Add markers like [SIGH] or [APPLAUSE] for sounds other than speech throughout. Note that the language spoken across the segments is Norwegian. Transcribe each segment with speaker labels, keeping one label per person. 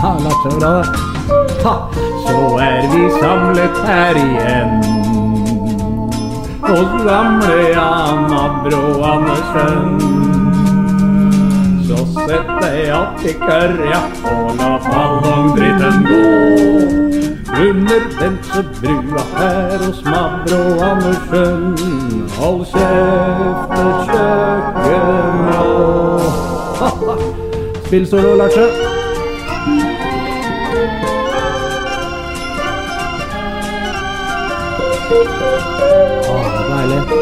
Speaker 1: Onsdag da, så er vi samlet her igjen. Hos gamle Jan Abro Andersen. Så sett deg att i kørja og la ballongdritten gå. Under bensebrua her hos Mabro Andersen. Hold kjeft og kjøkkenå. Spill solo, Larsen. Deilig.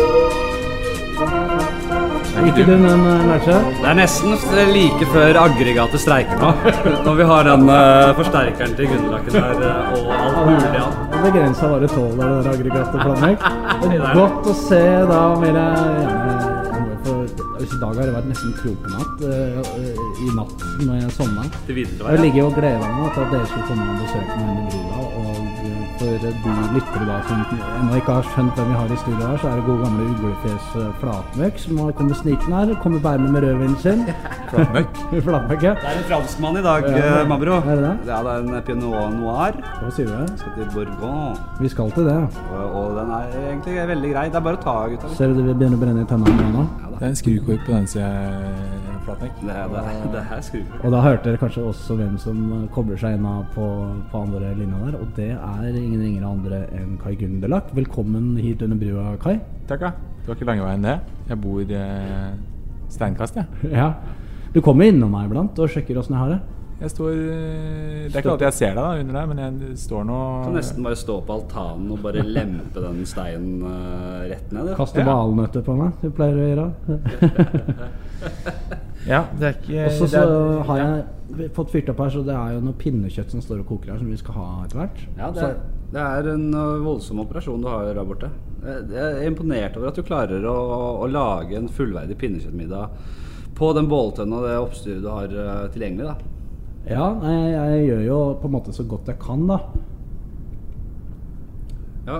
Speaker 1: Er ikke den en Larsen?
Speaker 2: Det er nesten f- like før aggregatet streiker nå. [LAUGHS] Når vi har den eh, forsterkeren til Gunnlaken der eh, og alt mulig annet.
Speaker 1: Begrensa hva det tåler, det der aggregatet. [LAUGHS] Flammek. Det er godt å se da mer Hvis i dag har det vært nesten krokenatt eh, eh, i natt når jeg sovna.
Speaker 2: Til
Speaker 1: Jeg
Speaker 2: videre vei.
Speaker 1: ligger og gleder meg til at dere skulle komme og besøke meg under brua. Og eh, for de lyttere da som ennå ikke har skjønt hvem vi har i studio her, så er det gode gamle Uglefjes eh, Flatmøkk som har kommet snikende her. Kommer bærende med rødvinen sin. [LAUGHS]
Speaker 3: Flatmøkk.
Speaker 1: Flatmøkk, ja.
Speaker 2: Det er en franskmann i dag,
Speaker 1: Ja.
Speaker 2: eh, Mabro.
Speaker 1: Er det det?
Speaker 2: Ja, det er en pinot noir.
Speaker 1: Hva sier du?
Speaker 2: Skal til Bourgogne.
Speaker 1: Vi skal til det. ja.
Speaker 2: Og- Og den er egentlig veldig grei. Det er bare å ta, gutta. Det,
Speaker 1: Ser du det begynner å brenne i tennene nå?
Speaker 3: Det er en skrukork på den eh, sida, Flatmøkk.
Speaker 2: det, det her skrur.
Speaker 1: Og da hørte dere kanskje også hvem som eh, kobler seg unna på, på andre linja der. Og det er ingen ringere andre enn Kai Gunderlach. Velkommen hit under brua, Kai.
Speaker 3: Takk, ja. Det var ikke lange veien, det. Jeg bor eh, steinkast, jeg.
Speaker 1: Ja. Du kommer innom meg iblant og sjekker åssen jeg har det.
Speaker 3: Jeg står eh, Det er ikke alltid jeg ser deg da, under der, men jeg står nå
Speaker 2: Kan nesten bare stå på altanen og bare lempe den steinen eh, rett ned. du.
Speaker 1: Kaster
Speaker 3: Ja.
Speaker 1: valnøtter på meg. Det pleier du å gjøre.
Speaker 3: Ja, det er ikke
Speaker 1: og så
Speaker 3: det
Speaker 1: så
Speaker 3: er,
Speaker 1: har jeg fått fyrt opp her, så det er jo noe pinnekjøtt som står og koker her, som vi skal ha etter hvert.
Speaker 2: Ja, det,
Speaker 1: Så-
Speaker 2: det er en ø, voldsom operasjon du har der borte. Jeg jeg er imponert over at du klarer å, å lage en fullverdig pinnekjøttmiddag på den båltønna og det oppstyret du har ø, tilgjengelig. da.
Speaker 1: ja nei, jeg gjør jo på en måte så godt jeg kan, da.
Speaker 2: Ja,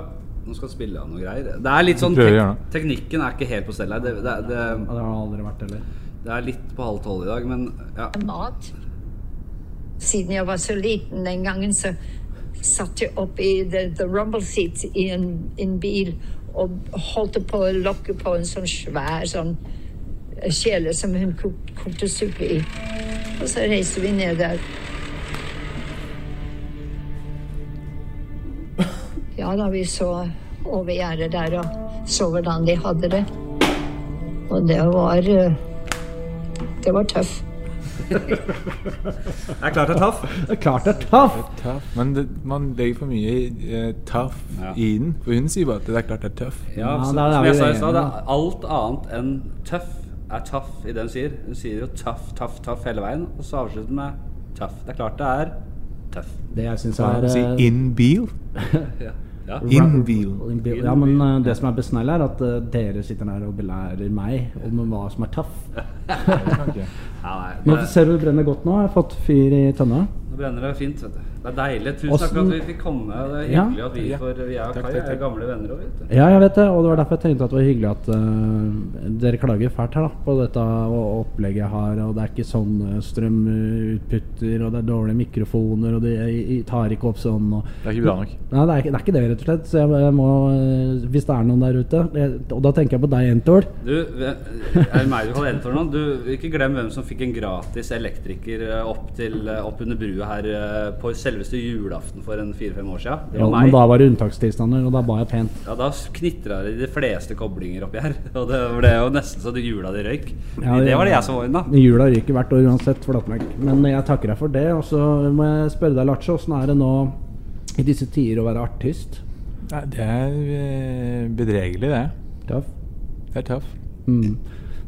Speaker 2: nå skal jeg spille av noe greier. Det er litt sånn,
Speaker 3: Prøver å
Speaker 2: tek
Speaker 3: gjøre noe.
Speaker 2: Teknikken er ikke helt på stell her. Det, det,
Speaker 1: Ja,
Speaker 2: det,
Speaker 1: Det har det aldri vært heller.
Speaker 2: det er litt på halv tolv i dag, men ja.
Speaker 4: mat. Siden jeg var så liten den gangen, så satt jeg opp i the, the rumble seat i en, en bil og holdt på å lokke på en sånn svær sånn kjele som hun kok, kokte suppe i. Og så reiste vi ned der. Ja da, vi så over gjerdet der og så hvordan de hadde det. Og det var eh, Det var tøft.
Speaker 2: Det er klart det er taff.
Speaker 1: Det er klart det er tøft!
Speaker 3: Tough. Men det, man legger for mye eh, tough
Speaker 2: Ja.
Speaker 3: i den. For hun sier bare at det er klart det er tøff.
Speaker 2: Ja,
Speaker 1: Ja,
Speaker 2: så,
Speaker 1: der er
Speaker 2: som
Speaker 1: vi
Speaker 2: jeg sa i
Speaker 1: enige,
Speaker 2: stad, det
Speaker 1: da.
Speaker 2: er alt annet enn tøff er taff i det hun sier. Hun sier jo taff, taff, taff hele veien, og så avslutter hun med taff. Det er klart det er tøff.
Speaker 1: Det jeg syns
Speaker 3: Hva
Speaker 1: er
Speaker 3: er det å si?
Speaker 1: eh,
Speaker 3: In bil?
Speaker 2: Ja. ja.
Speaker 3: In bil. [LAUGHS]
Speaker 1: Ja, men eh, det som er besnærlig, er at eh, dere sitter der og belærer meg om hva som er tøff.
Speaker 3: Okay.
Speaker 2: nei,
Speaker 1: Nå
Speaker 2: det,
Speaker 1: ser du det brenner godt nå. Jeg har fått fyr i tønna.
Speaker 2: nå brenner det fint. vet du. Det er deilig. Tusen
Speaker 1: Åssen-
Speaker 2: takk for at vi fikk komme. Det er
Speaker 1: Ja.
Speaker 2: hyggelig at vi
Speaker 3: Ja.
Speaker 2: får Vi er
Speaker 3: Takk,
Speaker 2: Kai
Speaker 3: takk,
Speaker 2: er
Speaker 3: takk.
Speaker 2: gamle venner òg, vet du.
Speaker 1: Ja, jeg vet det, og det var derfor jeg tenkte at det var hyggelig at eh, dere klager fælt her da, på dette og opplegget jeg har, og det er ikke sånn eh, strømutputter, og det er dårlige mikrofoner, og de eh, tar ikke opp sånn. Og,
Speaker 3: Det er ikke bra nok.
Speaker 1: Nei, det er, ikke, det er ikke det, rett og slett. Så jeg, jeg må, eh, hvis det er noen der ute, jeg, og da tenker jeg på deg, Entol.
Speaker 2: Du, ve- er det meg du kaller Entor nå? Du, ikke glem hvem som fikk en gratis elektriker eh, opp, til, eh, opp under brua her eh, på selveste julaften for en fire-fem år siden. Det
Speaker 1: Ja,
Speaker 2: var
Speaker 1: men
Speaker 2: meg.
Speaker 1: da var det unntakstilstander, og da ba jeg pent.
Speaker 2: Ja, da knitra det i de fleste koblinger oppi her. [LAUGHS] Og det ble jo nesten så de hjula de røyk.
Speaker 1: Ja,
Speaker 2: det
Speaker 1: ja.
Speaker 2: var det jeg som var unna.
Speaker 1: Men Jula ryker hvert år uansett, flatmark. Men jeg takker deg for det. Og så må jeg spørre deg, Latsje, åssen er det nå i disse tider å være artist?
Speaker 3: Nei, det er eh, bedregelig, det.
Speaker 1: Tøff.
Speaker 3: Det er tøff.
Speaker 1: Mm.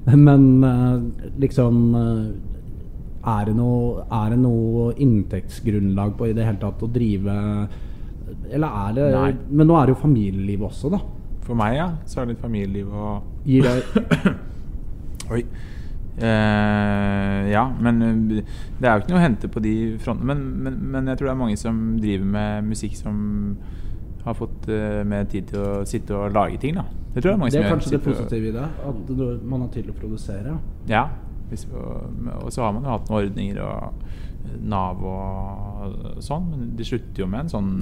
Speaker 1: [LAUGHS] Men eh, liksom eh, er det, noe, er det noe inntektsgrunnlag på i det hele tatt å drive Eller er det
Speaker 3: Nei.
Speaker 1: Men nå er det jo familielivet også, da.
Speaker 3: For meg, ja, så er det litt familieliv og
Speaker 1: Gir
Speaker 3: [LAUGHS]
Speaker 1: det
Speaker 3: Oi. Eh, ja, men eh, det er jo ikke noe å hente på de frontene. Men, men, men jeg tror det er mange som driver med musikk som har fått eh, mer tid til å sitte og lage ting, da. Det tror jeg er mange
Speaker 1: Det
Speaker 3: som
Speaker 1: er
Speaker 3: gjør.
Speaker 1: kanskje det
Speaker 3: Sitter og-
Speaker 1: positive i det. At du- man har tid til å produsere.
Speaker 3: Ja. Hvis, og, og så har man jo hatt noen ordninger og eh, Nav og sånn, men de slutter jo med en sånn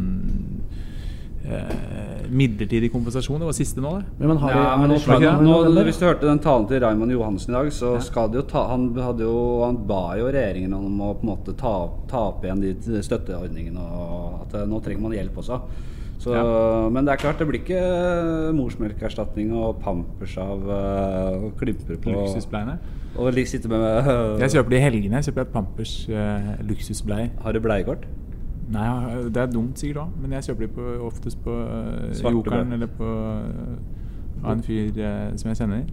Speaker 3: eh, midlertidig kompensasjon. Det var siste nå, det.
Speaker 1: Men man har
Speaker 2: Ja, men
Speaker 1: man
Speaker 2: nå,
Speaker 1: har planer om
Speaker 2: nå,
Speaker 1: november?
Speaker 2: hvis du hørte den talen til Raymond Johansen i dag, så skal det jo ta Han, hadde jo, han ba jo regjeringen om å på en måte ta, ta opp igjen de t- støtteordningene og at eh, nå trenger man hjelp også. Så, Men det er klart, det blir ikke eh, morsmelkerstatning og pampers av eh, klipper på
Speaker 3: Luksusbleiene.
Speaker 2: Og li- sitte med eh,
Speaker 3: Jeg kjøper de i helgene. Jeg kjøper et Pampers eh, luksusbleier.
Speaker 2: Har du bleiekort?
Speaker 3: Nei, det er dumt sikkert òg, men jeg kjøper de på, oftest på eh,
Speaker 2: Svarte
Speaker 3: Jokeren
Speaker 2: blei.
Speaker 3: eller på eh, av en fyr eh, som jeg kjenner.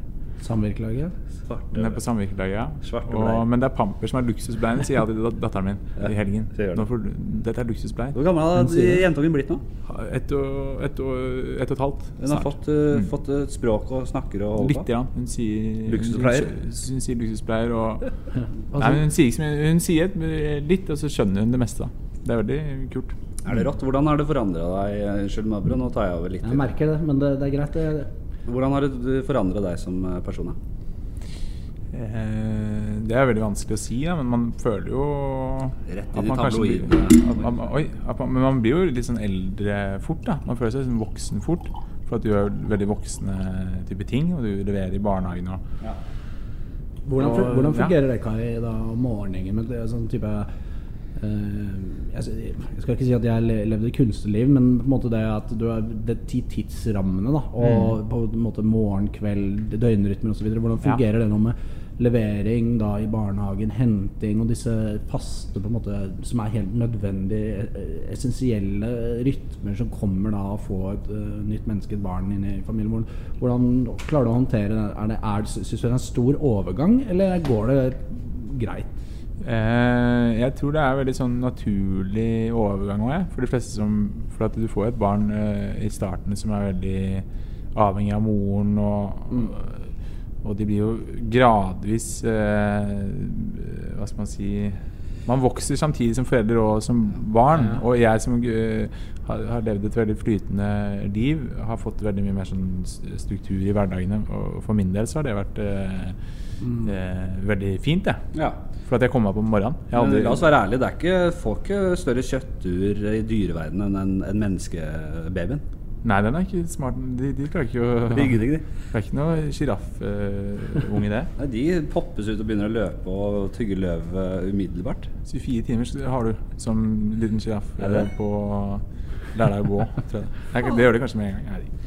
Speaker 1: Samvirkelaget? [LAUGHS]
Speaker 2: Svarte.
Speaker 3: Den er på samvirkelaget, ja.
Speaker 2: Svarte bleier.
Speaker 3: Og, men det er Pampers som er luksusbleiene, sier jeg til dat- datteren min
Speaker 2: Ja,
Speaker 3: i helgen.
Speaker 2: så gjør det.
Speaker 3: Nå får, du- dette er luksusbleier.
Speaker 2: Hvor gammel har
Speaker 1: Han sier det.
Speaker 2: jentungen blitt nå?
Speaker 3: Ett og, ett og, ett og et halvt.
Speaker 2: Hun har fått,
Speaker 1: Mm.
Speaker 2: eh, fått et språk og snakker og holder
Speaker 3: Litt. Grann. Hun sier
Speaker 2: Luksuspleier?
Speaker 3: Hun, sier- hun sier luksuspleier
Speaker 2: [LAUGHS]
Speaker 3: og
Speaker 1: Altså-
Speaker 3: Nei, men hun sier, ikke så mye. hun sier et- litt, og så skjønner hun det meste. da. Det er veldig kult.
Speaker 2: Er det rått? Hvordan har det forandra deg? Unnskyld, Mabro, nå tar jeg over litt.
Speaker 1: Jeg merker det, men det, det er greit. Det,
Speaker 2: Hvordan har det forandra deg som eh, person? da?
Speaker 3: Eh, Det er veldig vanskelig å si, da, men man føler jo
Speaker 2: Rett
Speaker 3: at
Speaker 2: inn i
Speaker 3: man kanskje blir-
Speaker 2: tabloidene.
Speaker 3: at man- Oi. At man, men man blir jo litt sånn eldre fort. da Man føler seg liksom voksen fort. For at du gjør veldig voksne type ting, og du leverer i barnehagen og
Speaker 1: hvordan, fun-
Speaker 3: Og-
Speaker 1: hvordan
Speaker 3: ja.
Speaker 1: fungerer det Kari, da, om morgenen? Men det er sånn type eh, jeg, s- jeg skal ikke si at jeg le- levde et kunstnerliv, men på en måte det at du er det ti tidsrammene, da, og på en måte morgen, kveld, døgnrytmer osv. Hvordan
Speaker 3: Ja.
Speaker 1: fungerer det nå med levering da i barnehagen, henting og disse faste på en måte som er helt nødvendige, eh, essensielle rytmer som kommer da av å få et eh, nytt menneske, et barn, inn i familien vår. Hvordan klarer du å håndtere det? Er det, er, det- synes du det er en stor overgang, eller går det greit?
Speaker 3: Eh, jeg tror det er veldig sånn naturlig overgang òg, for de fleste som For at du får et barn eh, i starten som er veldig avhengig av moren, og, og de blir jo gradvis eh, Hva skal man si Man vokser samtidig som foreldre og som barn.
Speaker 1: Ja.
Speaker 3: Og jeg som eh, har, har levd et veldig flytende liv, har fått veldig mye mer sånn s- struktur i hverdagene, og for min del så har det vært eh, eh, veldig fint, det.
Speaker 2: Ja.
Speaker 3: For at jeg kom meg opp om morgenen. Jeg
Speaker 2: Men
Speaker 3: hadde,
Speaker 2: la oss være ærlige, det er ikke, får ikke større kjøttur i dyreverdenen enn en, en menneskebabyen.
Speaker 3: Nei, den er ikke smart. De, de klarer ikke å
Speaker 2: Det er
Speaker 3: Det
Speaker 2: ingenting, de.
Speaker 3: er ikke noe eh, sjiraffunge, i det.
Speaker 2: Nei, De poppes ut og begynner å løpe og tygge løv eh, umiddelbart.
Speaker 3: 24 timer så har du som liten sjiraff eh,
Speaker 2: Er det?
Speaker 3: på å lære deg å gå. Tror jeg. Nei, Det gjør de kanskje med en gang. Jeg vet ikke.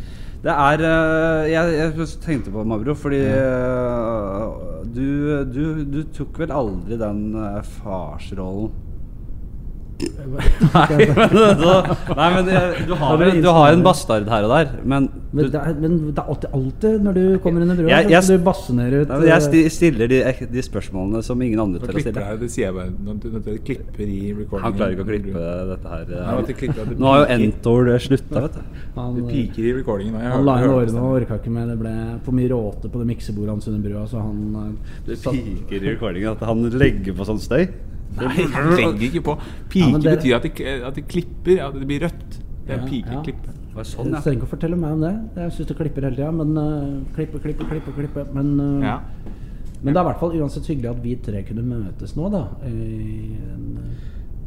Speaker 2: Det er eh, Jeg, jeg tenkte på Mabro, fordi eh, du, du, du tok vel aldri den eh, farsrollen? [LAUGHS] Nei, men, så, nei, men jeg- du, har,
Speaker 1: Ja, det er
Speaker 2: du har en
Speaker 1: instant.
Speaker 2: bastard her og der, men du,
Speaker 1: Men det, er, men det er alltid, alltid når du kommer under brua,
Speaker 2: Jeg-
Speaker 1: så
Speaker 2: jeg-
Speaker 1: skal du basse ned ut
Speaker 2: Nei, men jeg
Speaker 1: eh,
Speaker 2: sti- stiller de, de spørsmålene som ingen andre
Speaker 3: Nå
Speaker 2: tør å
Speaker 3: klipper
Speaker 2: stille.
Speaker 3: jeg, det sier jeg bare. Nå, nå, nå klipper i recordingen.
Speaker 2: Han klarer ikke å klippe dette her. eh,
Speaker 3: Nei, at de klipper, at de
Speaker 2: Nå har jo
Speaker 3: piker.
Speaker 2: Entor slutta, vet du.
Speaker 1: han,
Speaker 3: Du piker i recordingen. og jeg
Speaker 1: han
Speaker 3: hører-
Speaker 1: la inn
Speaker 3: hører det.
Speaker 1: årene og orka ikke mer. Det ble for mye råte på det miksebordet hans under brua, så han eh,
Speaker 2: Det
Speaker 1: satt-
Speaker 2: piker i recordingen at han legger på sånn støy.
Speaker 3: Nei, han legger ikke på. Pike
Speaker 1: Ja, men dere-
Speaker 3: betyr at det, at det klipper. At det blir rødt. Det er
Speaker 1: Ja, ja.
Speaker 3: pikeklipp.
Speaker 2: Bare
Speaker 1: Du
Speaker 2: sånn, ja.
Speaker 1: trenger ikke å fortelle meg om det. Jeg syns du klipper hele tida. Men eh, klippe, klippe, klippe. klippe Men, eh,
Speaker 3: Ja.
Speaker 1: men det er i hvert fall uansett hyggelig at vi tre kunne møtes nå, da. I en,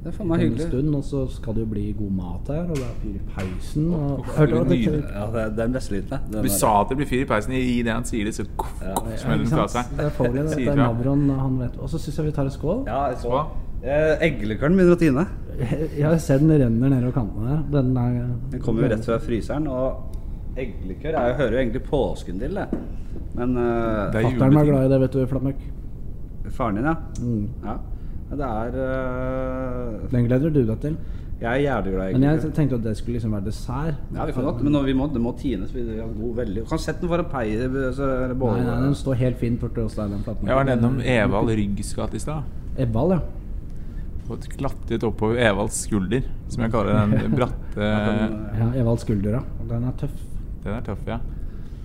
Speaker 2: Det er faen meg
Speaker 1: en
Speaker 2: hyggelig.
Speaker 1: stund. Og så skal det jo bli god mat her, og det er fyr i peisen. Og,
Speaker 3: Uff,
Speaker 1: hørte du at
Speaker 3: det blir
Speaker 1: det-
Speaker 2: Ja, det er den beste lyden, det.
Speaker 3: Du
Speaker 2: Den der.
Speaker 3: sa at det blir fyr i peisen. I det han sier det, så koff, koff,
Speaker 1: Ja,
Speaker 3: smeller
Speaker 1: ikke
Speaker 3: den fra
Speaker 1: sant?
Speaker 3: seg.
Speaker 1: Det er
Speaker 2: [LAUGHS]
Speaker 1: farlig, det.
Speaker 3: Sier
Speaker 1: det er
Speaker 3: fra.
Speaker 1: Mavron, han vet. Og så syns jeg vi tar en skål.
Speaker 2: Ja, jeg så
Speaker 3: Hva?
Speaker 2: eh, Eggeløkeren begynner å tine.
Speaker 1: Jeg ser den renner nedover kantene her. Den er
Speaker 2: Den kommer jo
Speaker 1: Mm.
Speaker 2: rett fra fryseren. Og eggeløker er jo- hører jo egentlig påsken til, det. Men eh,
Speaker 3: Det er
Speaker 1: Fatter'n var
Speaker 3: juleting.
Speaker 1: glad i det, vet du, Flatmøkk.
Speaker 2: faren din, ja.
Speaker 1: Mm.
Speaker 2: ja. Ja, Det er eh,
Speaker 1: Den gleder du deg til.
Speaker 2: Jeg er jævlig glad i
Speaker 1: Men
Speaker 2: eggeløker.
Speaker 1: jeg tenkte at det skulle liksom være dessert.
Speaker 2: Ja, vi kan godt, men nå, vi må, det må tines. Vi har god veldig Du kan sette den foran pei... så- eller bål.
Speaker 1: Nei, nei, den står helt fint borte hos deg, den Flatmøkk.
Speaker 3: Jeg var E- nedom Evald Ryggs gate i stad.
Speaker 1: Ebbal, ja.
Speaker 3: Og klatret oppover Evalds skulder, som jeg kaller
Speaker 1: [LAUGHS]
Speaker 3: den bratte
Speaker 2: den,
Speaker 1: Ja, eh. Evald Skuldra. Den er tøff.
Speaker 3: Den er tøff, ja.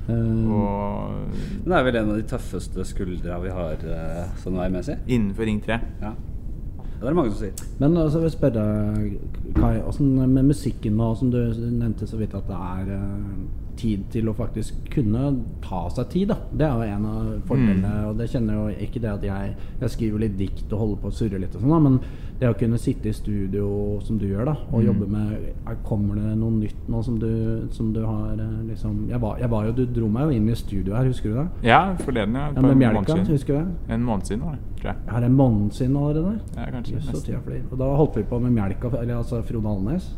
Speaker 1: Eh,
Speaker 3: Og
Speaker 2: Den er vel en av de tøffeste skuldra vi har eh, sånn veimessig.
Speaker 3: innenfor Ring 3.
Speaker 2: Ja. Det er det mange som sier.
Speaker 1: men så vil jeg spørre Kai, åssen med musikken nå, som du nevnte så vidt at det er eh, tid til å faktisk kunne ta seg tid. da Det er jo en av fordelene. Og det kjenner jo ikke det at jeg, jeg skriver litt dikt og holder på å surre litt, og sånn da men det å kunne sitte i studio som du gjør, da og jobbe med er- Kommer det noe nytt nå som du, som du har eh, liksom jeg var, jeg var jo, Du dro meg jo inn i studio her, husker du det?
Speaker 3: Ja, forleden, ja.
Speaker 1: Ja,
Speaker 3: På
Speaker 1: med
Speaker 3: en
Speaker 1: Mjelka,
Speaker 3: måned siden.
Speaker 1: husker du det?
Speaker 3: En måned siden var det, tror jeg.
Speaker 1: Her er måneden siden allerede.
Speaker 3: Ja, kanskje.
Speaker 1: Jøss, så
Speaker 3: nesten.
Speaker 1: tida flyr. Og da holdt vi på med Mjelka, eller altså Frode Alnes.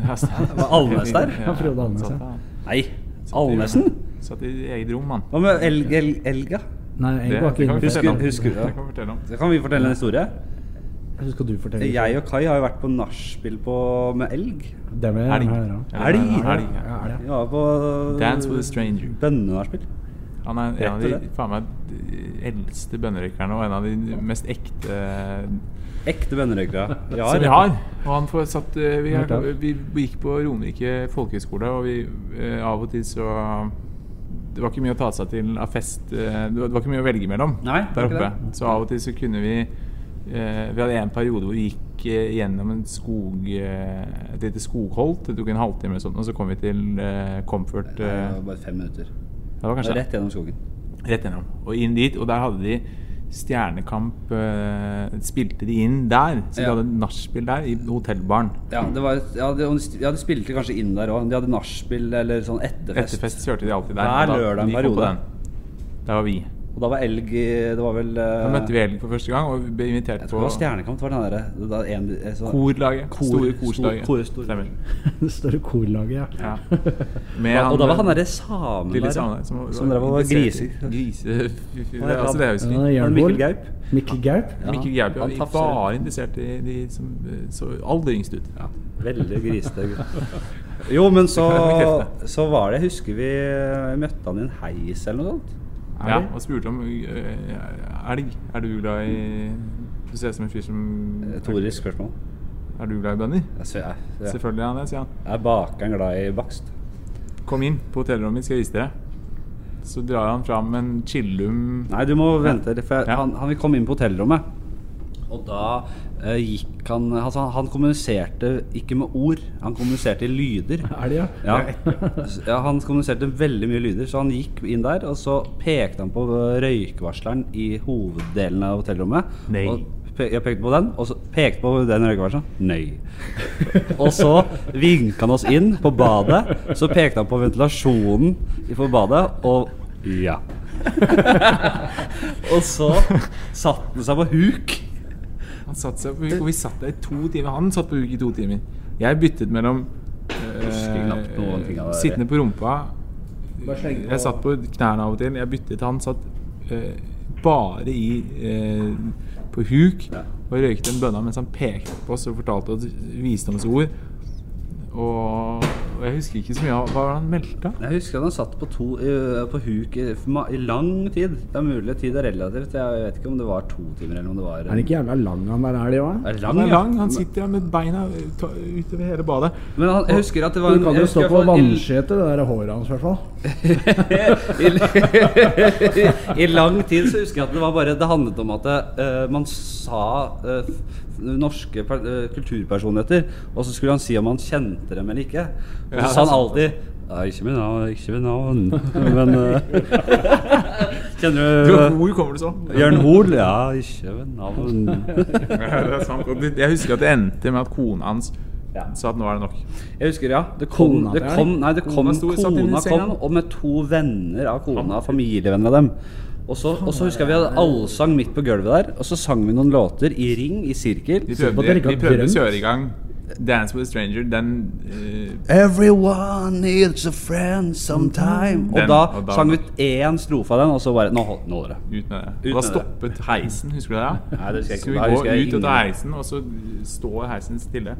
Speaker 3: Ja, stemmer.
Speaker 2: Var Alnes der?
Speaker 1: Ja, Frode Alnes,
Speaker 3: satt
Speaker 1: ja.
Speaker 3: han.
Speaker 2: Nei, Alnesen?
Speaker 3: Satt i eget rom, han.
Speaker 2: Hva med elg, elg, elga?
Speaker 1: Nei, jeg var
Speaker 3: det
Speaker 1: ikke
Speaker 3: kan vi
Speaker 1: inne.
Speaker 2: Husker-
Speaker 3: fortelle om.
Speaker 2: husker du det?
Speaker 3: Det kan vi fortelle om.
Speaker 2: Så kan vi fortelle en historie.
Speaker 1: Husker skal du fortelle?
Speaker 2: Jeg og Kai har jo vært på nachspiel på- med elg.
Speaker 1: Det vil jeg
Speaker 3: Elg.
Speaker 1: gjerne høre. om.
Speaker 3: Ja,
Speaker 2: Elg?
Speaker 3: det er Elg,
Speaker 1: Ja,
Speaker 3: ja.
Speaker 1: er det? [LAUGHS]
Speaker 2: Vi var på
Speaker 3: Dance with a stranger.
Speaker 2: Bønnenachspiel.
Speaker 3: Han er en av
Speaker 2: Rett og
Speaker 3: de faen meg de eldste bønnerøykerne og en av de mest ekte eh,
Speaker 2: Ekte bønnerøykere. Ja,
Speaker 3: som vi har. Og han får satt eh, vi,
Speaker 1: Helt av.
Speaker 3: er, vi gikk på Romerike folkehøgskole, og vi eh, av og til så Det var ikke mye å ta seg til av fest. eh, Det var det var ikke mye å velge mellom
Speaker 2: Nei, det var
Speaker 3: der
Speaker 2: ikke
Speaker 3: oppe.
Speaker 2: det.
Speaker 3: Så av og til så kunne vi eh, Vi hadde en periode hvor vi gikk eh, gjennom en skog, eh, et lite skogholt. Det tok en halvtime, eller sånt, og så kom vi til eh, Comfort.
Speaker 2: Det
Speaker 3: eh,
Speaker 2: var bare fem minutter.
Speaker 3: det var kanskje
Speaker 2: Rett gjennom skogen.
Speaker 3: Rett gjennom. Og inn dit. Og der hadde de Stjernekamp eh, spilte de inn der. Så de
Speaker 2: Ja.
Speaker 3: hadde nachspiel der, i hotellbaren.
Speaker 2: Ja, det var, ja, de, ja, de spilte kanskje inn der òg. De hadde nachspiel eller sånn etterfest.
Speaker 3: Etterfest kjørte de alltid der.
Speaker 2: Hver
Speaker 3: og da-
Speaker 2: lørdag en
Speaker 3: vi kom
Speaker 2: periode.
Speaker 3: på den. Der var vi.
Speaker 2: Og da var elg i- Det var vel eh,
Speaker 3: Da møtte vi Elg for første gang, og vi ble invitert
Speaker 2: Jeg tror det
Speaker 3: på
Speaker 2: var Stjernekamp. det var den der, det der en, eh, sånn-
Speaker 3: korlaget.
Speaker 2: Kor-
Speaker 3: store
Speaker 2: stor-
Speaker 3: korslaget.
Speaker 2: kor- stor-
Speaker 3: Stemmer.
Speaker 1: Det står i korlaget, ja.
Speaker 3: Ja.
Speaker 2: Og
Speaker 3: Med
Speaker 2: da- og da var han
Speaker 3: eh,
Speaker 2: derre samen
Speaker 3: lille
Speaker 2: der, ja.
Speaker 3: samen som,
Speaker 2: som drev og var
Speaker 3: interessert i-
Speaker 2: griser.
Speaker 3: Grise...
Speaker 2: Han
Speaker 3: det
Speaker 2: er
Speaker 3: er- altså, det er
Speaker 1: [LAUGHS]
Speaker 3: jo
Speaker 1: Ja,
Speaker 3: slik.
Speaker 1: Jørn
Speaker 2: Mikkel
Speaker 1: Bohl.
Speaker 2: Gaup.
Speaker 1: Mikkel Gaup?
Speaker 2: Ja.
Speaker 3: Mikkel Gaup
Speaker 2: Han
Speaker 3: var
Speaker 2: tafser.
Speaker 3: bare interessert i de som eh, så aller yngst ut.
Speaker 2: Ja, veldig grisete gutt.
Speaker 3: [LAUGHS]
Speaker 2: Jo, men så, så var det Jeg husker vi eh, møtte han i en heis eller noe sånt.
Speaker 3: Ja,
Speaker 1: det?
Speaker 3: og spurte om øh, elg. Er du glad i Du ser ut som en fyr som
Speaker 2: Retorisk Eh, spørsmål.
Speaker 3: Er du glad i bønner?
Speaker 2: Jeg, ser- jeg, jeg,
Speaker 3: Selvfølgelig er han det, sier han.
Speaker 2: jeg er bakeren glad i bakst.
Speaker 3: Kom inn på hotellrommet mitt, skal jeg vise dere. Så drar han fram en chillum
Speaker 2: [LAUGHS]
Speaker 3: [LAUGHS]
Speaker 2: Nei, du må vente, litt, for jeg,
Speaker 3: Ja.
Speaker 2: han, han vil komme inn på hotellrommet. Og da eh, gikk han altså, Han kommuniserte ikke med ord, han kommuniserte i lyder.
Speaker 1: Er det, ja?
Speaker 2: Ja. S- ja, Han kommuniserte veldig mye lyder, så han gikk inn der, og så pekte han på eh, røykvarsleren i hoveddelen av hotellrommet.
Speaker 3: Nei.
Speaker 2: Og pe jeg pekte på den, og så pekte på den røykvarsleren. [LAUGHS] Nei. og så vinka han oss inn på badet. Så pekte han på ventilasjonen i- på badet, og ja. [LAUGHS] og så satte han seg på huk.
Speaker 3: Han satt seg på huk, og vi satt der i to timer. Han satt på huk i to timer. Jeg byttet mellom øh,
Speaker 2: Husker knapt noen ting av det.
Speaker 3: Sittende på rumpa.
Speaker 1: Bare slenge på-
Speaker 3: Jeg satt på knærne av og til. Jeg byttet. Han satt øh, bare i øh, på huk
Speaker 2: Ja.
Speaker 3: og røykte en bønna mens han pekte på oss og fortalte oss visdomsord. Og, og jeg husker ikke så mye av hva var det han meldte.
Speaker 2: Jeg husker at han satt på, to, i- på huk i, for ma- i lang tid. Det er mulig tid er relativt. Jeg vet ikke om det var to timer eller om det var
Speaker 1: Er det ikke jævla lang han der er, det òg?
Speaker 2: Er det
Speaker 3: Han
Speaker 2: lang,
Speaker 3: er
Speaker 2: ja.
Speaker 3: lang. Han sitter der med beina ut- utover hele badet.
Speaker 2: Men han, jeg husker at det var
Speaker 1: Du kan jo
Speaker 2: jeg
Speaker 1: stå
Speaker 2: husker i
Speaker 1: på
Speaker 2: hvert fall i-
Speaker 1: vannskjete, det der håret hans i hvert fall.
Speaker 2: [LAUGHS] I, I lang tid så husker jeg at det var bare Det handlet om at eh, man sa eh, f- norske per, eh, kulturpersonligheter, og så skulle han si om han kjente dem eller ikke. Og så
Speaker 3: Ja,
Speaker 2: sa han alltid Nei, ikke med navn, ikke med navn. Men eh,
Speaker 3: Du,
Speaker 2: [LAUGHS]
Speaker 3: sånn?
Speaker 2: Kjenner du
Speaker 3: hvor kommer det så?
Speaker 2: Jørn Hoel? Ja, ikke med navn.
Speaker 3: [LAUGHS] Ja, det er sant. Og det- Jeg husker at det endte med at kona hans
Speaker 2: Ja.
Speaker 3: sa at nå er det nok.
Speaker 2: Jeg husker, ja. Det kom,
Speaker 1: Kona
Speaker 2: det
Speaker 1: der.
Speaker 2: kom, nei, det kom
Speaker 3: Kona sto- satt inne i
Speaker 2: Kona
Speaker 3: senga.
Speaker 2: kom, og med to venner av kona, familievenner av dem. Og så, og så husker jeg vi hadde allsang midt på gulvet der, og så sang vi noen låter i ring, i sirkel.
Speaker 3: Vi
Speaker 1: på at dere
Speaker 3: prøvde,
Speaker 1: ikke
Speaker 3: vi
Speaker 1: har
Speaker 3: prøvde å
Speaker 1: drømt.
Speaker 3: kjøre i gang Dance with a Stranger. Den eh,
Speaker 2: Everyone needs a friend sometime. Og
Speaker 3: Mm. Den,
Speaker 2: da
Speaker 3: og da-
Speaker 2: sang vi ut én strofe av den, og så bare Nå hold- nå holder det.
Speaker 3: ut med
Speaker 2: Ut med
Speaker 3: det. Og da
Speaker 2: det.
Speaker 3: stoppet heisen, husker du det? ja?
Speaker 2: Nei, det husker jeg ikke.
Speaker 3: Så vi
Speaker 2: Nei, husker jeg
Speaker 3: går ut
Speaker 2: ingen-
Speaker 3: av heisen, og så står heisen stille.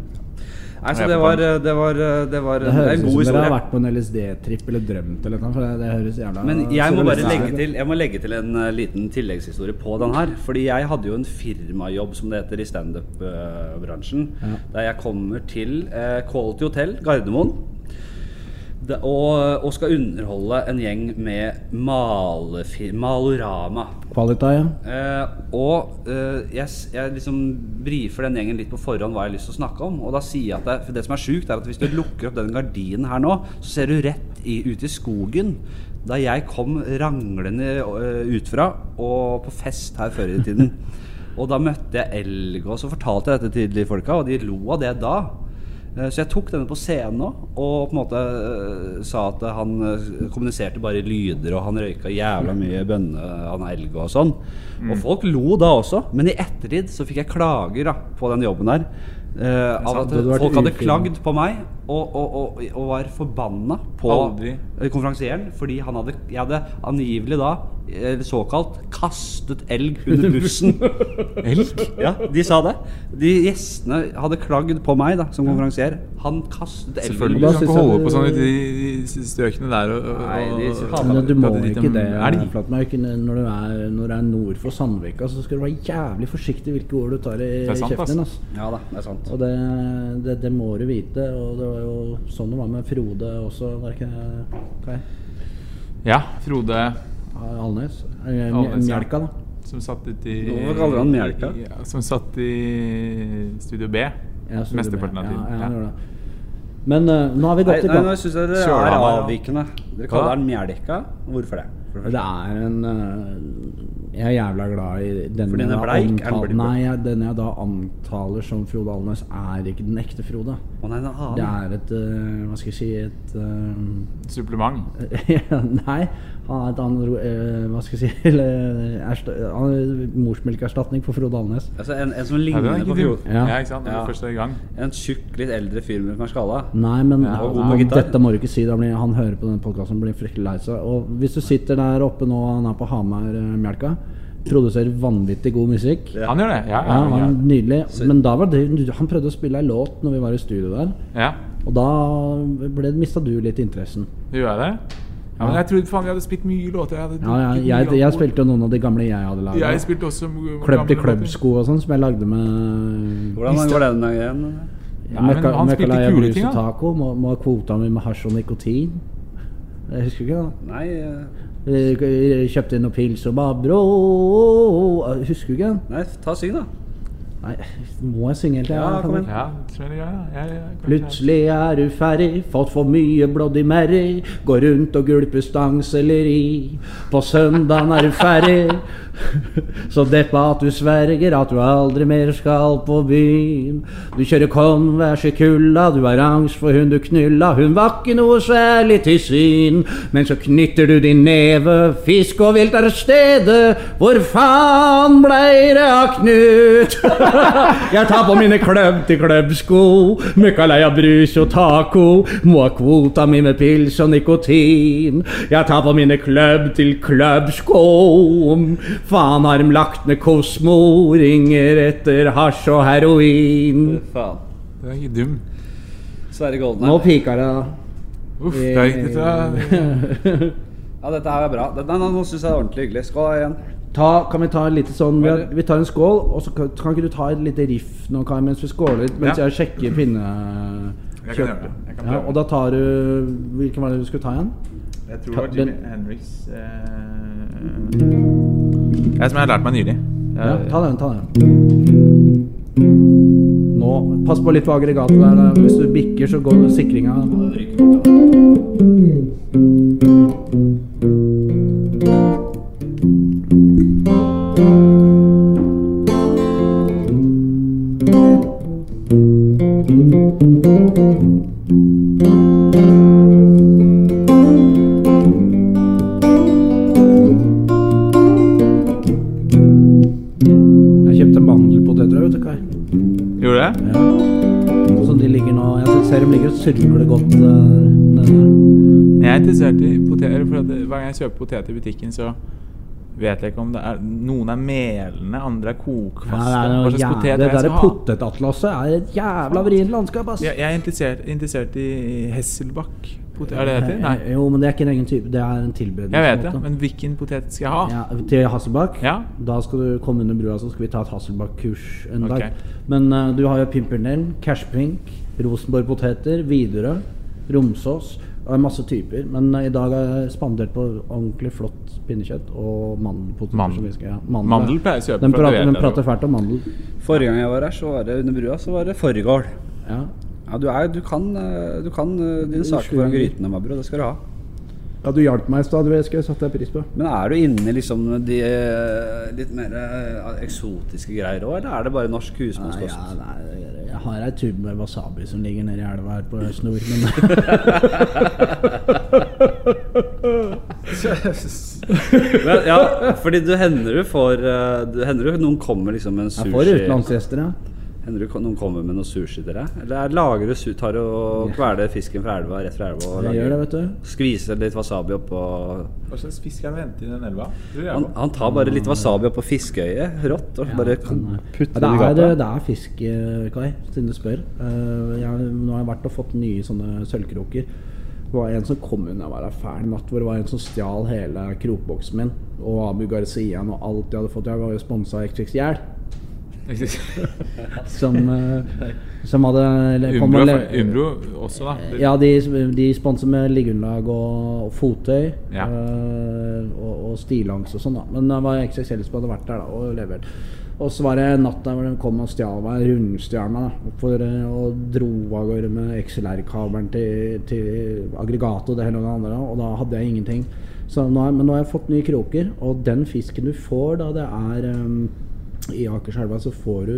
Speaker 2: Nei, så det var eh, Det var, det var
Speaker 1: Det
Speaker 2: det er
Speaker 1: høres
Speaker 2: en
Speaker 1: ut
Speaker 2: god
Speaker 1: som dere har
Speaker 2: historie.
Speaker 1: vært på en LSD-tripp eller drømt eller noe, for det, det høres jævla
Speaker 2: Men jeg må bare
Speaker 1: surrealistisk
Speaker 2: legge
Speaker 1: ut.
Speaker 2: til, jeg må legge til en eh, liten tilleggshistorie på den her. Fordi jeg hadde jo en firmajobb, som det heter, i standup-bransjen. Der jeg kommer til eh, Quality Hotel Gardermoen. Det, og, og skal underholde en gjeng med malefir, Malorama.
Speaker 1: Metropolitan. Ja.
Speaker 2: Eh, og eh, jeg, s- jeg liksom brifer den gjengen litt på forhånd hva jeg har lyst til å snakke om. Og da sier jeg at det, for det som er sjukt, er at hvis du lukker opp den gardinen her nå, så ser du rett i, ut i skogen. Da jeg kom ranglende eh, utfra og på fest her før i tiden. Og da møtte jeg elg, og så fortalte jeg dette til de folka, og de lo av det da. Eh, Så jeg tok denne på scenen òg, og på en måte eh, sa at han eh, kommuniserte bare i lyder, og han røyka jævla mye bønne, han elg og sånn.
Speaker 1: Mm.
Speaker 2: Og folk lo da også, men i ettertid så fikk jeg klager da, på den jobben der. eh, av
Speaker 1: sant,
Speaker 2: at
Speaker 1: du hadde vært
Speaker 2: folk hadde
Speaker 1: ufin.
Speaker 2: klagd på meg og, og, og, og var forbanna på
Speaker 3: Aldri.
Speaker 2: eh, konferansieren fordi han hadde, jeg hadde angivelig da eh, såkalt kastet elg under bussen. [LAUGHS]
Speaker 3: Elg?
Speaker 2: Ja, de sa det. De gjestene hadde klagd på meg da, som konferansier. Han kastet elgen.
Speaker 3: Selvfølgelig.
Speaker 1: Da
Speaker 3: Du kan
Speaker 1: synes jeg
Speaker 3: ikke holde
Speaker 1: det-
Speaker 3: på sånn ute i de de strøkene der og, og,
Speaker 2: Nei, de
Speaker 3: og-
Speaker 2: hater
Speaker 3: og-
Speaker 1: Men du må
Speaker 3: prate dritt
Speaker 1: ikke
Speaker 3: om
Speaker 1: det.
Speaker 3: elg.
Speaker 1: Flatmark. Når du er, når du er nord for Sandvika, så skal du være jævlig forsiktig hvilke ord du tar i
Speaker 3: er sant,
Speaker 1: kjeften din. ass.
Speaker 2: Ja da, det er sant.
Speaker 1: Og det, det, det må du vite. Og det var jo sånn det var med Frode også. Var det ikke Kai?
Speaker 3: Ja, Frode
Speaker 1: Alnes? Eh,
Speaker 3: Alnes, ja.
Speaker 1: Mjelka, da.
Speaker 3: som satt ute i
Speaker 2: Hvorfor kaller han Mjelka?
Speaker 3: Ja, som satt i Studio B
Speaker 1: Ja, så
Speaker 3: mesteparten av
Speaker 1: det-
Speaker 3: tiden.
Speaker 1: Ja, ja,
Speaker 3: Ja.
Speaker 1: han gjorde det. Men eh, nå har vi
Speaker 2: Nei,
Speaker 1: gått i
Speaker 2: nei,
Speaker 1: gang.
Speaker 2: nå syns jeg dere er
Speaker 3: Sørhamar, ja.
Speaker 2: avvikende. Dere
Speaker 3: Hva da?
Speaker 2: kaller den Mjelka. Hvorfor det? For det
Speaker 1: Det er en eh, Jeg er jævla glad i den
Speaker 2: Fordi
Speaker 1: jeg
Speaker 2: den er
Speaker 1: da
Speaker 2: bleik? Er den
Speaker 1: antal-
Speaker 2: bleik?
Speaker 1: Nei, jeg- den jeg da antaler som Frode Alnes, er ikke den ekte Frode.
Speaker 2: første. Å nei, den
Speaker 1: Det
Speaker 2: annen.
Speaker 1: er et eh, Hva skal jeg si Et eh, [LAUGHS]
Speaker 3: Supplement.
Speaker 1: Nei, han er et annet eh, Hva skal jeg si [LAUGHS] eller, ersta- han er Morsmelkerstatning for Frode Alnes.
Speaker 2: Altså, en, en som
Speaker 3: Ja, den
Speaker 2: ligner
Speaker 3: er
Speaker 2: på
Speaker 3: ikke dum.
Speaker 2: Frode.
Speaker 1: Ja.
Speaker 3: Ja, ikke sant? Når
Speaker 2: Ja.
Speaker 3: du først er i gang.
Speaker 2: En tjukk, litt eldre fyr med skalla.
Speaker 1: Nei, men
Speaker 3: Ja,
Speaker 2: og god på
Speaker 1: han,
Speaker 2: gitar.
Speaker 1: dette må du ikke si. Da blir, han hører på denne podkasten og blir fryktelig lei seg. Og hvis du sitter der oppe nå, han er på Hamar-melka, produserer vanvittig god musikk.
Speaker 2: Ja.
Speaker 3: Han gjør det? Ja.
Speaker 1: Ja,
Speaker 3: ja,
Speaker 1: han,
Speaker 3: ja.
Speaker 1: Nydelig. Men da var det, han prøvde å spille ei låt når vi var i studio der,
Speaker 3: ja.
Speaker 1: og da ble- mista du litt interessen.
Speaker 3: Gjør jeg det? Ja, men jeg trodde faen vi hadde spilt mye låter. Jeg, hadde
Speaker 1: Ja, jeg,
Speaker 3: drukket mye
Speaker 1: jeg, jeg
Speaker 3: alkohol.
Speaker 1: spilte jo noen av de gamle jeg hadde
Speaker 3: Jeg
Speaker 1: laga.
Speaker 3: spilte også gamle
Speaker 1: Klubb til
Speaker 3: låter.
Speaker 1: klubb-sko og sånn, som jeg lagde med
Speaker 2: Hvordan går den eh, igjen?
Speaker 3: Nei, men han spilte
Speaker 1: Møkkalaya
Speaker 3: kule
Speaker 1: Blues
Speaker 3: ting,
Speaker 1: og
Speaker 3: da.
Speaker 1: Taco. Må, må ha kvota mi med hasj og nikotin. Jeg husker ikke, da.
Speaker 2: Nei eh,
Speaker 1: Eh, Kjøpte inn noen pils og bare bro Jeg Husker du ikke?
Speaker 2: Nei, ta syng, da.
Speaker 1: Nei, må jeg synge helt?
Speaker 2: Ja, kom igjen.
Speaker 3: Ja, tror jeg det gjør, ja. Jeg- jeg- kanskje jeg-
Speaker 1: Plutselig er du ferdig, fått for mye Bloody Mary. Går rundt og gulper stangselleri. På søndagen er du ferdig, [LAUGHS] så deppa at du sverger at du aldri mer skal på byen. Du kjører Converse i kulda, du har angst for hun du knulla. Hun var ikke noe særlig til syn, men så knytter du din neve. Fisk og vilt er stedet, hvor faen blei det av Knut? [LAUGHS] Jeg tar på mine kløbb til kløbbsko. Møkkaleia brus og taco. Må ha kvota mi med pils og nikotin. Jeg tar på mine kløbb til kløbbsko. Faen har dem lagt ned Kosmo. Ringer etter hasj og heroin.
Speaker 2: Fy Faen.
Speaker 3: Den er ikke dum.
Speaker 2: Sverre
Speaker 1: Nå
Speaker 2: Goldenheim.
Speaker 1: pika det, da.
Speaker 3: Uff,
Speaker 1: Eh.
Speaker 3: det er ikke dette.
Speaker 1: [LAUGHS]
Speaker 2: Ja, dette her er bra. Dette, nei, nå syns jeg det er ordentlig hyggelig. Skål igjen.
Speaker 1: Ta, kan vi ta en liten sånn Vi, vi tar en skål, og så kan, kan ikke du ta et lite riff nå, Kai, mens vi skåler? Mens
Speaker 3: Ja.
Speaker 1: jeg sjekker pinne...
Speaker 3: Jeg kan gjøre det. Jeg kan
Speaker 1: ja,
Speaker 3: prøve.
Speaker 1: og da tar du Hvilken var det du skulle ta igjen?
Speaker 3: Jeg
Speaker 1: det var Jimi
Speaker 3: Hendrix eh, Jeg som jeg har lært meg nylig.
Speaker 1: Ja, ta den, ta den. Nå, Pass på litt på aggregatet der. da. Hvis du bikker, så går sikringa Jeg kjøpte mandelpoteter, vet du, Kai.
Speaker 3: Gjorde du det?
Speaker 1: Ja. Så de ligger nå Jeg ser dem ligger og surkler godt eh, nede der.
Speaker 3: Jeg er interessert i poteter, for at hver gang jeg kjøper poteter i butikken, så vet jeg ikke om det er Noen er melende, andre er
Speaker 1: Ja, det
Speaker 3: kokfaste.
Speaker 1: er noe
Speaker 3: Hva slags
Speaker 1: jævlig,
Speaker 3: poteter
Speaker 1: det
Speaker 3: jeg skal
Speaker 1: derre
Speaker 3: ha?
Speaker 1: potetatlaset er et jævla vrient landskap, ass.
Speaker 3: Jeg, jeg er interessert, interessert i Hesselbakk. Potet, er det det heter?
Speaker 1: Eh,
Speaker 3: Nei.
Speaker 1: Jo, men det er ikke en egen type. Det er en tilberedelse.
Speaker 3: Jeg vet det,
Speaker 1: på en måte.
Speaker 3: men hvilken potet skal jeg ha?
Speaker 1: ja, til Hasselbakk?
Speaker 3: Ah. Ja.
Speaker 1: Da skal du komme under brua, så skal vi ta et Hasselbakk-kurs en
Speaker 3: Ok.
Speaker 1: dag. Men eh, du har jo Pimpernell, Cashpink, Rosenborg Poteter, Widerøe, Romsås. Det er masse typer, men eh, i dag er jeg spandert på ordentlig flott pinnekjøtt og mandelpoteter.
Speaker 3: Mandel.
Speaker 1: som vi skal- ja,
Speaker 3: Mandel pleier jeg å kjøpe
Speaker 1: Den
Speaker 3: fra
Speaker 1: prater,
Speaker 3: Duella,
Speaker 1: den prater fælt om mandel.
Speaker 2: Forrige gang jeg var her, så var det under brua, så var det fårikål.
Speaker 1: Ja.
Speaker 2: Ja, du, er, du kan, eh, du kan eh, dine saker foran grytene, Mabro. Det skal du ha.
Speaker 1: ja, du hjalp meg i stad, det skal jeg sette pris på.
Speaker 2: Men er du inne i liksom de eh, litt mer eh, eksotiske greier òg, eller er det bare norsk
Speaker 1: Nei,
Speaker 2: husmannskost?
Speaker 1: ja, nei, jeg har ei tube med wasabi som ligger nedi elva her på snor, men
Speaker 2: [LAUGHS]
Speaker 3: [LAUGHS]
Speaker 2: Men, ja, fordi du hender du får eh, du, Hender du noen kommer liksom med en
Speaker 1: jeg får
Speaker 2: sushi
Speaker 1: utenlandsgjester, ja.
Speaker 2: Hender du ko- noen kommer med noe sushi til deg? Eller er- lager du su tar du og kveler fisken fra elva rett fra elva og
Speaker 1: Jeg gjør det, vet du.
Speaker 2: skviser litt wasabi oppå
Speaker 3: Hva slags fisk er det å hente i den elva? Lurer jeg
Speaker 2: han,
Speaker 1: [LAUGHS]
Speaker 3: på.
Speaker 2: han tar bare litt wasabi oppå fiskeøyet, rått, og bare
Speaker 1: sånn, Ja,
Speaker 2: putter
Speaker 1: det,
Speaker 2: det i
Speaker 1: er,
Speaker 2: gata.
Speaker 1: det er fisk, eh, Kai, siden du spør. Eh, jeg, nå har jeg vært og fått nye sånne sølvkroker. Det var en som kom unna hver fæl natt, hvor det var en som stjal hele krokboksen min. Og Abu Garcian og alt jeg hadde fått. Jeg var jo sponsa av XXL. Som, eh, som hadde eller kom og
Speaker 3: Umbro, er-
Speaker 1: le- Eh,
Speaker 3: Umbro også, da. Det-
Speaker 1: Ja, de, de sponser med liggeunderlag og, og fottøy.
Speaker 3: Ja.
Speaker 1: eh, og, og stillongs og sånn, da. Men det var XXL som hadde vært der da, og levert. Og så var det natta hvor de kom og stjal meg, rundstjal meg, da, for, eh, og dro av gårde med XLR-kabelen til, til aggregatet og det hele og det andre. da, Og da hadde jeg ingenting. Så nå har, men nå har jeg fått nye kroker, og den fisken du får da det er eh, i Akerselva, så får du,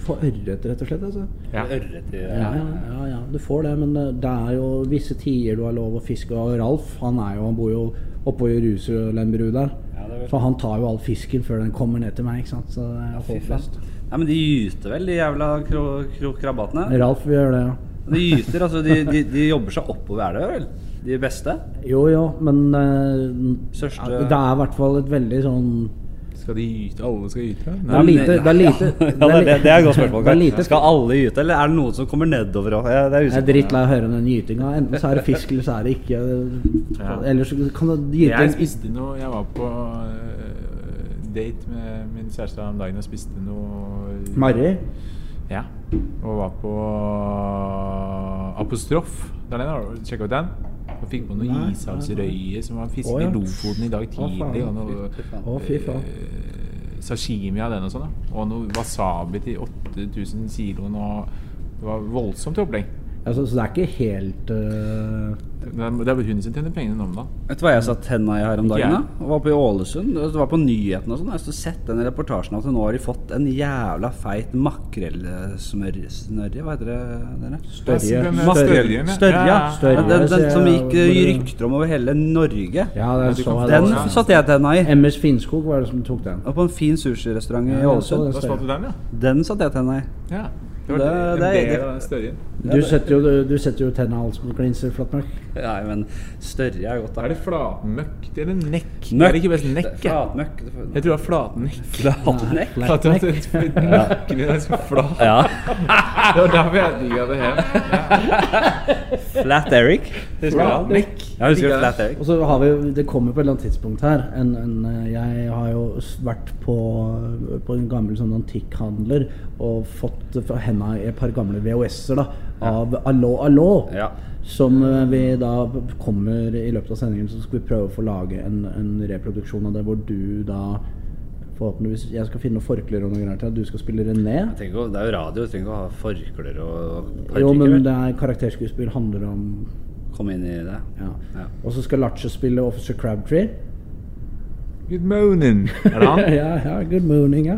Speaker 1: du får ørret, rett og slett. altså
Speaker 3: Ja.
Speaker 2: Ørret i
Speaker 1: ja, ja, ja, ja, du får det, men det det er jo visse tider du har lov å fiske. Og Ralf han, er jo, han bor jo oppå Jerusalembrud der,
Speaker 2: Ja, det vet
Speaker 1: så han tar jo all fisken før den kommer ned til meg. ikke sant? Så det er håpløst.
Speaker 2: Nei, men de gyter vel, de jævla kro kro krabatene?
Speaker 1: Ralf vil gjøre det, ja.
Speaker 2: De gyter, altså. De, de, de jobber seg oppover elva, vel? De beste?
Speaker 1: Jo jo, men eh,
Speaker 2: Største-
Speaker 1: ja, det er i hvert fall et veldig sånn
Speaker 3: Skal de gyte? Alle skal gyte?
Speaker 1: Det er lite Det er lite,
Speaker 2: Ja, det, det, det er et godt spørsmål.
Speaker 1: det er
Speaker 2: Kai.
Speaker 1: lite
Speaker 2: Skal alle gyte, eller er det noen som kommer nedover òg? Jeg, det er
Speaker 1: jeg er
Speaker 2: usikker.
Speaker 1: drittlei av å høre den gytinga. Enten så er det fisk, eller så er det ikke.
Speaker 3: Ja.
Speaker 1: Ellers så kan det gyte
Speaker 3: Jeg
Speaker 1: en
Speaker 3: spiste noe Jeg var på øh, date med min kjæreste her om dagen og spiste noe
Speaker 1: Marry?
Speaker 3: Ja. Og var på eh, Apostrof. Der nede, har du- Sjekk ut den. Og fikk på noe
Speaker 1: Nei,
Speaker 3: ishavsrøye som var fisket
Speaker 1: Å, ja.
Speaker 3: i Lofoten i dag
Speaker 1: faen.
Speaker 3: tidlig. Og noe
Speaker 1: Å, fy faen.
Speaker 3: eh, sashimi av den og sånn. da. Og noe wasabi til 8000 kilo. Og det var voldsomt opplegg.
Speaker 1: Altså, så det er ikke helt eh,
Speaker 3: Det er det er hun som tjener pengene nå om dagen.
Speaker 2: Vet du hva jeg satt henda i her om dagen?
Speaker 3: jeg.
Speaker 2: da? Og var på i Ålesund. og Det var på nyhetene og sånn. Jeg har sett den reportasjen at nå har de fått en jævla feit makrellsmørje Snørje, hva heter det? dere?
Speaker 1: Størje.
Speaker 3: Størje.
Speaker 2: Størje, ja.
Speaker 1: Størje,
Speaker 2: Den, den som
Speaker 1: jeg-
Speaker 2: gikk eh, i rykter om over hele Norge.
Speaker 1: Ja, det så jeg.
Speaker 2: Den
Speaker 1: det også.
Speaker 2: satte jeg tenna i.
Speaker 1: MS Finnskog var det som tok den.
Speaker 2: Og på en fin sushirestaurant i
Speaker 1: Ja, jeg så
Speaker 2: Ålesund.
Speaker 1: det.
Speaker 3: Da spant du den, ja.
Speaker 2: Den satte jeg tenna i.
Speaker 3: ja.
Speaker 2: Det-
Speaker 3: Det var en
Speaker 2: det er-
Speaker 3: del av den størjen.
Speaker 1: Du setter jo, du, du setter jo tenna i halsen på glinser, Flatmark.
Speaker 2: Nei, men Størje er godt.
Speaker 3: Da er det flatmøkk eller nekk.
Speaker 2: Nøkk.
Speaker 3: Er det ikke best nekk?
Speaker 2: Det er
Speaker 3: ja?
Speaker 2: Flatnøkk. det får-
Speaker 3: Jeg tror det var flatnekk.
Speaker 2: Flatnekk?
Speaker 1: Nei,
Speaker 3: At du
Speaker 2: [LAUGHS]
Speaker 3: hadde et- nøkken din er så flat.
Speaker 2: Ja.
Speaker 3: Det var derfor jeg digga det her.
Speaker 2: Flat Eric. Husker du han?
Speaker 3: Flatnekk.
Speaker 2: Ja, husker du Flat Eric?
Speaker 1: Og så har vi jo, Det kommer på et eller annet tidspunkt her en, en, eh, Jeg har jo s- vært på, på en gammel sånn antikkhandler og fått fra henda i et par gamle VHS-er da av Allo Allo.
Speaker 2: Ja.
Speaker 1: Som eh, vi da kommer i løpet av sendingen Så skal vi prøve å få lage en, en reproduksjon av det hvor du da Forhåpentligvis Jeg skal finne noen forklær og noe greier til deg. Du skal spille René.
Speaker 2: Jeg tenker, jo- det er jo radio, du trenger ikke å ha forklær og
Speaker 1: Jo, men
Speaker 2: parykk.
Speaker 1: det er karakterskuespill handler om
Speaker 2: Kom inn i det.
Speaker 1: ja.
Speaker 2: Ja.
Speaker 1: Og så skal Lache spille Officer Crabtree.
Speaker 3: Good morning. Er det han?
Speaker 1: [LAUGHS] ja, ja, good morning, ja.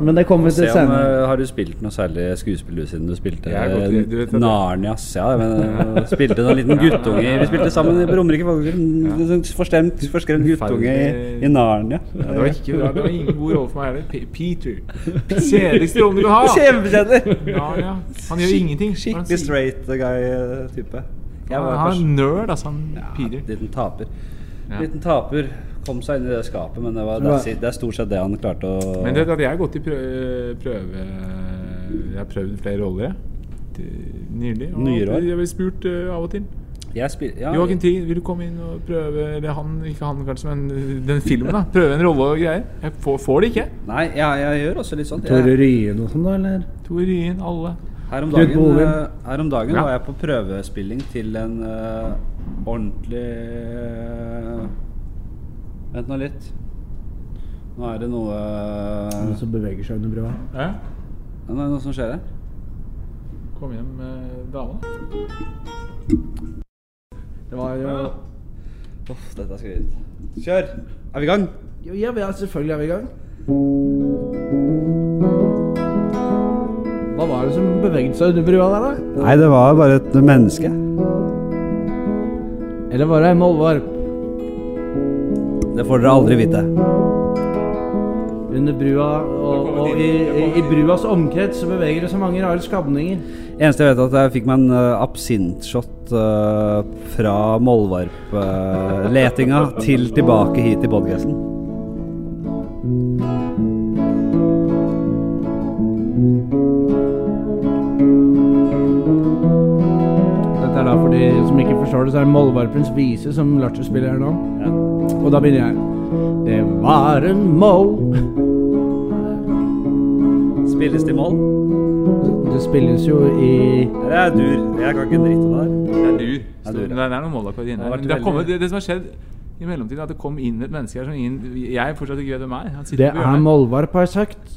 Speaker 1: Men det kommer vi
Speaker 2: Se
Speaker 1: til
Speaker 2: om,
Speaker 1: senere.
Speaker 2: eh, har du spilt noe særlig skuespill du siden du spilte
Speaker 3: Jeg er godt- du vet
Speaker 2: eh,
Speaker 3: det.
Speaker 2: Narnias? Ja, men eh, spilte en liten guttunge Vi spilte sammen på Romerike Folkehøgskole. En sånn Forstemt, forskremt guttunge i, i Narnia.
Speaker 3: Ja, det var ikke bra. Det var ingen god rolle for meg heller. Pe- Peter. Kjedeligste rollen du kan ha.
Speaker 2: [LAUGHS] Kjempekjedelig!
Speaker 3: Ja, ja. Han gjør ingenting. Han sier-
Speaker 2: Skikkelig straight eh, guy-type.
Speaker 3: Han han er en nerd, altså. Han Peter.
Speaker 2: Liten taper.
Speaker 3: Ja.
Speaker 2: Liten taper. Kom seg inn i det skapet, men det, var,
Speaker 1: Så det var-
Speaker 2: that's it. det er stort sett det han klarte å
Speaker 3: Men det, at jeg har gått i prøve, prøve Jeg har prøvd flere roller, jeg. Til- Nylig. Og
Speaker 2: Nyere år?
Speaker 3: Jeg blir spurt eh, av og til.
Speaker 2: Jeg spiller ja,
Speaker 3: Joakim Trier, vil du komme inn og prøve Eller han, ikke han kanskje, men den filmen, da. Prøve en rolle og greier. Jeg får, får det ikke.
Speaker 2: Nei, jeg, jeg gjør også litt sånt.
Speaker 1: Tore
Speaker 2: Jeg,
Speaker 1: Ryen og sånn, da, eller?
Speaker 3: Tor Ryen, alle.
Speaker 2: Her om
Speaker 1: Knut
Speaker 2: dagen,
Speaker 1: Bovim.
Speaker 2: eh, her om dagen
Speaker 3: Ja.
Speaker 2: var jeg på prøvespilling til en eh, ordentlig eh, Vent nå litt. Nå er det noe
Speaker 1: Noen
Speaker 2: Er
Speaker 1: som beveger seg under brua.
Speaker 3: Ja.
Speaker 2: det noe som skjer her?
Speaker 3: Kom hjem, eh, dama.
Speaker 1: Det var jo
Speaker 2: Uff, dette er skrevet. Kjør! Er vi i gang?
Speaker 1: Jo, Ja, vi er selvfølgelig er vi i gang. Hva var det som beveget seg under brua der, da?
Speaker 2: Nei, det var bare et menneske.
Speaker 1: Eller var det en målvarp?
Speaker 2: Det får dere aldri vite.
Speaker 1: Under brua og, og i, i, i bruas omkrets så beveger det så mange rare skabninger.
Speaker 2: Eneste jeg vet, er at jeg fikk meg en eh, absintshot eh, fra Mollvarp-letinga til tilbake hit i podkasten.
Speaker 1: Dette er da for de som ikke forstår det, så er det Mollvarpens vise som Lars spiller her nå. Og da begynner jeg. Det var en moll
Speaker 2: Spilles til moll?
Speaker 1: Det spilles jo i
Speaker 2: Det er dur. Jeg kan ikke drite om det der.
Speaker 3: Det er dur.
Speaker 2: er
Speaker 3: Sto-
Speaker 2: dur, ja.
Speaker 3: Det det er noen målakkord
Speaker 2: Det
Speaker 3: inne
Speaker 2: har
Speaker 3: her.
Speaker 2: vært
Speaker 3: Men Det, har
Speaker 2: veldig-
Speaker 3: kommet- det, det som har skjedd i mellomtiden, er at det kom inn et menneske her som ingen Jeg fortsatt ikke vet hvem er. Han sitter
Speaker 1: Det
Speaker 3: på
Speaker 1: er
Speaker 3: hjørnet.
Speaker 1: mollvarp, har jeg sagt.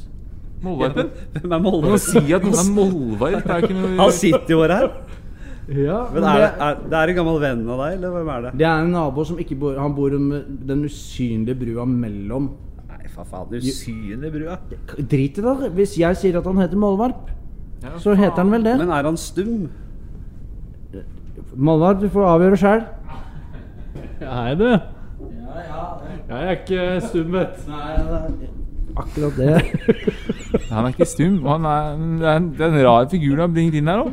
Speaker 3: Målvarpen.
Speaker 2: Hvem er
Speaker 3: Men å
Speaker 2: mollvarp?
Speaker 3: si at noen er målvarp, er jo ikke noe
Speaker 2: Han sitter jo bare her.
Speaker 1: Ja,
Speaker 2: Men er det, er, det er en gammel venn av deg, eller hvem er det?
Speaker 1: Det er en nabo som ikke bor Han bor under den usynlige brua mellom.
Speaker 2: Nei, for faen. Du syner brua.
Speaker 1: K- Drit i det. da. Hvis jeg sier at han heter Målvarp,
Speaker 3: Ja,
Speaker 1: så heter han vel det.
Speaker 2: Men er han stum?
Speaker 1: Målvarp, du får avgjøre sjæl.
Speaker 5: Hei, du. Jeg er ikke stum, vet du.
Speaker 1: Akkurat det.
Speaker 3: Han er ikke stum. og Han er, det, er en, det er en rar figur du har bringt inn her nå.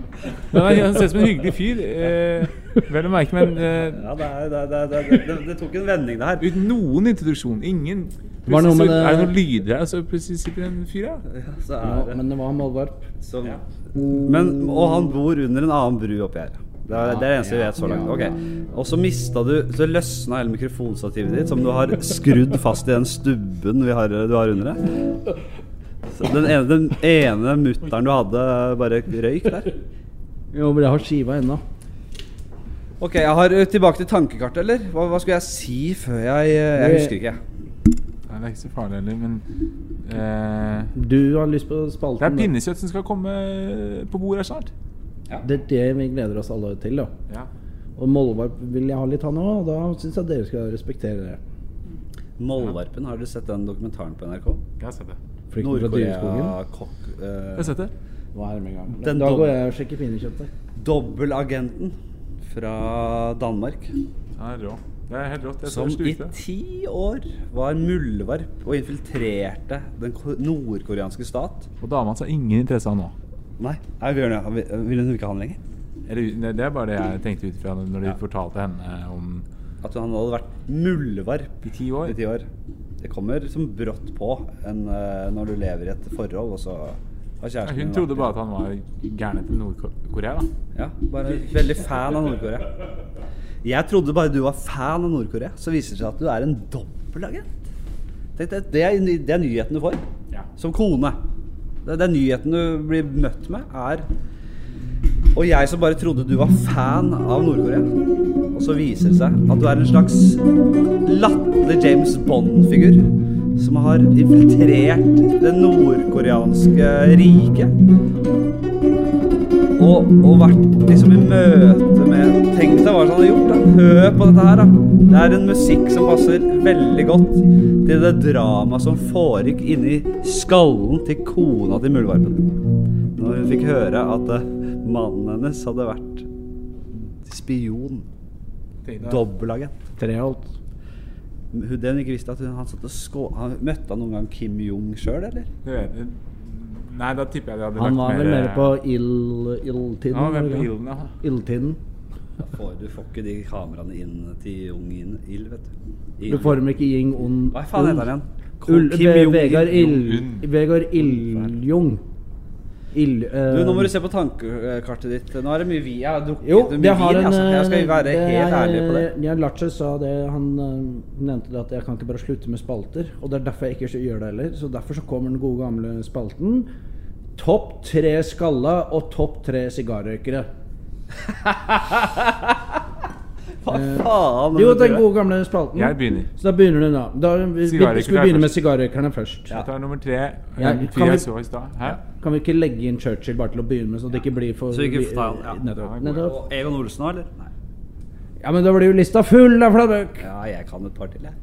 Speaker 3: Han er- han ser ut som en hyggelig fyr. Eh, vel å merke, men eh,
Speaker 2: Ja, det, er, det, er- det, er- det, det, det tok en vending, det her.
Speaker 3: uten noen introduksjon. Ingen
Speaker 1: Var det noe med
Speaker 3: Plutselig så, Er det
Speaker 1: det-
Speaker 3: noen lyder her, så plutselig sitter en fyr her?
Speaker 2: Ja, så
Speaker 1: Ja,
Speaker 2: er det
Speaker 1: men det var Målvarp.
Speaker 2: som Men, Og han bor under en annen bru oppi her. Det er det, er det eneste vi vet så langt. Ok. Og så mista du Så løsna hele mikrofonstativet ditt, som du har skrudd fast i den stubben vi har, du har under deg. Så den ene, den ene mutteren du hadde, bare røyk der.
Speaker 1: Jo, men jeg har skiva ennå.
Speaker 2: Ok, jeg har ø, tilbake til tankekartet, eller? Hva, hva skulle jeg si før jeg ø, Jeg husker ikke.
Speaker 3: Nei, det er ikke så farlig heller, men eh,
Speaker 1: Du har lyst på
Speaker 3: Det er
Speaker 1: spalten. da.
Speaker 3: pinnekjøtt som skal komme eh, på bordet her snart.
Speaker 1: Det er det vi gleder oss alle til. da
Speaker 3: Ja.
Speaker 1: Og Målvarp vil jeg ha litt, han òg. Da syns jeg dere skal respektere det.
Speaker 2: Mollvarpen, har dere sett den dokumentaren på NRK?
Speaker 3: Jeg har sett det.
Speaker 1: Flykten fra dyreskogen.
Speaker 2: Nord-Korea-kokk... ø,
Speaker 3: Jeg har sett det.
Speaker 1: Hva er det med gang?
Speaker 2: Den
Speaker 1: Da
Speaker 2: dom-
Speaker 1: går jeg og sjekker pinnekjøttet.
Speaker 2: Dobbelagenten fra Danmark.
Speaker 3: Den er rå. Det er helt rått. Jeg så
Speaker 2: Som
Speaker 3: det
Speaker 2: i
Speaker 3: slutte.
Speaker 2: ti år var muldvarp og infiltrerte den ko- nordkoreanske stat.
Speaker 3: Og dama hans har ingen interesse av nå.
Speaker 2: Nei, nei Bjørn, ja, vi- vil hun ikke ha den lenger?
Speaker 3: Eller, nei, det er bare det jeg tenkte ut fra når de fortalte henne om
Speaker 2: At han hadde vært muldvarp
Speaker 3: i ti
Speaker 2: i
Speaker 3: år.
Speaker 2: ti år. Det kommer som brått på en, eh, når du lever i et forhold, og så har
Speaker 3: Ja,
Speaker 2: kjæresten din
Speaker 3: Hun trodde
Speaker 2: vært-
Speaker 3: bare at han var gæren etter Nord-Korea, da.
Speaker 2: Ja, bare veldig fan av Nord-Korea. Jeg trodde bare du var fan av Nord-Korea. Så viser det seg at du er en dobbeltagent. Tenk deg, Det er, ny- det er nyheten du får
Speaker 3: Ja.
Speaker 2: som kone. Det, det er nyheten du blir møtt med, er Og jeg som bare trodde du var fan av Nord-Korea. Og så viser det seg at du er en slags latterlig James Bond-figur. Som har infiltrert det nordkoreanske riket og, og vært liksom i møte med Tenk deg hva han hadde gjort. da Hør på dette her. da Det er en musikk som passer veldig godt til det dramaet som foregikk inni skallen til kona til muldvarpen. Når hun fikk høre at eh, mannen hennes hadde vært spion.
Speaker 3: Tenkte jeg.
Speaker 2: Dobbelagent.
Speaker 1: Treholt.
Speaker 2: Hun- Det hun ikke visste, at hun, han satt og skå... Han, møtte han noen gang Kim Jong sjøl, eller?
Speaker 3: Du vet, eh, Nei, da tipper jeg de hadde eh,
Speaker 1: Han var vel mer på
Speaker 2: eh,
Speaker 1: ild-
Speaker 3: Han var mer på
Speaker 1: ildtiden.
Speaker 3: ilden, ja.
Speaker 1: Ildtiden.
Speaker 2: Da får- Du får ikke de kameraene inn til Jong-il, vet du.
Speaker 1: Du får dem ikke Ying On
Speaker 2: Hva faen heter han igjen?
Speaker 1: Ull,
Speaker 2: Kim
Speaker 1: Ve-
Speaker 2: Jong-il.
Speaker 1: Vegard Ild...
Speaker 3: Jong-un.
Speaker 1: Vegard Iljung. Ild... eh,
Speaker 2: Du, nå må du se på tankekartet ditt. Nå er det mye vi Jeg har drukket
Speaker 1: jo,
Speaker 2: mye
Speaker 1: det har
Speaker 2: vin,
Speaker 1: en
Speaker 2: altså. Jeg skal
Speaker 1: eh,
Speaker 2: være
Speaker 1: det
Speaker 2: helt
Speaker 1: er- eh,
Speaker 2: ærlig på det.
Speaker 1: Ja, Lache sa det Han eh, nevnte det at jeg kan ikke bare slutte med spalter. Og det er derfor jeg ikke gjør det heller. Så derfor så kommer den gode gamle spalten. Topp tre skalla og topp tre sigarrøykere.
Speaker 2: Hva faen?
Speaker 1: Jo, den gode gamle spalten.
Speaker 3: Jeg begynner.
Speaker 1: Så da begynner du, da. da vi, vi,
Speaker 3: Sigarrøykerne
Speaker 1: skal vi begynne med
Speaker 3: først.
Speaker 1: sigarrøykerne først.
Speaker 3: Jeg tar nummer tre.
Speaker 1: Ja,
Speaker 3: Ja,
Speaker 1: kan
Speaker 3: fyr
Speaker 1: vi-
Speaker 3: jeg så i stad. Hæ?
Speaker 1: Kan vi ikke legge inn Churchill bare til å begynne med, så det ikke blir for
Speaker 2: Så ikke ta han, ja.
Speaker 1: Nettopp.
Speaker 3: Ja,
Speaker 1: nettopp.
Speaker 2: Og Egon Olsen òg, eller? Nei.
Speaker 1: Ja, men da blir jo lista full av fladdermøkk!
Speaker 2: Ja, jeg kan et par til, jeg.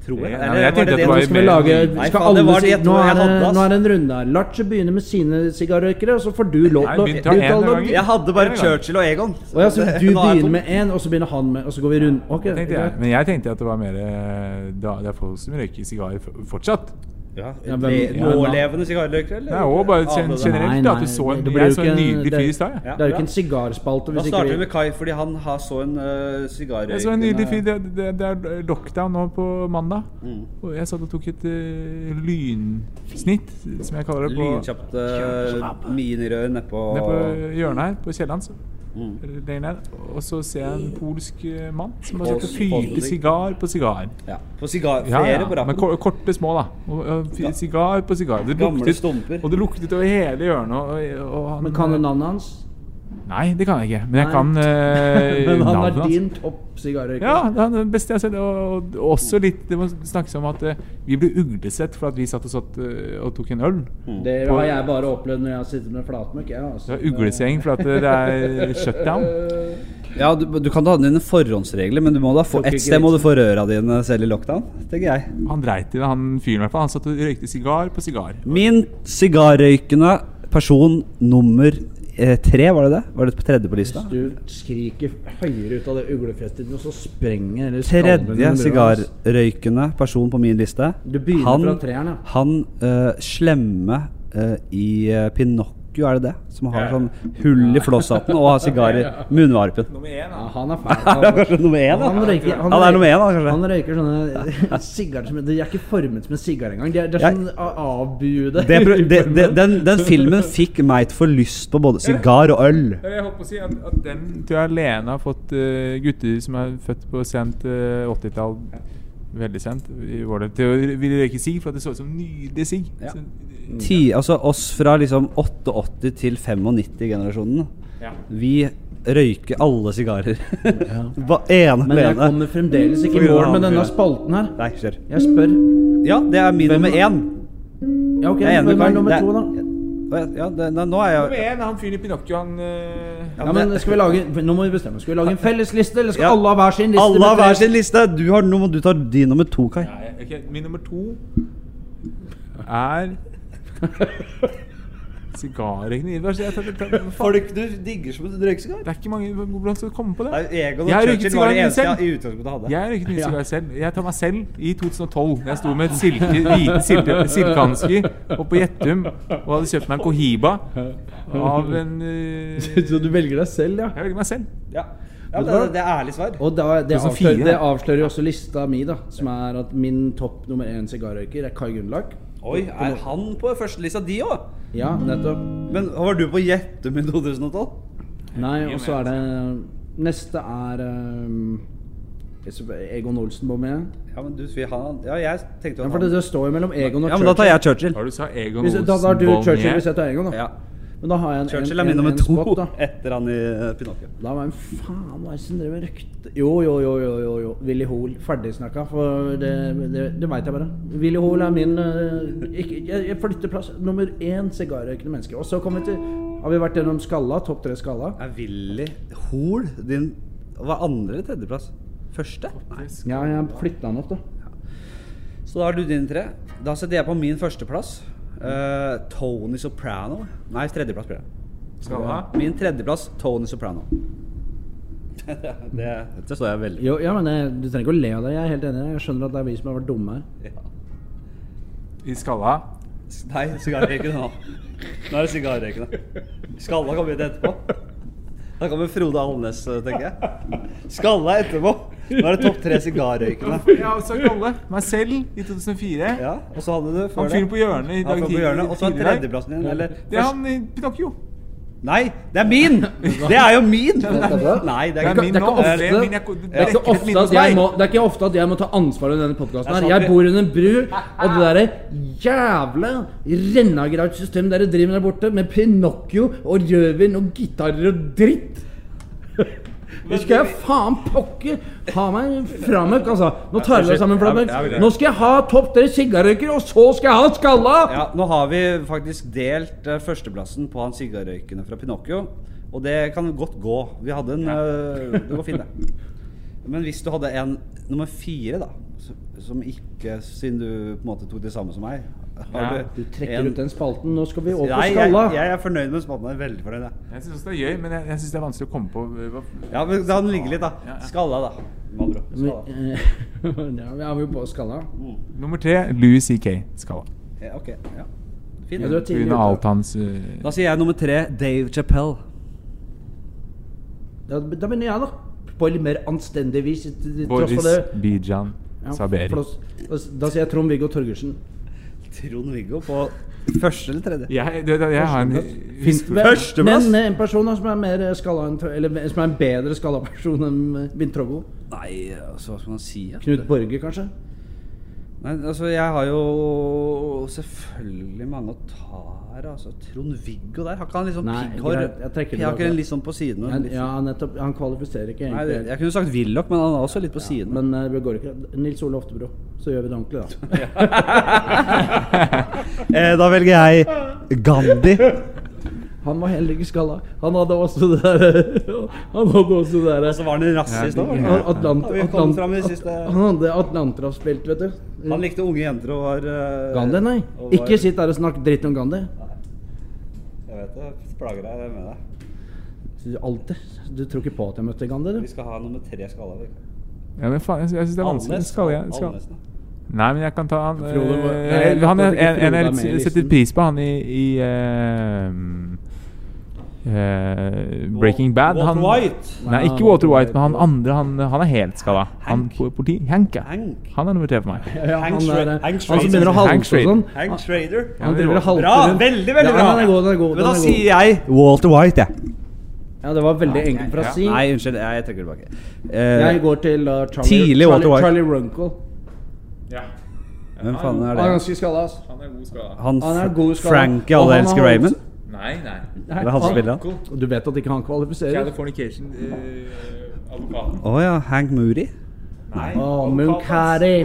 Speaker 2: Tror
Speaker 3: Nei,
Speaker 2: jeg.
Speaker 3: men
Speaker 2: Eller
Speaker 3: jeg
Speaker 2: var
Speaker 3: tenkte
Speaker 2: det
Speaker 3: at det
Speaker 2: det
Speaker 3: var
Speaker 2: du
Speaker 3: jo
Speaker 1: Vi
Speaker 2: skulle
Speaker 3: mer-
Speaker 1: lager,
Speaker 2: Nei,
Speaker 1: skal
Speaker 2: faen, det
Speaker 1: alle si,
Speaker 2: var det jeg
Speaker 1: nå,
Speaker 2: tror jeg
Speaker 1: er det,
Speaker 2: hadde, ass.
Speaker 1: nå er det en runde her. Lars begynner med sine sigarrøykere, og så får du lov
Speaker 3: Nei,
Speaker 1: til å
Speaker 3: begynn, ta en av gangen.
Speaker 2: Jeg hadde
Speaker 3: En
Speaker 2: bare
Speaker 3: gang.
Speaker 2: Churchill og Egon.
Speaker 1: Og
Speaker 3: [LAUGHS]
Speaker 1: ja, så
Speaker 2: det-
Speaker 1: du
Speaker 2: nå er jeg
Speaker 1: begynner
Speaker 2: tom.
Speaker 1: med én, og så begynner han med, og så går vi rundt. Ok,
Speaker 3: Tenkte jeg.
Speaker 1: greit.
Speaker 3: Men jeg tenkte at det var mer eh, da, Det er folk som røyker sigarer f- fortsatt.
Speaker 2: Ja,
Speaker 1: Ja,
Speaker 2: et
Speaker 1: hvem-
Speaker 2: le-
Speaker 1: ja,
Speaker 2: Nålevende sigarrøykere, eller?
Speaker 3: Det er også bare gen-
Speaker 2: Avdøde.
Speaker 3: generelt.
Speaker 1: Nei,
Speaker 3: da, at
Speaker 1: nei,
Speaker 3: du så en,
Speaker 1: det blir
Speaker 3: jeg
Speaker 1: jo
Speaker 3: så en
Speaker 1: ikke-
Speaker 3: nydelig
Speaker 1: det-
Speaker 3: fyr i stad. jeg.
Speaker 2: Ja,
Speaker 1: Det er jo ikke
Speaker 2: bra.
Speaker 1: en sigarspalte
Speaker 2: Da
Speaker 1: hvis ikke
Speaker 2: starter vi
Speaker 1: vi
Speaker 2: med Kai, fordi han har så en uh, sigarrøyk
Speaker 3: Jeg så en nydelig fyr. Det, det, det er lockdown nå på mandag.
Speaker 1: Mm.
Speaker 3: Og jeg satt og tok et eh, lynsnitt, som jeg
Speaker 2: eh,
Speaker 3: kaller det, på,
Speaker 2: Lynkjapt uh, minirør nedpå
Speaker 3: ned på hjørnet her. På Kielland. så-
Speaker 1: Mm.
Speaker 3: eller lenger ned. Og så ser jeg en polsk eh, mann som bare
Speaker 2: Polsk-
Speaker 3: sitter og fyker
Speaker 2: polsk.
Speaker 3: sigar på sigaren.
Speaker 2: Ja, på sigar...
Speaker 3: Ja,
Speaker 2: flere
Speaker 3: ja.
Speaker 2: på
Speaker 3: Men
Speaker 2: rappen.
Speaker 3: ko- korte, små, da. Og, og, f- sigar på sigar. Det
Speaker 2: Gamle
Speaker 3: luktet,
Speaker 2: stumper.
Speaker 3: og det luktet over hele hjørnet. Og, og han,
Speaker 1: Men kan du navnet hans?
Speaker 3: Nei, det kan jeg ikke. Men jeg
Speaker 1: Nei.
Speaker 3: kan
Speaker 1: [LAUGHS]
Speaker 3: eh,
Speaker 1: Men han
Speaker 3: navnet
Speaker 1: er
Speaker 3: hans.
Speaker 1: din topp sigarrøyker.
Speaker 3: Ja, det er det beste jeg har sett. Og, og også litt Det må snakkes om at eh, vi ble uglesett for at vi satt og, satt, eh, og tok en øl.
Speaker 2: Mm.
Speaker 1: Det har jeg bare opplevd når jeg har sittet med flatmøkk. Ja,
Speaker 3: Det
Speaker 1: altså. Eh,
Speaker 3: var uglesgjeng for at eh, det er shutdown.
Speaker 2: Ja, du, du kan ta dine forhåndsregler, men du må da få
Speaker 1: Tok
Speaker 2: ett
Speaker 1: ikke
Speaker 2: sted må du få røra dine selv i lockdown, tenker jeg.
Speaker 3: Han dreit i det, han fyren i hvert fall. Han satt og røykte sigar på sigar.
Speaker 2: Min sigarrøykende person nummer eh, tre, var det det? Var det på tredje på lista?
Speaker 1: Du skriker høyere ut av det uglefestet ditt, og så sprenger eller skalven
Speaker 2: Tredje
Speaker 1: under brua hans.
Speaker 2: sigarrøykende person på min liste.
Speaker 1: Du begynner
Speaker 2: han,
Speaker 1: fra treeren, ja.
Speaker 2: Han eh, slemme eh, i eh, Pinocchio, er det det? Som har sånn hull i flosshatten og har sigar
Speaker 3: [LAUGHS]
Speaker 2: i munnvarpen.
Speaker 1: Ja, han er fæl.
Speaker 2: [LAUGHS] Er det kanskje nummer én?
Speaker 1: Han
Speaker 2: da?
Speaker 1: røyker,
Speaker 2: Han er nummer én, da, kanskje?
Speaker 1: han røyker sånne [LAUGHS] sigarer som De er ikke formet som en sigar engang. De er, de er
Speaker 2: Jeg-
Speaker 1: sånn a- avbuede.
Speaker 2: Det, pro- det, det,
Speaker 1: [LAUGHS]
Speaker 2: den, den filmen fikk meg til å få lyst på både sigar og øl.
Speaker 3: Jeg håper å si at, at den tror jeg alene har fått eh, gutter som er født på sent eh, 80-tall, veldig sent, i vår del, til å ville røyke sigg for at det så ut som nydelig sigg.
Speaker 2: Ja.
Speaker 3: Så-
Speaker 2: Ti, altså oss fra liksom 88 til 95-generasjonen.
Speaker 3: Ja.
Speaker 2: Vi røyker alle sigarer. [LAUGHS] Hva ene
Speaker 1: Men jeg
Speaker 2: alene.
Speaker 1: kommer fremdeles ikke
Speaker 2: På
Speaker 1: i
Speaker 2: grunn av
Speaker 1: mål med
Speaker 2: han
Speaker 1: denne
Speaker 2: fyren.
Speaker 1: spalten her.
Speaker 2: Nei, kjør.
Speaker 1: Jeg spør
Speaker 2: Ja, det er min nummer én.
Speaker 1: Ja, ok,
Speaker 2: Jeg er enig med
Speaker 1: hvem er
Speaker 2: Karl.
Speaker 1: nummer
Speaker 2: Det-
Speaker 1: to, da?
Speaker 2: Å, ja, Ja, det, nei, nå er
Speaker 3: Nummer
Speaker 2: jeg
Speaker 3: én, han fyren i Pinocchio, han eh,
Speaker 1: Ja, men skal vi lage Nå må vi bestemme. Skal vi lage en felles liste, eller skal
Speaker 2: Ja.
Speaker 1: alle ha hver sin liste?
Speaker 2: Alle har
Speaker 1: med tre?
Speaker 2: hver sin liste. Du har nummer, du tar din nummer to, Kai.
Speaker 3: Nei, ok, min nummer to [LAUGHS] er Sigarrøykende Ivar. så jeg tar- tar- hva faen?
Speaker 2: Folk du digger som en røykesigar?
Speaker 3: Det er ikke mange Hvordan skal du komme på det?
Speaker 2: Egon
Speaker 3: Jeg har røyket sigarer selv.
Speaker 2: utgangspunktet hadde.
Speaker 3: Jeg røyket mye sigarer selv. Jeg tar meg selv i 2012. Jeg sto med et silke, hvite silke, silkehansker oppe på Gjettum og hadde kjøpt meg en Cohiba av en eh,
Speaker 1: [LAUGHS] Så du velger deg selv, ja?
Speaker 3: Jeg velger meg selv.
Speaker 2: Ja, ja det, det er ærlig svar.
Speaker 1: Og da, det,
Speaker 3: så
Speaker 1: avslører,
Speaker 3: fire.
Speaker 1: det avslører jo også lista mi, da. Som er at min topp nummer én sigarrøyker er Kai Gunnlach.
Speaker 2: Oi, er han på førstelista di òg?
Speaker 1: Ja, nettopp.
Speaker 2: Men var du på Gjettum i 2012?
Speaker 1: Nei,
Speaker 3: Mye
Speaker 1: og så
Speaker 3: mer.
Speaker 1: er det
Speaker 2: altså.
Speaker 1: Neste er ehm, Egon Olsen må med.
Speaker 2: Ja, men du, vi, han, ja, jeg tenkte
Speaker 1: Ja,
Speaker 2: at
Speaker 1: for det,
Speaker 2: han
Speaker 1: det står jo mellom Egon og
Speaker 2: Ja, men da
Speaker 1: Churchill.
Speaker 2: tar jeg Churchill.
Speaker 3: Har du sa Egon
Speaker 1: Hvis, da, da er du Churchill hvis jeg tar Egon, da.
Speaker 2: Ja.
Speaker 1: Men da har jeg en, en,
Speaker 2: Churchill er min
Speaker 1: en,
Speaker 2: nummer
Speaker 1: en
Speaker 2: to
Speaker 1: spot, da.
Speaker 2: etter han i eh, Pinocchio.
Speaker 1: Da var det faen hva er det som drev og røkte Jo, jo, jo, jo, jo, jo. Willy Hoel. Ferdigsnakka. For det, det, det veit jeg bare. Willy Hoel er min eh, ikke, jeg, jeg flytter plass. Nummer én sigarrøykende menneske. Og så kommer vi til Har vi vært gjennom Skalla? Topp tre Skalla?
Speaker 2: Er Willy Hol din Hva er andre eller tredjeplass? Første? Nei.
Speaker 1: Ja, jeg flytta han opp, da.
Speaker 2: Så da har du dine tre. Da setter jeg på min førsteplass. eh, Tony Soprano. Nei, tredjeplass blir det.
Speaker 3: Skal du ha?
Speaker 2: Min tredjeplass Tony Soprano. [LAUGHS] det, det står jeg veldig
Speaker 1: Jo, ja, men jeg, Du trenger ikke å le av det. Jeg er helt enig. Jeg skjønner at det er vi som har vært dumme her.
Speaker 2: ja.
Speaker 3: I skalla?
Speaker 2: Nei, sigarrøykene nå. Nå er det sigarrøykene. Skalla kommer hit etterpå. Da kommer Frode Alnes, tenker jeg. Skalla etterpå. Nå er det topp tre sigarrøykende.
Speaker 3: Jeg har sagt alle. Meg selv i 2004.
Speaker 2: Ja, og så hadde du før
Speaker 3: Han fyren på hjørnet i
Speaker 2: Ja,
Speaker 3: dag
Speaker 2: fyren på
Speaker 3: tidlig-
Speaker 2: hjørnet, Og så er
Speaker 3: tidligere.
Speaker 2: tredjeplassen din, eller
Speaker 3: Det er han i Pinocchio.
Speaker 2: Nei, det er min! Det er jo min! Nei, det
Speaker 3: Det
Speaker 2: er
Speaker 3: er
Speaker 2: ikke
Speaker 3: min
Speaker 1: det er
Speaker 3: nå.
Speaker 1: ikke ofte-
Speaker 3: Det er min, jeg- det
Speaker 1: Det er, ikke
Speaker 3: min
Speaker 1: ofte
Speaker 3: hos
Speaker 1: at jeg
Speaker 3: meg.
Speaker 1: må, det er ikke ofte at jeg må ta ansvar under denne podkasten. her
Speaker 2: sant,
Speaker 1: Jeg
Speaker 2: vi-
Speaker 1: bor under en bru, og det derre jævla rennagrautsystemet dere driver med der borte, med Pinocchio og rødvin og gitarer og
Speaker 2: [LAUGHS]
Speaker 1: dritt Det skal jeg faen pokker ha meg framøk, altså. Nå tar dere dere sammen, Flamøk.
Speaker 2: Jeg- jeg vil-
Speaker 1: Nå skal jeg ha topp tre sigarrøyker, og så skal jeg ha skalla!
Speaker 2: Ja, nå har vi faktisk delt eh, førsteplassen på han sigarrøykende fra Pinocchio. Og det kan godt gå. Vi hadde en eh, Det går fint, det. Men hvis du hadde en nummer fire, da, s- som ikke Siden du på en måte tok det samme som meg har
Speaker 3: Ja,
Speaker 1: Du trekker
Speaker 2: en-
Speaker 1: ut den spalten. Nå skal vi over
Speaker 2: Nei,
Speaker 1: på
Speaker 2: jeg,
Speaker 1: skalla.
Speaker 2: jeg er fornøyd med spalten. Jeg er veldig fornøyd, jeg.
Speaker 3: Jeg syns også det er gøy, men jeg, jeg synes det er vanskelig å komme på hva,
Speaker 2: Ja, men La den ligge litt, da. Skalla, da. Med andre ord. Skalla.
Speaker 1: Men, eh, [LAUGHS] Ja, vi er jo på skalla.
Speaker 3: Nummer tre Louis C.K. Skala.
Speaker 2: Ja, ok. Ja.
Speaker 1: Ja, du er
Speaker 2: Fint.
Speaker 1: tidlig
Speaker 3: Pga.
Speaker 1: ute.
Speaker 3: alt hans eh,
Speaker 2: Da sier jeg nummer tre Dave Chapell.
Speaker 1: Ja, da begynner jeg, da. På litt mer anstendig vis. til- til tross for
Speaker 3: Boris
Speaker 1: det.
Speaker 3: Bijan
Speaker 1: Ja,
Speaker 3: Saberi.
Speaker 1: flott. Da s- Da sier jeg Trond-Viggo Torgersen.
Speaker 2: Trond-Viggo på første eller tredje?
Speaker 3: Jeg, du, jeg har en
Speaker 1: Men-
Speaker 3: historie.
Speaker 2: Førsteplass!
Speaker 1: Men eh, en person da som er, mer eh, skalla enn, Tro- eller, eh, som er en bedre skalla person enn eh, Vintrogo.
Speaker 2: Nei, altså, hva skal man si? Ja?
Speaker 1: Knut Borge, kanskje?
Speaker 2: Nei, altså jeg har jo selvfølgelig mange å ta her. altså Trond-Viggo der, har ikke han litt sånn
Speaker 1: Nei,
Speaker 2: pigghår?
Speaker 1: greit, jeg trekker det
Speaker 2: Har ikke
Speaker 1: tilbake.
Speaker 2: den litt sånn på siden? og
Speaker 1: Ja,
Speaker 2: litt-
Speaker 1: ja, nettopp. Han kvalifiserer ikke
Speaker 2: Nei, det-
Speaker 1: egentlig.
Speaker 2: jeg kunne sagt Willoch, men han er også litt på siden.
Speaker 1: Men eh, det går ikke. Nils Ole Oftebro. Så gjør vi det ordentlig, da.
Speaker 2: [LAUGHS] Eh, da velger jeg Gandhi.
Speaker 1: [LAUGHS] Han var heller ikke skalla. Han hadde også det derre [LAUGHS] Han hadde også det derre
Speaker 2: Og så var han en rasist
Speaker 3: Ja,
Speaker 2: òg.
Speaker 3: det-
Speaker 1: Atlant, Atlant,
Speaker 2: Ja, vi kom fram i siste-
Speaker 1: At- han hadde Atlanterhavsbelt, vet du.
Speaker 2: Han likte unge jenter og var eh,
Speaker 1: Gandhi, nei.
Speaker 2: og var-
Speaker 1: Ikke sitt der og snakk dritt om Gandhi.
Speaker 2: Jeg vet det. jeg Plager deg med deg.
Speaker 1: Du- Alltid. Du tror ikke på at jeg møtte Gandhi, du?
Speaker 2: Vi skal ha nummer tre skala. vi.
Speaker 3: Ja, men faen, jeg, sy- jeg syns det er vanskelig.
Speaker 2: Alnes.
Speaker 3: Skal jeg, skal.
Speaker 2: Alnes, da.
Speaker 3: Nei, men jeg kan ta han eh,
Speaker 1: Frode var- Nei, jeg
Speaker 3: Han
Speaker 1: håper ikke
Speaker 3: er en, en
Speaker 1: Frode er
Speaker 3: jeg
Speaker 1: med i
Speaker 3: s- setter
Speaker 1: listen.
Speaker 3: pris på, han i, i eh, eh, Breaking Bad.
Speaker 2: Walter
Speaker 3: han,
Speaker 2: White.
Speaker 3: Nei, ikke Walter White, men han andre. Han, han er helt skada. Han
Speaker 2: Hank.
Speaker 3: po- politi. Hank, ja.
Speaker 2: Hank.
Speaker 3: Han er nummer tre for meg.
Speaker 1: Ja, han,
Speaker 2: Hank
Speaker 1: er, eh,
Speaker 2: Schrader.
Speaker 1: han
Speaker 2: Hank
Speaker 1: som
Speaker 2: Schrader.
Speaker 1: begynner å
Speaker 3: Hank
Speaker 1: halte og
Speaker 3: Schrader.
Speaker 1: sånn.
Speaker 2: Hank Trader.
Speaker 1: Han driver og halter
Speaker 2: Bra!
Speaker 1: rundt.
Speaker 2: Veldig, veldig
Speaker 1: ja,
Speaker 2: bra.
Speaker 1: Den er god, den er god.
Speaker 2: Men da
Speaker 1: den er
Speaker 2: sier
Speaker 1: god.
Speaker 2: jeg Walter White, jeg.
Speaker 1: Ja, det var veldig enkelt for å si.
Speaker 2: Nei, unnskyld. Jeg, jeg trekker tilbake. Eh,
Speaker 1: Jeg går til da Charlie,
Speaker 2: Tidlig Walter
Speaker 1: Charlie,
Speaker 2: White.
Speaker 1: Charlie Runkle.
Speaker 2: Hvem faen er
Speaker 1: Han er
Speaker 2: det?
Speaker 1: ganske skalla, ass.
Speaker 3: Han er god skada.
Speaker 2: Han,
Speaker 1: Han er god skala.
Speaker 2: Frankie
Speaker 1: Og
Speaker 2: Alle
Speaker 1: han
Speaker 2: elsker
Speaker 1: har
Speaker 2: Raymond?
Speaker 3: Nei, nei.
Speaker 2: Er det han som spiller han?
Speaker 1: Du vet at ikke han kvalifiserer?
Speaker 3: Californication uh, Advokaten.
Speaker 2: Å ja. Hank Moody?
Speaker 3: Nei.
Speaker 1: Å, Munkari.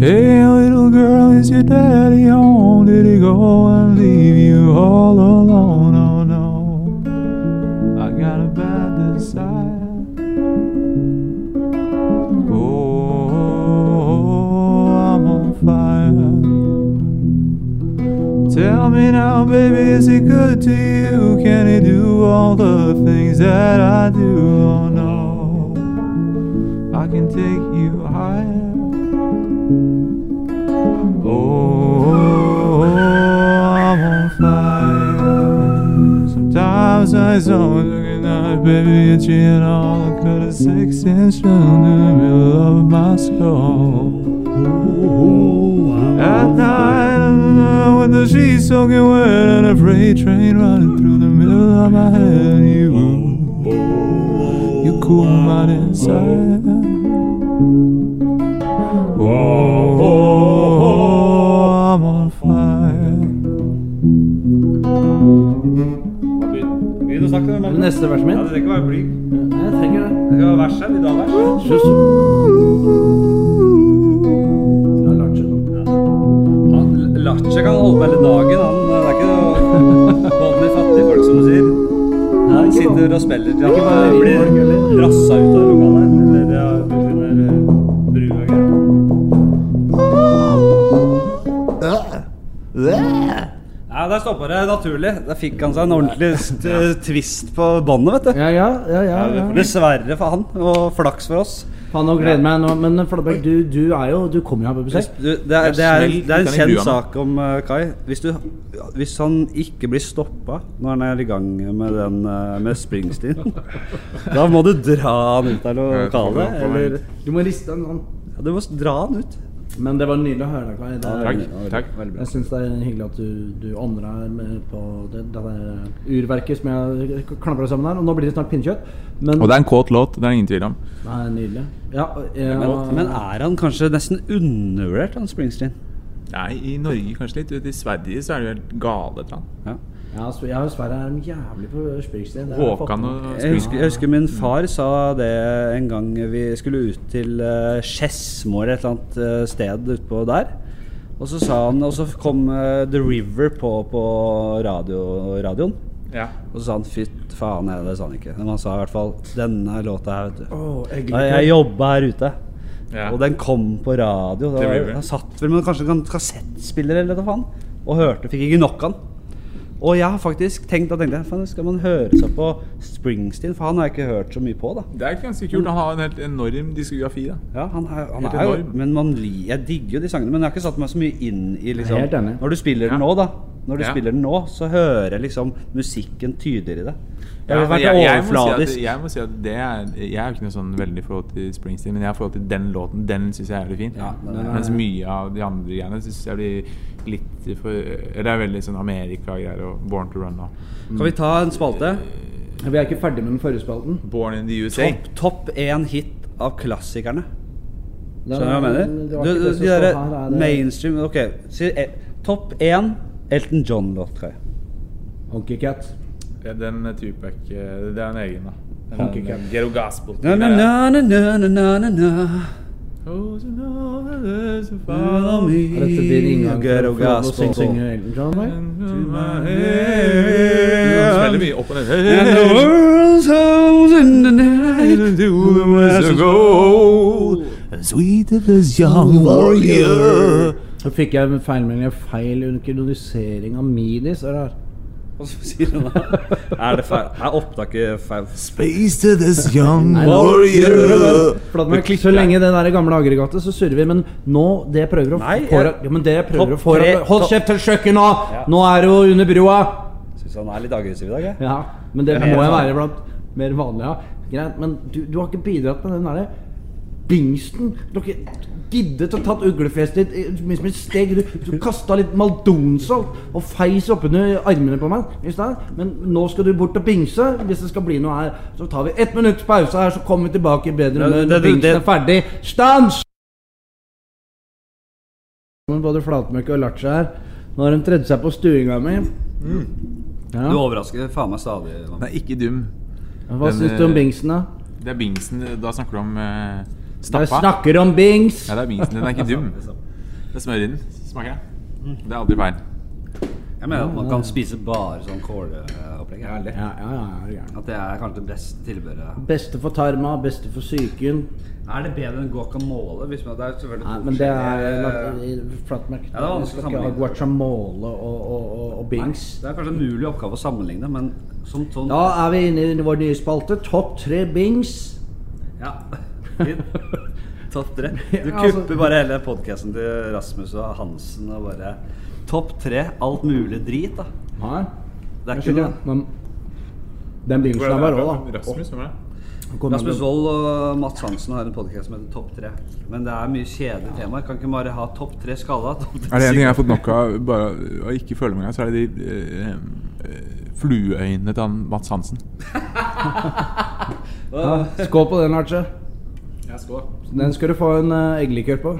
Speaker 3: Hey, little girl, is your daddy home? Did he go and leave you all alone? Oh no, I got a bad desire. Oh, I'm on fire. Tell me now, baby, is he good to you? Can he do all the things that I do? Oh no, I can take you higher. Oh, I'm on fire. Sometimes I zone looking at baby itching all I cut a six inch down in the middle of my skull. At night, uh, with the sheets soaking wet and a freight train running through the middle of my head, you, you cool my inside. Oh, I'm on fire.
Speaker 2: Begynn å snakke, da. men-
Speaker 1: Neste verset
Speaker 2: Ja,
Speaker 1: mitt?
Speaker 2: det trenger ikke være blyg.
Speaker 1: Nei, jeg trenger det.
Speaker 2: Det skal være vers her. Vi tar vers.
Speaker 1: Sus. Ja, Larsen nå.
Speaker 2: Han Lache kan holde på hele dagen. Han, det er ikke noe vanlig fattig folk, som du sier. Han sitter og spiller til
Speaker 1: Ikke bare
Speaker 2: han eh, blir
Speaker 1: folk, eller?
Speaker 2: rassa ut av lokalet. Eller ja, under eh, brua og greier. Nei, Der stoppa det naturlig. Der fikk han seg en ordentlig st- twist på båndet, vet du.
Speaker 1: Ja, ja, ja, ja, ja.
Speaker 2: Dessverre for han, og flaks for oss.
Speaker 1: Faen, nå gleder jeg meg nå. Men Fladberg, du, du er jo Du kommer jo her på besøk.
Speaker 2: Du, det, er, det, er,
Speaker 3: snill
Speaker 2: det er en
Speaker 3: uten den
Speaker 2: kjent
Speaker 3: grua nå.
Speaker 2: sak om eh, Kai. Hvis, du, hvis han ikke blir stoppa når han er i gang med, den, eh, med
Speaker 3: [LAUGHS]
Speaker 2: Springsteen, da må du dra han ut av
Speaker 3: Jeg tror
Speaker 2: lokalet.
Speaker 3: han får
Speaker 2: Eller
Speaker 3: meg.
Speaker 1: Du må riste en sånn.
Speaker 2: Ja, du må s- dra den ut.
Speaker 1: Men det var nydelig å høre deg, Kai. Det er-
Speaker 3: Takk.
Speaker 2: Ja,
Speaker 3: takk.
Speaker 2: Veldig bra.
Speaker 1: Jeg syns det er hyggelig at du, du ånder her med- på det, det der urverket som jeg klamra sammen her. Og nå blir det snart pinnekjøtt. Men
Speaker 3: Og det er en kåt låt, det er det ingen tvil om.
Speaker 1: det er nydelig. Ja, jeg,
Speaker 2: Men, men er han kanskje nesten undervurdert, han Springsteen?
Speaker 3: Nei, i Norge kanskje litt. Ute i Sverige så er det jo helt gale til han.
Speaker 2: Ja.
Speaker 1: ja, så- ja, Sverre er de jævlig på Springsteen. Det har jeg fått
Speaker 3: Håkan
Speaker 1: med.
Speaker 3: og
Speaker 2: Jeg
Speaker 3: Springsteen.
Speaker 2: husker, jeg husker min far sa det en gang vi skulle ut til eh, Skedsmo eller et eller annet eh, sted utpå der. Og så sa han, og så kom eh, The River på, på radio, radioen.
Speaker 3: Ja.
Speaker 2: Og så sa han fytt faen, nei, det sa han ikke. Men han sa i hvert fall denne låta her, vet du.
Speaker 1: Åh, jeg
Speaker 2: Jeg,
Speaker 1: liker-
Speaker 2: jeg jobba her ute.
Speaker 3: Ja.
Speaker 2: Og den kom på radio. Det
Speaker 3: The
Speaker 2: var,
Speaker 3: River.
Speaker 2: han satt vel med kanskje en kassettspiller eller hva faen, og hørte. Fikk ikke nok av den. Og jeg har faktisk tenkt da tenkte jeg, faen, skal man høre seg på Springsteen? For han har jeg ikke hørt så mye på, da.
Speaker 3: Det er ganske kult. Han har en helt enorm diskografi. da
Speaker 2: Ja, han er, han
Speaker 3: Helt
Speaker 2: er jo,
Speaker 3: enorm.
Speaker 2: men man, li- Jeg digger jo de sangene, men jeg har ikke satt meg så mye inn i liksom,
Speaker 1: Jeg er helt enig.
Speaker 2: Når du spiller den
Speaker 3: Ja.
Speaker 2: nå, da. Når du
Speaker 3: Ja.
Speaker 2: spiller den nå, så hører jeg liksom musikken tydeligere i det. Jeg
Speaker 3: Ja,
Speaker 2: har
Speaker 3: men
Speaker 2: vært
Speaker 3: må si at,
Speaker 2: overfladisk.
Speaker 3: jeg må si at det er, jeg er jo ikke noe sånn veldig forhold til Springsteen, men jeg har forhold til den låten. Den syns jeg er veldig fin.
Speaker 2: Ja, den er-
Speaker 3: Mens mye av de andre greiene syns jeg blir litt for Eller det er veldig sånn Amerika-greier og Born to Run og
Speaker 2: Kan vi ta en spalte?
Speaker 1: Vi er ikke ferdig med den forrige spalten.
Speaker 3: Born in the USA.
Speaker 2: Topp topp én hit av klassikerne.
Speaker 1: Det er-
Speaker 2: Skjønner du hva jeg
Speaker 1: det
Speaker 2: mener?
Speaker 1: var
Speaker 2: Du,
Speaker 1: ikke
Speaker 2: du,
Speaker 1: det som
Speaker 2: de
Speaker 1: står
Speaker 2: derre
Speaker 1: her, er det-
Speaker 2: mainstream Ok, si eh, topp én Elton John-låt, tror jeg.
Speaker 1: Honky Cat.
Speaker 3: Ja, Den Tupac eh, Det er en egen, da. Den
Speaker 1: Funky
Speaker 3: er en
Speaker 1: Cat.
Speaker 3: Ghetto Gospel.
Speaker 2: Na, na, na, na, na, na, na, na.
Speaker 3: Oh, you know there's a
Speaker 2: Follow
Speaker 3: fire
Speaker 2: me,
Speaker 1: Er dette din inngang
Speaker 2: ghetto
Speaker 1: for, for å
Speaker 2: gospel.
Speaker 1: synge, synge Elton John? eller?
Speaker 3: in my head. Den smeller mye opp og
Speaker 2: And
Speaker 6: [LAUGHS]
Speaker 2: the
Speaker 3: ned.
Speaker 2: world's hoes in the night.
Speaker 1: Så fikk jeg en feilmelding. Feil synkronisering av midis. Er det her?
Speaker 2: Og så sier han da Er det feil? Er opptaket feil?
Speaker 7: Space to this young
Speaker 1: Nei, nå- Flatt meg. Så lenge det der gamle aggregatet, så surrer vi. Men nå Det jeg prøver å
Speaker 2: Nei,
Speaker 1: få
Speaker 2: jeg-
Speaker 1: ja, men det jeg prøver
Speaker 2: Topp
Speaker 1: å få
Speaker 2: tre-
Speaker 1: Hold
Speaker 2: topp-
Speaker 1: kjeft til kjøkkenet nå!
Speaker 2: Ja.
Speaker 1: Nå er det jo under brua!
Speaker 2: Syns han er litt aggressiv i dag, jeg.
Speaker 1: Ja, men det
Speaker 2: Ja.
Speaker 1: må jeg være blant mer vanlige. Ja. Greit, men du, du har ikke bidratt med den derre dingsten. Du har ikke giddet å tatt uglefjeset ditt eh, mye som et steg. Du, du kasta litt maldonsalt og feis oppunder armene på meg i stad. Men nå skal du bort og bingse. Hvis det skal bli noe her, så tar vi ett minutts pause her, så kommer vi tilbake i bedre
Speaker 2: Ja,
Speaker 1: humør
Speaker 2: det-
Speaker 1: når
Speaker 2: det-
Speaker 1: bingsen
Speaker 2: det-
Speaker 1: er ferdig. Stans! Men Både Flatmøkk og Lacha her. Nå har de tredd seg på stuinga mi. Ja.
Speaker 2: Du overrasker faen meg stadig. mann.
Speaker 3: Nei, ikke dum.
Speaker 1: Hva
Speaker 3: Den,
Speaker 1: syns du om
Speaker 3: eh,
Speaker 1: bingsen, da?
Speaker 3: Det er Bingsen. Da snakker du om eh,
Speaker 1: Jeg
Speaker 3: stappa.
Speaker 1: snakker om bings!
Speaker 3: Ja, det er Bingsen. Den er ikke dum. Det er smør i den. Smaker jeg. Det er aldri feil.
Speaker 2: Jeg mener at man kan spise bare sånn kåleopplegg. jeg er ærlig.
Speaker 1: Ja, ja, ja, er du gæren.
Speaker 2: At det er kanskje det beste tilbudet.
Speaker 1: Beste for tarma, beste for psyken.
Speaker 2: Er det bedre enn guacamole? Hvis man, det er selvfølgelig
Speaker 1: Nei,
Speaker 2: to
Speaker 1: men det er
Speaker 2: forskjellige-
Speaker 1: eh, flatmerket.
Speaker 2: Ja, det er vanskelig
Speaker 1: Vi skal ikke ha
Speaker 2: sammenligning.
Speaker 1: guacamole og, og, og, og bings.
Speaker 2: Det er kanskje en mulig oppgave å sammenligne, men som sånn
Speaker 1: Da er vi inne i vår nye spalte. Topp tre bings.
Speaker 2: Ja. Fint. Topp tre. Du
Speaker 1: Ja, altså-
Speaker 2: kupper bare hele podkasten til Rasmus og Hansen og bare Topp tre, alt mulig drit, da.
Speaker 1: Nei,
Speaker 2: Det er
Speaker 1: jeg
Speaker 2: ikke
Speaker 1: skjønner,
Speaker 2: noe
Speaker 1: men den bingsen er bare rå, da.
Speaker 3: Rasmus, hvem er det?
Speaker 1: Åh, kom
Speaker 2: Rasmus
Speaker 1: igjen.
Speaker 2: Wold og Mats Hansen har en podkast som heter Topp tre. Men det er mye kjedelige temaer. Kan ikke bare ha topp tre skalla? Topp tre
Speaker 3: Er det en ting
Speaker 2: syke-
Speaker 3: jeg har fått nok av
Speaker 6: [LAUGHS]
Speaker 3: bare å ikke føle meg engang, så er det de eh, eh, flueøynene til han Mats Hansen.
Speaker 1: Ja,
Speaker 2: [LAUGHS]
Speaker 1: Skål på den, Arche.
Speaker 2: Ja, skål.
Speaker 1: Den skal du få en uh, eggelikør på.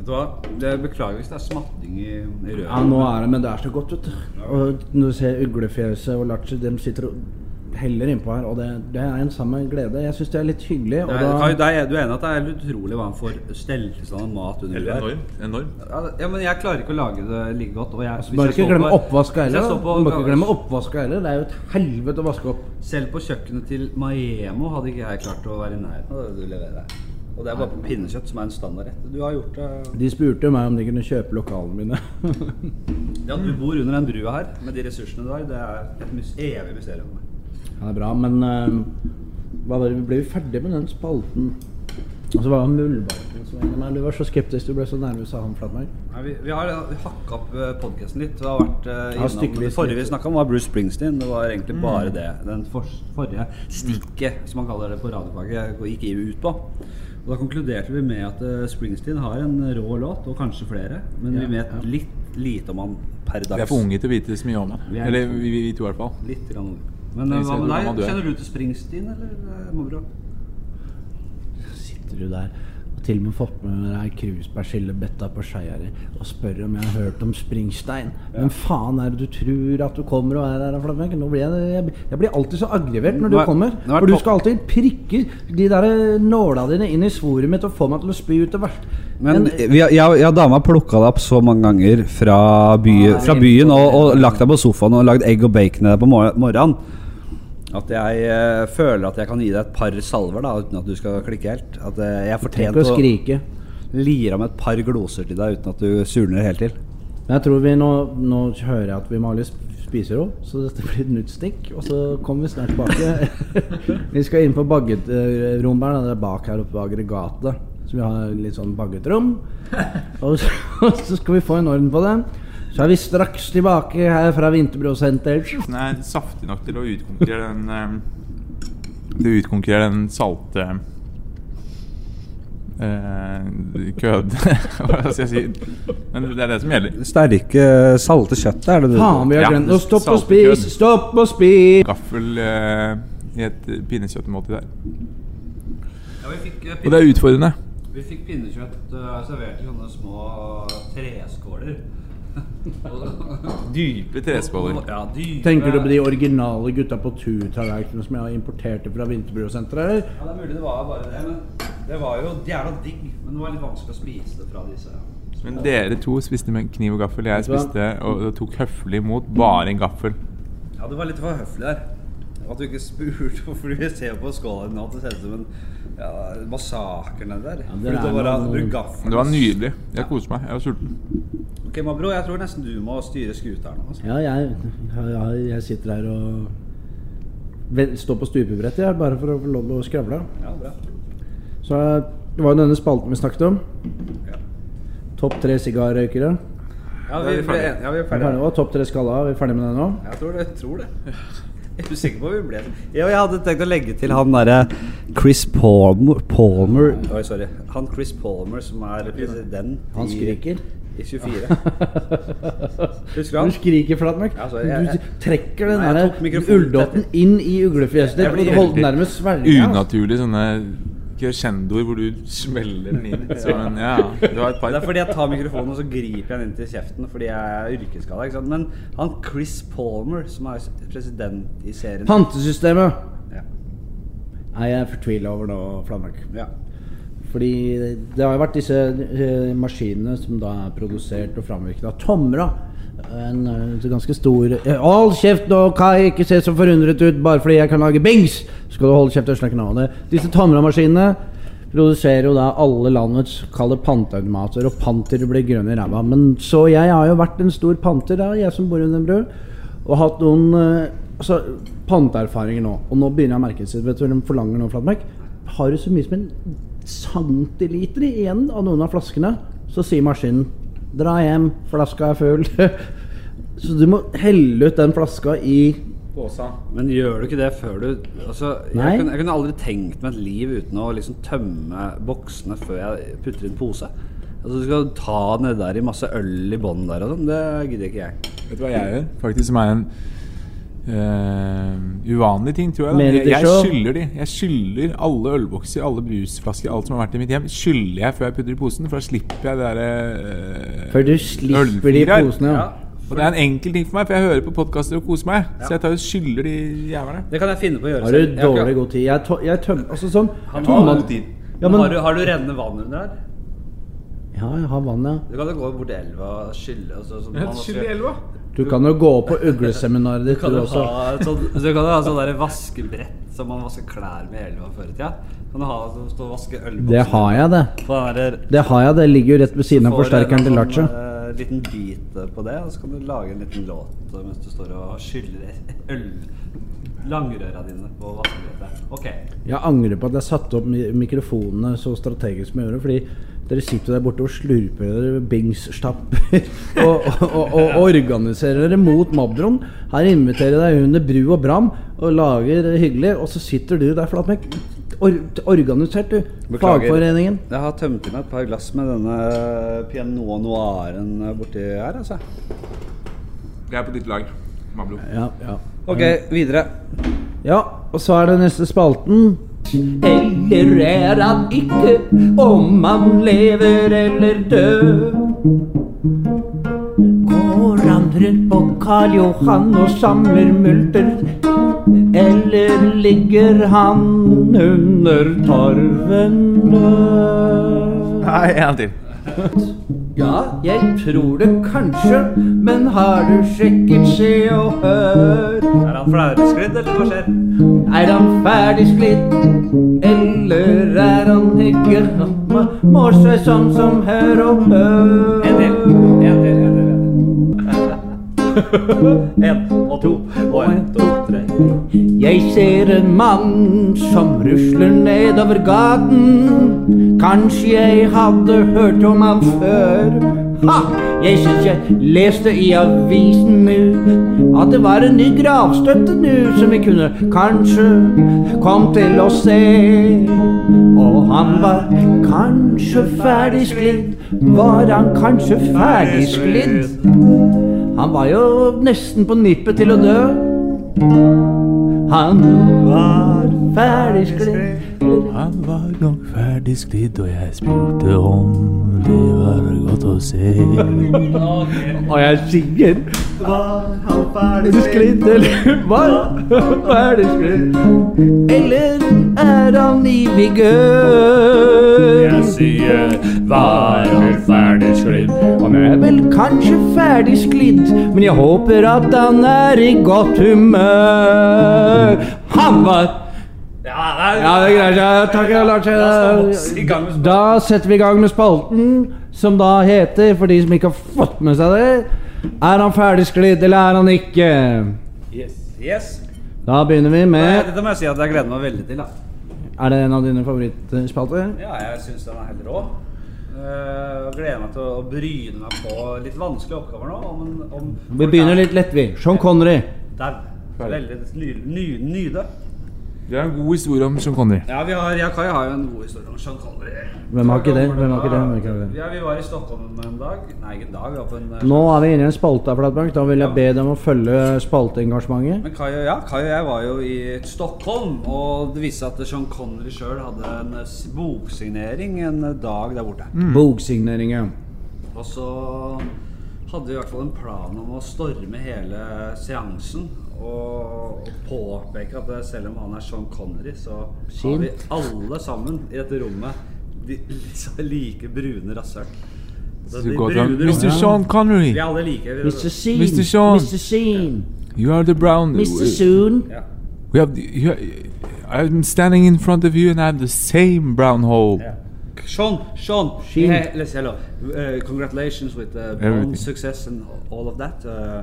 Speaker 2: Vet du hva? Det beklager hvis det er smatting i, i røret.
Speaker 1: Ja, nå er det, men det er så godt, vet du. Og når du ser uglefjeset og Lachi, de sitter og heller innpå her, og det, det er en samme glede. Jeg syns det er litt hyggelig. Og
Speaker 2: Det er, Kai,
Speaker 1: da,
Speaker 2: det er, du er enig at det er helt utrolig hva han får stellelsen av mat under
Speaker 3: Eller
Speaker 2: der?
Speaker 3: enormt. Enormt.
Speaker 2: Ja, det- ja, men jeg klarer ikke å lage det like godt. Og jeg, hvis
Speaker 1: bare
Speaker 2: jeg
Speaker 1: ikke
Speaker 2: står
Speaker 1: glemme
Speaker 2: på-
Speaker 1: oppvaska
Speaker 2: hvis jeg
Speaker 1: heller. da.
Speaker 2: står på-
Speaker 1: Du må ikke glemme oppvaska heller. Det er jo et helvete å vaske opp.
Speaker 2: Selv på kjøkkenet til Maemo hadde ikke jeg klart å være i nærheten av det du leverer. Og det er bare på pinnekjøtt, som er en standardrett. Du har gjort det
Speaker 1: De spurte jo meg om de kunne kjøpe lokalene mine. [LAUGHS]
Speaker 2: Det at du bor under den brua her, med de ressursene du har, det er et mys evig mysterium.
Speaker 1: Ja, det er bra, men eh, hva var det, ble vi ferdig med den spalten? Og så var det Muldvarpen som var innom her. Du var så skeptisk, du ble så nervøs av han, Flatmark.
Speaker 2: Nei, vi, vi har eh, hakka opp podkasten litt. Det har vært eh, innom,
Speaker 1: stykkevis
Speaker 2: Det forrige vi
Speaker 1: litt.
Speaker 2: snakka om, var Bruce Springsteen. Det var egentlig bare det. Den for, forrige stikket, som man kaller det på radiofaget, gikk EU ut på. Og Da konkluderte vi med at eh, Springsteen har en rå låt, og kanskje flere. Men vi vet litt lite om han per dags.
Speaker 6: Vi er for unge til å vite så mye om
Speaker 2: Vi
Speaker 6: det.
Speaker 2: er
Speaker 6: Eller
Speaker 2: for-
Speaker 6: vi, vi, vi to i hvert fall.
Speaker 2: Litt grann. unge. Men eh,
Speaker 6: Vi ser
Speaker 2: hva med
Speaker 6: hvordan
Speaker 2: deg?
Speaker 6: du er.
Speaker 2: Kjenner du til Springsteen, eller eh, Mobro?
Speaker 1: sitter du der og til og med fått med deg ei krusbærskillebetta på Skeiare og spør om jeg har hørt om Springstein. Hvem faen er det du tror at du kommer og er her? Flatmark? Nå blir jeg, jeg, jeg blir alltid så aggrivert når du
Speaker 2: Nå er-
Speaker 1: kommer.
Speaker 2: nå er
Speaker 1: For du
Speaker 2: topp-
Speaker 1: skal alltid prikke de der nåla dine inn i svoret mitt og få meg til å spy ut det verste.
Speaker 2: Men vi, jeg, jeg og dama plukka deg opp så mange ganger fra, by, fra byen og, og lagt deg på sofaen og lagd egg og bacon til deg på mor- morgenen. At jeg eh, føler at jeg kan gi deg et par salver da uten at du skal klikke helt. At eh, jeg
Speaker 1: Tenk
Speaker 2: fortjente
Speaker 1: å skrike.
Speaker 2: lire om et par gloser til deg uten at du surner helt til.
Speaker 1: Men jeg tror vi nå, nå hører jeg at vi må ha litt sp- spisero, så dette blir et nytt stikk. Og så kommer vi snart tilbake. [LAUGHS] vi skal inn på baggetrommeren. Det er bak her oppe ved aggregatet. Så vi har litt sånn baggetrom. Og så, [LAUGHS] og så skal vi få en orden på det. Så er vi straks tilbake her fra Vinterbro senter.
Speaker 6: Den er saftig nok til å utkonkurrere den eh, Til å utkonkurrere den salte eh, kød [LAUGHS] Hva skal jeg si? Men det er det som gjelder.
Speaker 2: Sterke, salte kjøttet er det du
Speaker 1: Faen, vi har
Speaker 6: Ja,
Speaker 1: glemt å stoppe og
Speaker 6: saltekødd.
Speaker 1: spise! Stopp og spise!
Speaker 6: Gaffel eh, i et pinnekjøttmåltid der.
Speaker 2: ja, vi, fikk, eh,
Speaker 6: Og det er utfordrende.
Speaker 2: pinnekjøtt eh, servert i sånne små treskåler.
Speaker 6: Dype [LAUGHS] treskåler.
Speaker 1: Tenker du på de originale gutta på tur-tallerkenene som jeg har importert fra Vinterbrosenteret? eller?
Speaker 2: Ja, det er mulig det var bare det, men det var jo jævla digg. Men det var litt vanskelig å spise det fra disse.
Speaker 6: Men dere to spiste med kniv og gaffel. Jeg spiste og og tok høflig imot bare en gaffel.
Speaker 2: Ja, det var litt for høflig der. At du ikke spurte [LAUGHS] hvorfor vi ser på skåla dine at det ser ut som en ja, massakre nedi der.
Speaker 1: det
Speaker 2: Fordi
Speaker 1: er
Speaker 2: det var
Speaker 1: noe-
Speaker 2: bruk gaffel.
Speaker 6: Det var nydelig. Jeg koste meg. Jeg var sulten.
Speaker 2: Ok, Mabro, jeg tror nesten du må styre skuta her nå. Altså.
Speaker 1: Ja, jeg, jeg, jeg sitter her og vel- står på stupebrettet, jeg, bare for å få lov til å skravle.
Speaker 2: Ja, bra.
Speaker 1: Så eh, det var jo denne spalten vi snakket om.
Speaker 2: Ja.
Speaker 1: Topp tre sigarrøykere.
Speaker 2: Ja, vi,
Speaker 6: vi
Speaker 2: ble, ja,
Speaker 6: ferdig.
Speaker 2: vi er
Speaker 1: Er vi ferdige
Speaker 2: ferdige.
Speaker 1: nå? Topp tre skalla, er vi ferdige med det nå?
Speaker 2: Jeg tror det. Jeg tror det. [LAUGHS] Jeg er usikker på hvor vi ble. Ja, jeg hadde tenkt å legge til han derre Chris Palmer, Palmer Oi, sorry. Han Chris Palmer som er president
Speaker 1: Han
Speaker 2: i-
Speaker 1: skriker.
Speaker 2: I 24. [LAUGHS] Husker du
Speaker 1: Han
Speaker 2: han?
Speaker 1: skriker, Flatmark.
Speaker 2: Ja, sorry, jeg-
Speaker 1: Du trekker den
Speaker 2: Nei, jeg tok
Speaker 1: der
Speaker 2: mikrofonen.
Speaker 1: ulldotten inn i uglefjeset
Speaker 2: Jeg
Speaker 1: ditt.
Speaker 2: blir
Speaker 1: og Hold den
Speaker 6: veldig
Speaker 1: nærmest svelga.
Speaker 6: Unaturlig sånne crescendoer hvor du smeller den inn. Så, men [LAUGHS] ja, det var et par
Speaker 2: Det er fordi jeg tar mikrofonen og så griper jeg den inn til kjeften fordi jeg er yrkesskada. ikke sant? Men han Chris Palmer, som er president i serien
Speaker 1: Pantesystemet
Speaker 2: ja.
Speaker 1: er jeg fortvila over nå, Flatmark.
Speaker 2: ja.
Speaker 1: Fordi det har jo vært disse eh, maskinene som da er produsert og framvirket av Tomra. En eh, ganske stor eh, Hold kjeft nå, Kai! Ikke se så forundret ut bare fordi jeg kan lage bings! Skal du holde kjeft og snakke navn det. Disse Tomra-maskinene produserer jo da alle landets kall det panteautomater, og panter blir grønne i ræva. Men så jeg har jo vært en stor panter, da, jeg som bor under en bru. Og hatt noen eh, altså, panteerfaringer nå. Og nå begynner jeg å merke det. Vet du hva de forlanger nå, Flatmark? Har du så mye som en centiliter igjen av noen av flaskene, så sier maskinen 'dra hjem, flaska er full'. [LAUGHS] så du må helle ut den flaska i
Speaker 2: Men gjør du ikke det før du altså,
Speaker 1: Nei.
Speaker 2: jeg, kunne, jeg kunne aldri tenkt meg et liv uten å liksom tømme boksene før jeg putter i en pose. Altså Du skal ta ned der i masse øl i bånn der og sånn. Det gidder ikke jeg.
Speaker 6: Vet du hva jeg gjør? Faktisk som er en eh, uvanlig ting, tror jeg. da.
Speaker 1: Mer
Speaker 6: Jeg, jeg
Speaker 1: show.
Speaker 6: skyller de. Jeg skyller alle ølbokser, alle brusflasker, alt som har vært i mitt hjem, skyller jeg før jeg putter i posen. For da slipper jeg det eh, derre
Speaker 1: Før du slipper de
Speaker 6: Ølfingrer.
Speaker 1: posene.
Speaker 2: Ja.
Speaker 6: Og det er en enkel ting for meg, for jeg hører på podkaster og koser meg. Så jeg tar og skyller de jævlene.
Speaker 2: Det kan jeg finne på å gjøre
Speaker 1: Har du
Speaker 2: selv. Jeg har ikke-
Speaker 1: dårlig god tid? Jeg, tø- jeg tømmer Altså sånn
Speaker 2: Han har
Speaker 1: tomat-
Speaker 2: god tid.
Speaker 1: Ja, men-
Speaker 2: har, du, har du rennende vann under der?
Speaker 1: Ja, jeg har vann, ja.
Speaker 2: Du kan jo gå bort til elva og skylle. og så- som han også
Speaker 6: Skyll i
Speaker 2: gjør.
Speaker 6: elva.
Speaker 1: Du kan jo gå på ugleseminaret ditt,
Speaker 2: kan
Speaker 1: du
Speaker 2: du,
Speaker 1: også.
Speaker 2: ha et sånt, du kan jo ha sånn der vaskebrett som man vasker klær med i elva før i tida. Kan du ha som står og vasker ølbokser
Speaker 1: Det har jeg, det.
Speaker 2: på den der
Speaker 1: Det har jeg, det ligger jo rett ved siden av
Speaker 2: får en
Speaker 1: forsterkeren til
Speaker 2: sånn,
Speaker 1: Lacha.
Speaker 2: eh, en liten bit på det, og så kan du lage en liten låt eh, mens du står og skyller [LAUGHS] øl langrøra dine på vaskebrettet. Ok.
Speaker 1: Jeg angrer på at jeg satte opp mi- mikrofonene så strategisk som jeg gjorde. Fordi dere sitter der borte og slurper dere bingsstapper [LAUGHS] og, og, og, og organiserer dere mot Mabron. Her inviterer jeg deg under bru og bram og lager hyggelig, og så sitter du der flatmekk. Or organisert, du.
Speaker 2: Beklager.
Speaker 1: Fagforeningen.
Speaker 2: Jeg har tømt i meg et par glass med denne Pinot noiren borti her, altså.
Speaker 3: Jeg er på ditt lag, Mablo.
Speaker 1: Ja, ja.
Speaker 2: Ok, videre.
Speaker 1: Ja, og så er det neste spalten. Eller er han ikke om han lever eller død? Går han rundt på Karl Johan og samler multer? Eller ligger han under tarven?
Speaker 3: Nei, en til.
Speaker 1: Ja, jeg tror det kanskje, men har du sjekket Se og Hør?
Speaker 2: Er han flausklidd, eller hva skjer?
Speaker 1: Er han ferdig sklidd, eller er han ikke Mår seg sånn som hør og bør.
Speaker 2: En til. En til, en til. en til. [LAUGHS] En og to og en, to, tre.
Speaker 1: Jeg ser en mann som rusler nedover gaten. Kanskje jeg hadde hørt om han før. Ha! Jeg syns jeg leste i avisen nu at det var en ny gravstøtte nu som vi kunne kanskje kom til å se. Og han var kanskje ferdig sklidd. Var han kanskje ferdig sklidd? Han var jo nesten på nippet til å dø. Han var ferdig sklidd.
Speaker 6: Han var nok ferdig sklidd, og jeg spurte om det var godt å se.
Speaker 1: Og jeg synger Var han ferdig sklidd, eller var han ferdig sklidd? Eller er han i vigør? Jeg sier var han ferdig sklidd? Han er vel kanskje ferdig sklidd, men jeg håper at han er i godt humør. Han var
Speaker 2: Ja, nei,
Speaker 1: ja, det er greit. Ja, takk, Lars.
Speaker 2: i gang med spalten.
Speaker 1: Da setter vi i gang med spalten, som da heter, for de som ikke har fått med seg det, Er han ferdigsklidd, eller er han ikke?
Speaker 2: Yes. yes.
Speaker 1: Da begynner vi
Speaker 2: Nei,
Speaker 1: med
Speaker 2: Dette må jeg si at jeg gleder meg veldig til. da.
Speaker 1: Er det en av dine favorittspalter?
Speaker 2: Ja, jeg syns den er helt rå. Eh, og gleder meg til å bryne meg på litt vanskelige oppgaver nå. Om, om,
Speaker 1: Vi begynner litt lett, vi. Sean Connery.
Speaker 2: Der. Veldig ny, ny, nyde.
Speaker 3: Du har en god historie om Sean Connery.
Speaker 2: Ja, vi har, jeg og Kai har jo en god historie om Sean Connery.
Speaker 1: Hvem har ikke det? Hvem har ikke det? Hvem har ikke det?
Speaker 2: Ja, vi var i Stockholm en dag. Nei, ikke en dag. Vi var på en eh,
Speaker 1: Nå er vi inne i en spalte, Flatbank. Da vil jeg be dem å følge spalteengasjementet.
Speaker 2: Men Kai og, ja, Kai og jeg var jo i Stockholm, og det viste seg at Sean Connery sjøl hadde en eh, s- boksignering en eh, dag der borte.
Speaker 1: Boksigneringa.
Speaker 2: Og så hadde vi i hvert fall en plan om å storme hele seansen. Og, og påpeke at eh, selv om han er Sean Connery, så
Speaker 1: Skin.
Speaker 2: har vi alle sammen i dette rommet de, [LAUGHS] så like brune rasshøl. Så de brune
Speaker 3: Mr.
Speaker 2: rommene-
Speaker 3: Sean Connery,
Speaker 2: Vi er alle like. vi-
Speaker 1: Mr. Scene.
Speaker 3: Mr. Sean.
Speaker 1: Mr. Scene.
Speaker 3: you are the brown
Speaker 1: Mr.
Speaker 2: [LAUGHS]
Speaker 1: Soon.
Speaker 2: Ja.
Speaker 3: We have the, you, I'm standing in front of you and I have the same brown hole.
Speaker 2: Yeah. Sean, Sean,
Speaker 1: Sheen.
Speaker 2: hey, let's hello. Uh, congratulations with uh,
Speaker 3: Everything.
Speaker 2: Bond success and all of that. Uh,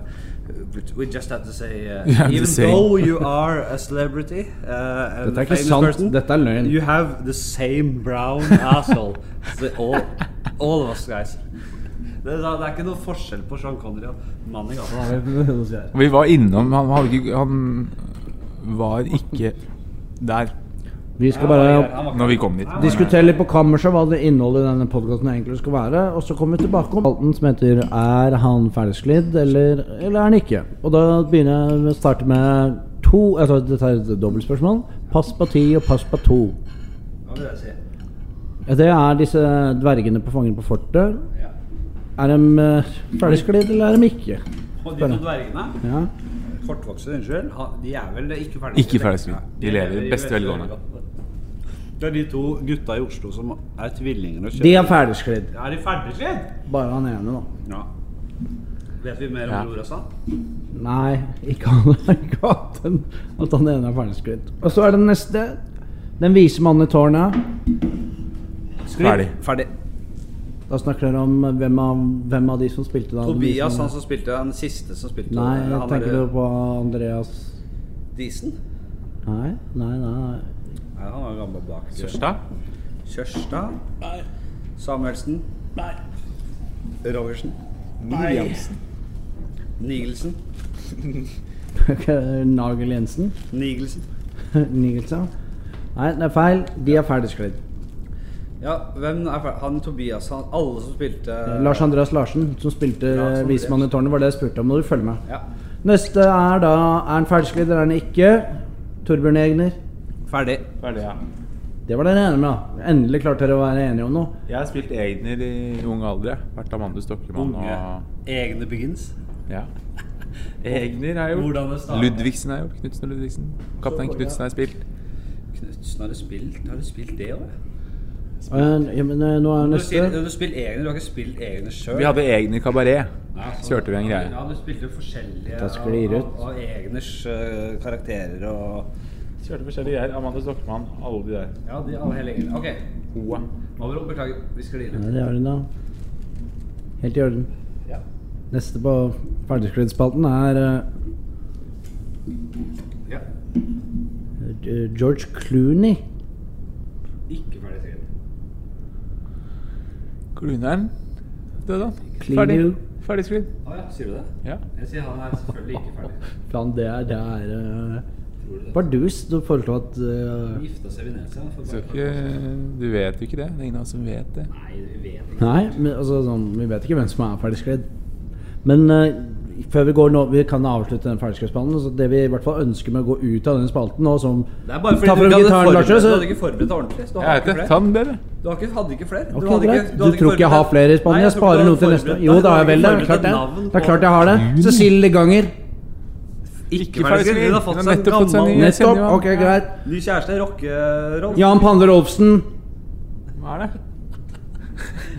Speaker 2: but we just have to
Speaker 1: [LAUGHS]
Speaker 2: say, uh,
Speaker 3: You have to
Speaker 2: even
Speaker 3: say.
Speaker 2: though you are a celebrity uh, and
Speaker 1: Dette
Speaker 2: a
Speaker 1: er ikke
Speaker 2: famous
Speaker 1: sant.
Speaker 2: person,
Speaker 1: Dette er løgn.
Speaker 2: you have the same brown
Speaker 1: [LAUGHS]
Speaker 2: asshole. The, all, all of us guys. Det er, det er ikke noe forskjell på Sean Connery og mannen i gata.
Speaker 3: Vi var innom Han, hadde ikke, han var ikke der
Speaker 1: Vi skal bare
Speaker 3: når vi kom dit.
Speaker 1: diskutere litt på kammerset hva det innholdet i denne podkasten egentlig skal være. Og så kommer vi tilbake om spalten som heter 'Er han ferdigsklidd, eller, eller er han ikke?' Og da begynner jeg med å starte med to altså Dette er et dobbeltspørsmål. Pass på ti og pass på to.
Speaker 2: Hva vil jeg si?
Speaker 1: Det er disse dvergene på Fangen på fortet.
Speaker 2: Ja.
Speaker 1: Er de eh, ferdigsklidd, eller er de ikke?
Speaker 2: Og de to dvergene,
Speaker 1: Ja.
Speaker 2: kortvokste, unnskyld, ha- de er vel ikke ferdig
Speaker 3: Ikke ferdigsklidd. De lever i beste velgående.
Speaker 2: Det er de to gutta i Oslo som er tvillinger og
Speaker 1: De er ferdigsklidd.
Speaker 2: Er de ferdigsklidd?
Speaker 1: Bare han ene, da.
Speaker 2: Ja. Vet vi mer om
Speaker 3: Ja.
Speaker 2: bror også?
Speaker 1: Nei, ikke han [LAUGHS] ikke at den- At han ene er ferdigsklidd. Og så er det den neste. Den vise mannen i tårnet.
Speaker 2: Sklidd.
Speaker 3: Ferdig.
Speaker 2: Ferdig.
Speaker 1: Da snakker dere om hvem av, hvem av de som spilte da?
Speaker 2: Tobias,
Speaker 1: De
Speaker 2: han
Speaker 1: som,
Speaker 2: som spilte han siste som spilte
Speaker 1: Nei,
Speaker 2: han er-
Speaker 1: tenker du på Andreas
Speaker 2: Disen?
Speaker 1: Nei, nei, nei. [LAUGHS] nei.
Speaker 2: Nei, han var gammel bak. eh,
Speaker 6: Sørstad?
Speaker 2: Kjørstad? Nei. Samuelsen? Nei. Rogersen?
Speaker 8: Williamsen.
Speaker 2: Nigelsen?
Speaker 1: Nagel Jensen? [LAUGHS]
Speaker 2: Nigelsen.
Speaker 1: Nigelsen? Nei, det er feil. De er ferdigsklidd.
Speaker 2: Ja, hvem er fer- Han Tobias, han alle som spilte
Speaker 1: Eh, Lars Andreas Larsen, som spilte
Speaker 2: Lars Andreas.
Speaker 1: Vismann i tårnet, var det jeg spurte om. Må du følge med.
Speaker 2: Ja.
Speaker 1: Neste er da Er han ferdigsklidd eller er han ikke? Torbjørn Egner.
Speaker 2: Ferdig.
Speaker 6: Ferdig, ja.
Speaker 1: Det var dere enige med, da. Endelig klarte dere å være enige om noe.
Speaker 6: Jeg har spilt Egner i ung alder. jeg. Vært Amandus Stokkemann og
Speaker 2: Egne Begins.
Speaker 6: ja. Egner er jo
Speaker 2: Hvordan det startet.
Speaker 6: Ludvigsen er jo Knutsen og Ludvigsen. Kaptein Knutsen er spilt.
Speaker 2: Knutsen, har du spilt Har du spilt det òg?
Speaker 1: Eh, Ja, men eh, nå er
Speaker 2: Du,
Speaker 1: neste.
Speaker 2: sier- du har spilt egne, du har ikke spilt egne sjøl.
Speaker 6: Vi hadde Egner kabaret.
Speaker 2: sånn.
Speaker 6: Så hørte vi en greie.
Speaker 2: Ja, du spilte jo forskjellige
Speaker 1: Da sklir det
Speaker 2: av-
Speaker 1: ut.
Speaker 2: av Egners eh, karakterer og
Speaker 6: Kjørte forskjellige greier. Amandus Stokkemann, alle de der.
Speaker 2: Ja, de alle hele gjengen. OK.
Speaker 6: Hoa.
Speaker 2: Mavro, beklager. Vi sklir
Speaker 1: Ja,
Speaker 2: ut.
Speaker 1: det har hun da. Helt i orden.
Speaker 2: Ja.
Speaker 1: Neste på ferdigsklidd-spalten er eh,
Speaker 2: ja.
Speaker 1: eh, George Clooney.
Speaker 2: Ikke ferdig skrevet.
Speaker 6: Kluneren døde, han.
Speaker 1: Clean
Speaker 6: Ferdig.
Speaker 1: you.
Speaker 6: Ferdig skrudd.
Speaker 2: Å ja, sier du det?
Speaker 6: Ja.
Speaker 2: Jeg sier han er selvfølgelig ikke ferdig.
Speaker 1: Faen, det er, det er eh,
Speaker 2: Tror du det?
Speaker 1: Bardus. Du foreslo at eh,
Speaker 2: Gifta seg i Venezia. han får
Speaker 6: Så
Speaker 2: bare-
Speaker 6: ikke, du vet jo ikke det. Det er ingen av oss som vet det.
Speaker 2: Nei, vi vet ikke.
Speaker 1: Nei, men altså sånn Vi vet ikke hvem som er ferdigsklidd. Men eh, før vi går nå Vi kan avslutte den ferdigsklidd-spalten. Så det vi i hvert fall ønsker med å gå ut av denne spalten nå, som
Speaker 2: Det er bare
Speaker 1: Ta
Speaker 2: fordi
Speaker 1: fram
Speaker 2: du ikke
Speaker 1: gitaren,
Speaker 2: hadde
Speaker 1: Lars,
Speaker 2: forberedt,
Speaker 1: så-
Speaker 2: du hadde ikke forberedt deg ordentlig. så Du
Speaker 6: Jeg
Speaker 2: hadde
Speaker 6: vet
Speaker 2: ikke flere.
Speaker 6: det. Ta den, dere.
Speaker 2: Du har ikke, hadde ikke flere.
Speaker 1: Ok,
Speaker 2: hadde
Speaker 1: greit.
Speaker 2: ikke-
Speaker 1: Du,
Speaker 2: hadde ikke
Speaker 1: tror ikke jeg har
Speaker 2: forberedt-
Speaker 1: flere i Spania?
Speaker 2: Nei,
Speaker 1: Jeg
Speaker 2: tror ikke du
Speaker 1: sparer noe til
Speaker 2: hadde
Speaker 1: neste
Speaker 2: forberedt-
Speaker 1: Jo,
Speaker 2: hadde
Speaker 1: da har jeg
Speaker 2: ikke
Speaker 1: vel det.
Speaker 2: forberedt
Speaker 1: Klart det.
Speaker 2: navn
Speaker 1: Det er
Speaker 2: på-
Speaker 1: klart jeg har det. Cecilie Leganger.
Speaker 2: Ikke
Speaker 6: ferdig
Speaker 2: ferdig.
Speaker 6: skrevet.
Speaker 2: Hun har fått seg en
Speaker 6: Nettopp fått seg en
Speaker 2: gammel
Speaker 6: ny. Jeg kjenner
Speaker 1: Nettopp.
Speaker 6: jo han.
Speaker 1: Ok, greit.
Speaker 2: ny kjæreste. eh, Rockerolf.
Speaker 1: Jan Pande Rolfsen.
Speaker 6: Hva er det?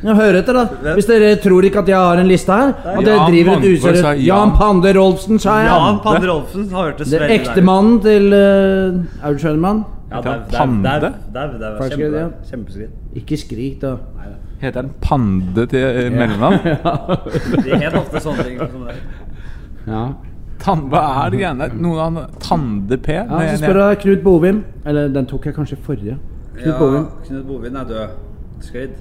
Speaker 1: Ja, hør etter, da. Hvis dere tror ikke at jeg har en liste her At dere
Speaker 6: Jan
Speaker 1: driver et
Speaker 6: Mandberg, sa
Speaker 1: useriøst
Speaker 6: Jan.
Speaker 1: Jan Pande Rolfsen, sa jeg.
Speaker 2: Jan Pander Rolfsen har hørt det
Speaker 1: Det er ektemannen til uh, Aud Schønemann.
Speaker 2: Ja,
Speaker 6: Heter
Speaker 2: der,
Speaker 6: han
Speaker 2: der, der,
Speaker 6: Pande?
Speaker 2: der, der, der,
Speaker 1: Ferdig skrevet, ja.
Speaker 2: kjempe- Kjempeskritt.
Speaker 1: Ikke skrik, da.
Speaker 6: Heter den Pande til
Speaker 2: [LAUGHS]
Speaker 6: eh, mellomnavn?
Speaker 2: Det er helt ofte sånne ting som det.
Speaker 1: Ja.
Speaker 6: Tan, hva er det greiene der? Noen av han- Tande-P?
Speaker 1: ja så spør jeg Knut Bovim. Eller den tok jeg kanskje i forrige. [LAUGHS] Knut
Speaker 2: Ja,
Speaker 1: Bovim.
Speaker 2: Knut Bovin er død. Skridd.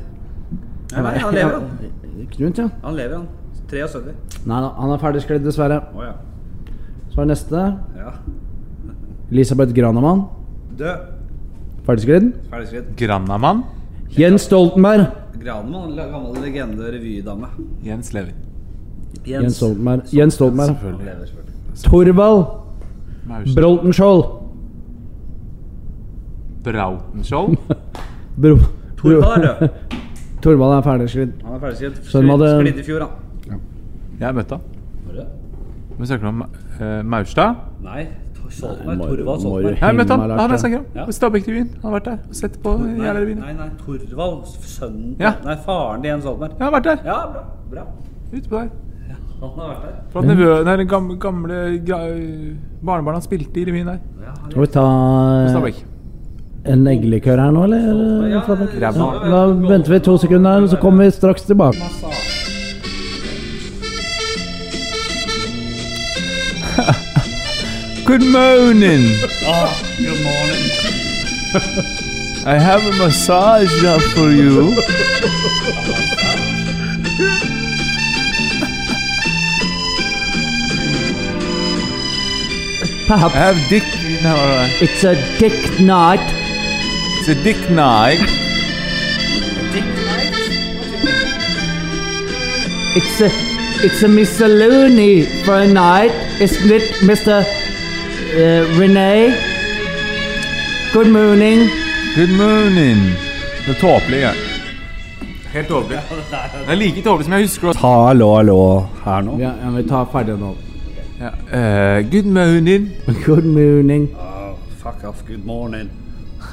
Speaker 2: Nei, nei, han lever, han.
Speaker 1: Knut, ja.
Speaker 2: Han lever, han. 73.
Speaker 1: Nei da, han er ferdigsklidd, dessverre.
Speaker 2: Å ja.
Speaker 1: Så er neste
Speaker 2: ja.
Speaker 1: Elisabeth Granamann.
Speaker 2: Død.
Speaker 1: Ferdigsklidd.
Speaker 2: Ferdig skridd.
Speaker 6: Grannamann?
Speaker 1: Jens Stoltenberg.
Speaker 2: Granemann, la- gammel legende revydame.
Speaker 6: Jens Levi.
Speaker 1: Jens Stoltenberg. Jens Stoltenberg.
Speaker 2: Han
Speaker 6: Selvfølgelig.
Speaker 2: lever selvfølgelig.
Speaker 1: Torvald
Speaker 6: Maurstad.
Speaker 1: Broltenskjold.
Speaker 6: Brautenskjold?
Speaker 1: Bro. Bro.
Speaker 2: Torvald er død.
Speaker 1: Torvald er ferdigsklidd.
Speaker 2: Han er ferdig skridd.
Speaker 1: Så de hadde-
Speaker 2: Sklidd i fjor, han.
Speaker 6: Jeg møtte han.
Speaker 2: Var det?
Speaker 6: Vi snakker om eh, Maurstad.
Speaker 2: Nei, Tor-
Speaker 1: Nei,
Speaker 2: Stoltenberg.
Speaker 1: må-
Speaker 2: Torvald
Speaker 1: må-
Speaker 2: Stoltenberg.
Speaker 6: Jeg møtte han.
Speaker 1: Himmel,
Speaker 6: Han
Speaker 1: Lars,
Speaker 6: jeg snakker om.
Speaker 2: ja.
Speaker 6: På Stabekk-revyen. Han har vært der. Sett på
Speaker 2: Nei,
Speaker 6: jævla revyen.
Speaker 2: nei, nei, Torvald. Sønnen
Speaker 6: Ja.
Speaker 2: Nei, faren til Jens Stoltenberg.
Speaker 6: Jeg har vært der.
Speaker 2: Ja, bra. bra.
Speaker 6: Ute på der.
Speaker 2: Han har vært der.
Speaker 6: For at nevøen der, gamle, gamle gra- barnebarna spilte i revyen der.
Speaker 2: Ja, han
Speaker 1: Skal vi ta
Speaker 6: På
Speaker 1: eh,
Speaker 6: Stabekk.
Speaker 1: en neglikør her nå, eller?
Speaker 2: Ja,
Speaker 1: Flatbakk?
Speaker 2: ja,
Speaker 1: Ja,
Speaker 2: ja.
Speaker 1: da venter vi to sekunder, og så kommer vi straks tilbake.
Speaker 6: Good morning!
Speaker 2: Good morning.
Speaker 6: I have a massage up for you. I
Speaker 1: Perhaps
Speaker 6: have dick no, no, no.
Speaker 1: it's a dick night.
Speaker 6: It's a dick night.
Speaker 1: It's a, it's a Mr. Looney for a night, isn't it, Mr. Uh, Rene? Good morning.
Speaker 6: Good morning. Det er tåpelig. Ja. Helt tåpelig. Det er like tåpelig som jeg husker det.
Speaker 2: Hallo, hallo her nå.
Speaker 1: Ja, ja, vi tar ferdig nå.
Speaker 6: Ja. eh, good morning.
Speaker 1: Good morning.
Speaker 2: Oh, fuck off. Good morning.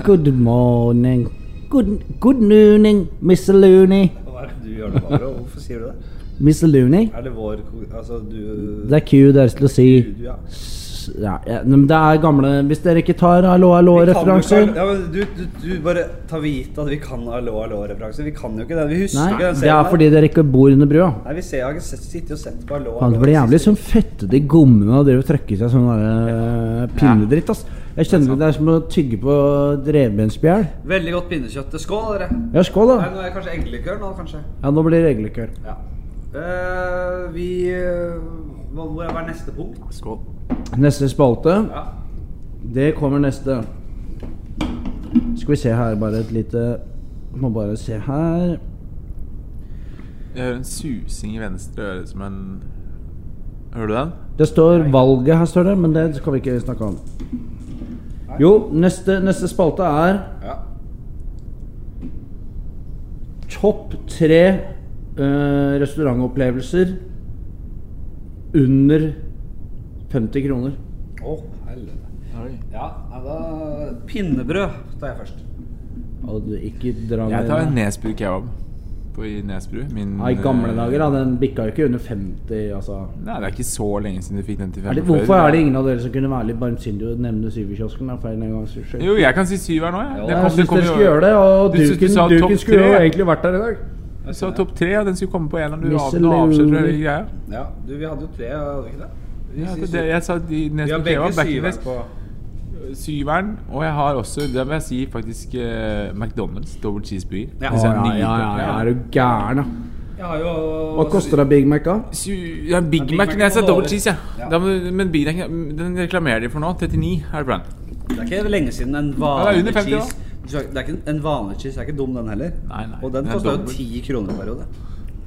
Speaker 1: Good morning. Good, good morning, Mr. Looney.
Speaker 2: Hva er det du gjør nå, Barbro? Hvorfor sier du det?
Speaker 1: Mr. Looney?
Speaker 2: Er det vår ko- Altså, du
Speaker 1: Det er Q deres til å si
Speaker 2: du, ja.
Speaker 1: s- ja, ja, men det er gamle Hvis dere ikke tar hallo-hallo-referanser
Speaker 2: Ja, men du, du, du bare ta vite at vi kan ha lå lå referanser Vi kan jo ikke den. Vi husker
Speaker 1: Nei,
Speaker 2: ikke den
Speaker 1: det er
Speaker 2: her.
Speaker 1: fordi dere ikke bor under brua.
Speaker 2: Nei, vi ser, jeg har ikke sett- sittet og sett på lå
Speaker 1: Faen, det blir jævlig sånn fettete i gommene og driver og trøkker i seg sånn derre pinnedritt, ass. Jeg kjenner det er som å tygge på revbensspjæl.
Speaker 2: Veldig godt pinnekjøtt. Skål, dere.
Speaker 1: Ja, skål,
Speaker 2: Nei,
Speaker 1: da.
Speaker 2: nå er det kanskje eggelikør nå, kanskje.
Speaker 1: Ja, nå blir det reglikør.
Speaker 2: Ja. Eh, vi eh, hva- Hvor er hva er neste punkt?
Speaker 6: Skål.
Speaker 1: Neste spalte,
Speaker 2: Ja.
Speaker 1: det kommer neste. Skal vi se her, bare et lite Må bare se her.
Speaker 6: Jeg hører en susing i venstre øre som en Hører du den?
Speaker 1: Det står valget her, står det, men det skal vi ikke snakke om. Jo, neste, neste spalte er
Speaker 2: ja.
Speaker 1: topp tre eh, restaurantopplevelser under 50 kroner.
Speaker 2: Å, helvete. Ja, nei, da Pinnebrød tar jeg først.
Speaker 1: Og du ikke dra
Speaker 6: Jeg
Speaker 1: med-
Speaker 6: tar en Nesbru kebab på i Nesbru. Min,
Speaker 1: Ja, I gamle
Speaker 6: eh,
Speaker 1: dager, da. Den bikka jo ikke under 50, altså.
Speaker 6: Nei, det er ikke så lenge siden du fikk den til
Speaker 1: Er det,
Speaker 6: 45.
Speaker 1: hvorfor er det ingen av dere som kunne være litt barmsindige og nevne Syverkiosken? da, for en gang skyld?
Speaker 6: Jo, jeg kan si syv her nå, jeg.
Speaker 1: Jeg syns dere skulle gjøre det, og
Speaker 6: Du synes du
Speaker 1: duken,
Speaker 6: sa topp
Speaker 1: duken skulle jo
Speaker 6: tre.
Speaker 1: egentlig vært der i dag.
Speaker 6: Du sa topp tre, og den skulle komme på en eller annen. Du av-
Speaker 1: Michelin.
Speaker 6: du avslørte hele greia.
Speaker 2: Ja, du, vi hadde jo tre, hadde vi ikke det? Vi
Speaker 6: Ja,
Speaker 2: sier
Speaker 6: det, det-
Speaker 2: syv.
Speaker 6: jeg sa de
Speaker 2: vi har
Speaker 6: Nesbru
Speaker 2: begge
Speaker 6: kebab, back in
Speaker 2: syveren
Speaker 6: days.
Speaker 2: på
Speaker 6: Syveren. Og jeg har også, det vil jeg si, faktisk eh, McDonald's. Double cheeseburger.
Speaker 2: Ja.
Speaker 6: Det synes jeg er
Speaker 1: Ja,
Speaker 6: nydelig.
Speaker 1: ja, ja, ja, er du gæren, da?
Speaker 2: Jeg har jo
Speaker 1: Hva koster det Big Mac, da?
Speaker 6: Su- Ja, Big,
Speaker 2: Big
Speaker 6: Mac.
Speaker 2: Mac
Speaker 6: Nei, jeg sa
Speaker 2: må
Speaker 6: double
Speaker 2: over.
Speaker 6: cheese, ja.
Speaker 2: Ja.
Speaker 6: Da må du- men Big Mac den reklamerer de for nå. 39 er det brand.
Speaker 2: Det er ikke lenge siden en
Speaker 6: Ja, det er
Speaker 2: vanlig
Speaker 6: under 50 da.
Speaker 2: cheese Du skal- Det er ikke en vanlig cheese, er ikke dum den heller.
Speaker 6: Nei, nei,
Speaker 2: Og den
Speaker 6: den er
Speaker 2: kosta jo
Speaker 6: dobbelt.
Speaker 2: ti kroner i periode.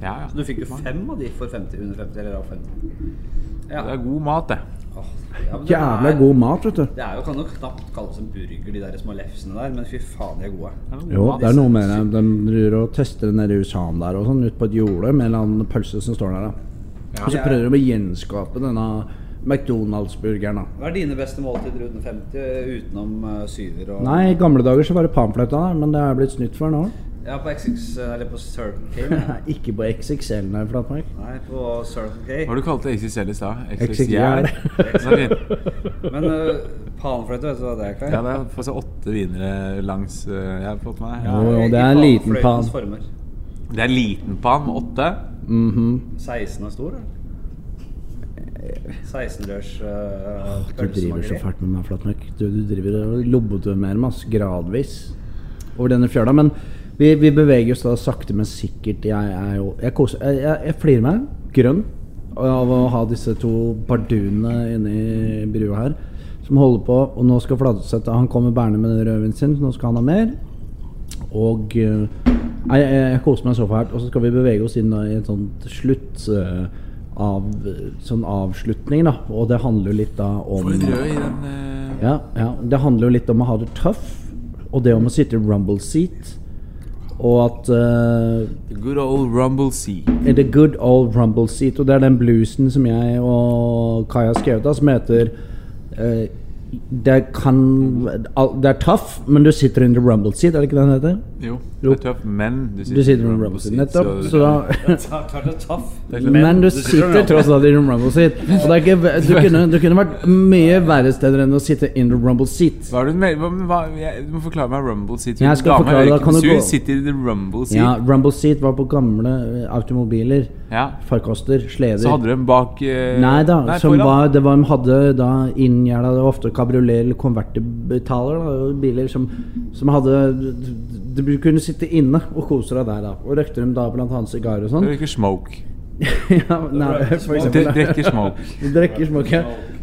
Speaker 6: Ja, ja.
Speaker 2: Så du fikk jo fem av de for 50, under 50 eller av 50. Ja.
Speaker 6: Det er god mat, det.
Speaker 2: Åh, ja, men det
Speaker 1: Jævla
Speaker 2: er-
Speaker 1: god mat, vet du.
Speaker 2: Det er jo, kan jo knapt kalles en burger, de der små lefsene der, men fy faen, de er gode.
Speaker 6: Det er god
Speaker 1: Jo,
Speaker 6: mat.
Speaker 1: det er noe med det. De driver og tester det nede i USA der og sånn, ute på et jorde med en eller annen pølse som står der. da. Og så prøver de å gjenskape denne McDonald's-burgeren. da.
Speaker 2: Hva er dine beste måltider under 50, utenom eh, syver og
Speaker 1: Nei, i gamle dager så var det pamfløyta der, men det er blitt snytt for nå.
Speaker 2: Ja, på XX, eh, eller på Circle
Speaker 1: [LAUGHS]
Speaker 2: K. nei.
Speaker 1: Ikke på XXL, nei, Flatmark.
Speaker 2: Nei, på Circle
Speaker 6: Hva
Speaker 2: K.
Speaker 6: har du kalte det XXL i stad?
Speaker 1: XXL.
Speaker 6: [LAUGHS] Det er fint.
Speaker 2: Men uh, panfløyte, vet du hva det er? Kai?
Speaker 6: Ja, det er altså åtte vinere langs eh, jeg har fått meg.
Speaker 1: Jo,
Speaker 6: Ja.
Speaker 1: jo,
Speaker 2: I
Speaker 1: det er en liten pan.
Speaker 2: panfløytens former.
Speaker 6: Det er liten pan med åtte.
Speaker 1: Mhm.
Speaker 2: 16 er stor, eller? 16-rørs
Speaker 3: eh,
Speaker 6: Ah,
Speaker 2: uh,
Speaker 1: Du driver så fælt med meg, Flatmark. Du, du driver og lobotomerer meg ass, gradvis over denne fjøla. Men vi, vi beveger oss da sakte, men sikkert. Jeg, er jo, jeg, koser, jeg, jeg, jeg flirer meg grønn av å ha disse to bardunene inni brua her. Som holder på, og nå skal Fladseth Han kommer bærende med den rødvinen sin, så nå skal han ha mer. Og eh, nei, jeg, jeg koser meg så fælt. Og så skal vi bevege oss inn da i et sånt slutt eh, av, sånn avslutning, da. Og det handler jo litt da om
Speaker 6: Rød i den eh,
Speaker 1: ja, ja, det handler jo litt om å ha det tøff, og det om å sitte i rumble seat. Og at eh,
Speaker 6: Good old Rumble Sea.
Speaker 1: er The good old rumble seat. Og det er den bluesen som jeg og Kai har skrevet, da, som heter eh, Det kan al- Det er tøff, men du sitter in the rumble seat, er det ikke det den heter?
Speaker 6: Jo,
Speaker 1: Jo.
Speaker 6: det er tøft, men du sitter,
Speaker 1: Du sitter
Speaker 6: i
Speaker 1: in the rumble seat, nettopp. Så da
Speaker 2: Klart det er tøff.
Speaker 6: Det er
Speaker 1: [LAUGHS]
Speaker 6: klart.
Speaker 1: Men du
Speaker 2: du sitter i
Speaker 1: sitter
Speaker 2: rumble.
Speaker 1: tross alt i room rumble seat. Og det er ikke, du, kunne, du kunne vært mye verre steder enn å sitte in the rumble seat.
Speaker 6: Hva er det du mener? Hva- hva- jeg- Du må forklare meg Rumble Seat.
Speaker 1: Jeg skal
Speaker 6: Dame
Speaker 1: forklare deg,
Speaker 6: Øyvind
Speaker 1: kan du
Speaker 6: Sur
Speaker 1: gå-
Speaker 6: sitter i the Rumble Seat.
Speaker 1: Ja, rumble seat var på gamle eh, automobiler.
Speaker 6: Ja.
Speaker 1: Farkoster, sleder.
Speaker 6: Så hadde du en bak eh,
Speaker 1: Nei da, som
Speaker 6: foran.
Speaker 1: var, det var, de hadde da inngjerda det var ofte kabriolet eller konvertibetaler. da, Biler som, som hadde Du du kunne sitte inne og kose deg der, da. Og røkte dem da blant annet sigarer og
Speaker 6: Du
Speaker 1: sånn.
Speaker 6: røyker smoke.
Speaker 1: [LAUGHS] ja, nei, for
Speaker 6: Du
Speaker 1: eksempel.
Speaker 6: drikker smoke.
Speaker 1: De drikker smoke.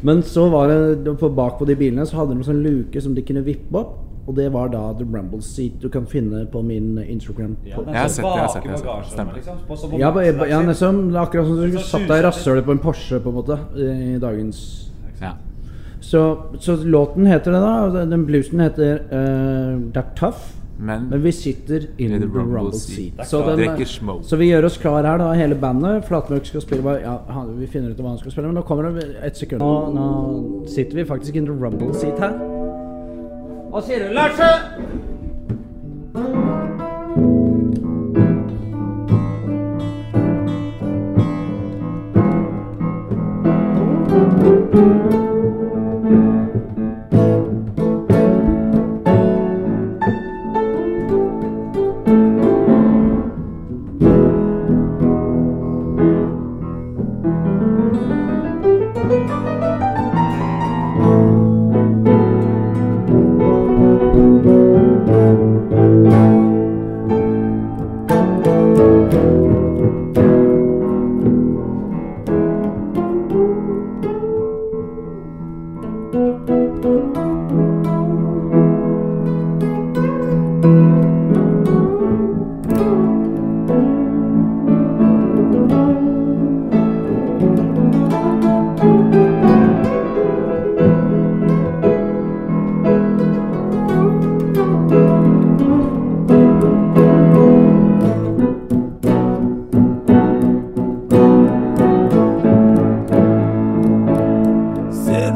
Speaker 1: Men så var det på bak på de bilene så hadde de sånn luke som de kunne vippe opp. Og det var da The Rumble Seat du kan finne på min Instagram.
Speaker 2: Ja,
Speaker 1: På.
Speaker 2: men
Speaker 6: Jeg har
Speaker 2: så
Speaker 6: sett det, jeg
Speaker 2: bak i
Speaker 6: har sett det, jeg har sett det.
Speaker 2: bagasjerommet,
Speaker 6: Stemmer.
Speaker 2: liksom. På- så på
Speaker 1: Ja, bare- ja,
Speaker 2: baksiden.
Speaker 1: nesten, akkurat som du skulle satt deg i rasshølet på en Porsche, på en måte. I dagens
Speaker 6: Ja.
Speaker 1: Så, så låten heter det, da. og den- Den bluesen heter eh, Det er tøff,
Speaker 6: Men
Speaker 1: men vi sitter in the rumble, seat. Så,
Speaker 6: Det er
Speaker 1: den,
Speaker 6: ikke
Speaker 1: eh,
Speaker 6: smoke.
Speaker 1: så vi gjør oss klar her, da, hele bandet. Flatmøk skal spille bare, ja, han, Vi finner ut hva han skal spille, men nå kommer det et sekund. Nå, nå sitter vi faktisk in the rumble seat her. Hva sier du, Larse?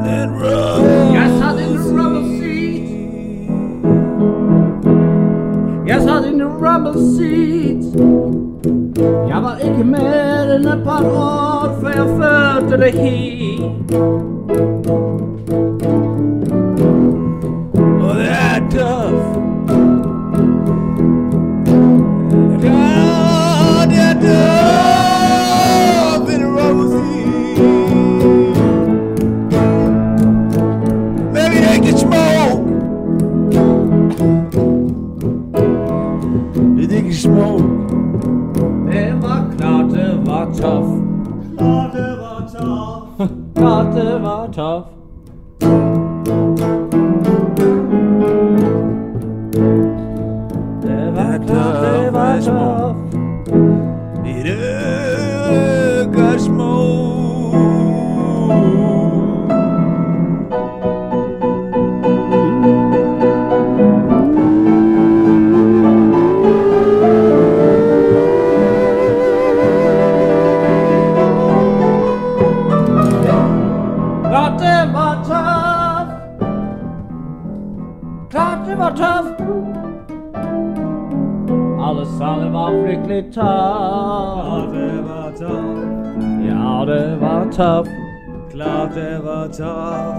Speaker 6: in rubble.
Speaker 1: Jeg satt in the rubber seat. Jeg satt in the rubber seat. Jeg var ikke mer enn et par år før jeg førte det hit.
Speaker 6: Oh, they're tough. God, they're tough in the rubber sea. Maybe they can smoke. They can smoke.
Speaker 1: Det var klart det var tøff. [LAUGHS] Klart det var tøff. Det var klart det var tøff.
Speaker 6: It got smoke.
Speaker 1: Klart det var tøff. Klart det var tøff. Alle sammen var fryktelig tøff. Ja, det var tøff.
Speaker 6: Klart det var tough.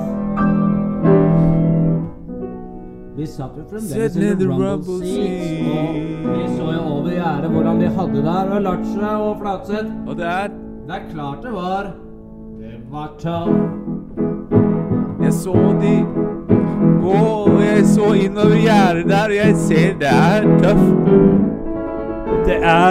Speaker 1: Vi satt jo fremdeles
Speaker 6: Sitting
Speaker 1: i
Speaker 6: in the
Speaker 1: rumble
Speaker 6: rumble
Speaker 1: seats, og
Speaker 6: seats.
Speaker 1: vi så jo over gjerdet hvordan de hadde der, og Latsja og Flatseth.
Speaker 6: Og det er
Speaker 1: Det er klart det var. Det var tøff.
Speaker 6: Jeg så de gå, og jeg så innover gjerdet der, og jeg ser det er tøff. Det er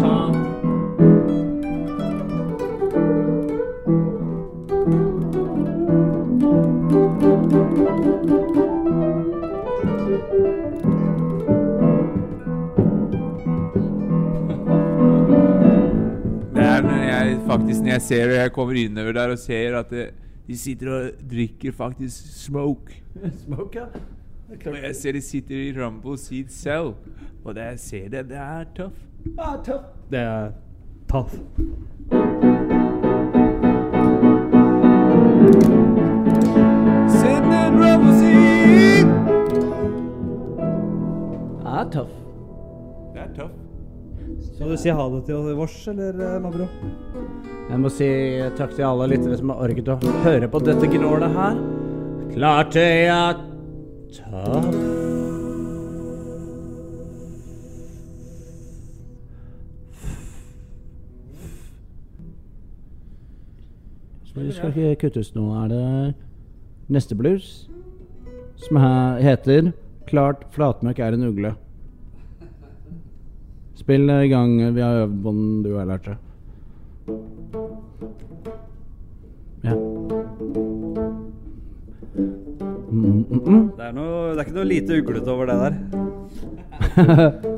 Speaker 1: topp.
Speaker 6: Det er når jeg faktisk når jeg ser og jeg kommer innover der og ser at det, de sitter og drikker faktisk smoke.
Speaker 1: Smoke, ja.
Speaker 6: Og jeg ser de sitter i Rumble Seed Cell, og det jeg ser det, det er tøff.
Speaker 1: Ah, topp.
Speaker 3: Det er tatt.
Speaker 6: Send in Rumble Seed!
Speaker 1: Ah, topp.
Speaker 6: Det er tøff.
Speaker 3: Skal du si ha det til vårs, eller, eh, Mabro?
Speaker 1: Jeg må si takk til alle lyttere som har orket å høre på dette gnålet her. Klart det er topp. Men det skal ikke kuttes noe. Er det neste blues? Som he- heter 'Klart flatmøkk er en ugle'. Spill i gang. Vi har øvd på den, du har lært det. Ja. Mm, mm, mm.
Speaker 3: Det er, noe, det er ikke noe lite uglete over det der.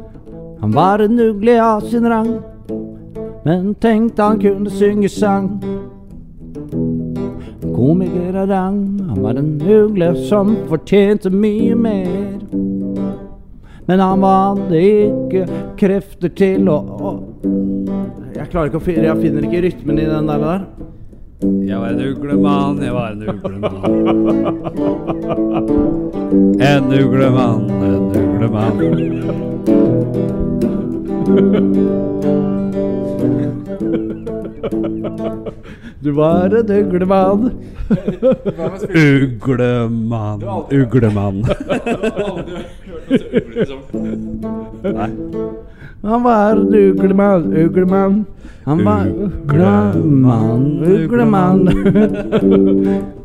Speaker 1: Han var en ugle av sin rang, men tenkte han kunne synge sang. Komiker av rang, han var en ugle som fortjente mye mer. Men han hadde ikke krefter til å, å Jeg klarer ikke å finne Jeg finner ikke rytmen i den der. der.
Speaker 3: Jeg var en uglemann, jeg var en uglemann. En uglemann, en uglemann.
Speaker 1: Du var en uglemann.
Speaker 3: Uglemann, uglemann.
Speaker 1: Han var en uglemann, uglemann. Han var uglemann, uglemann.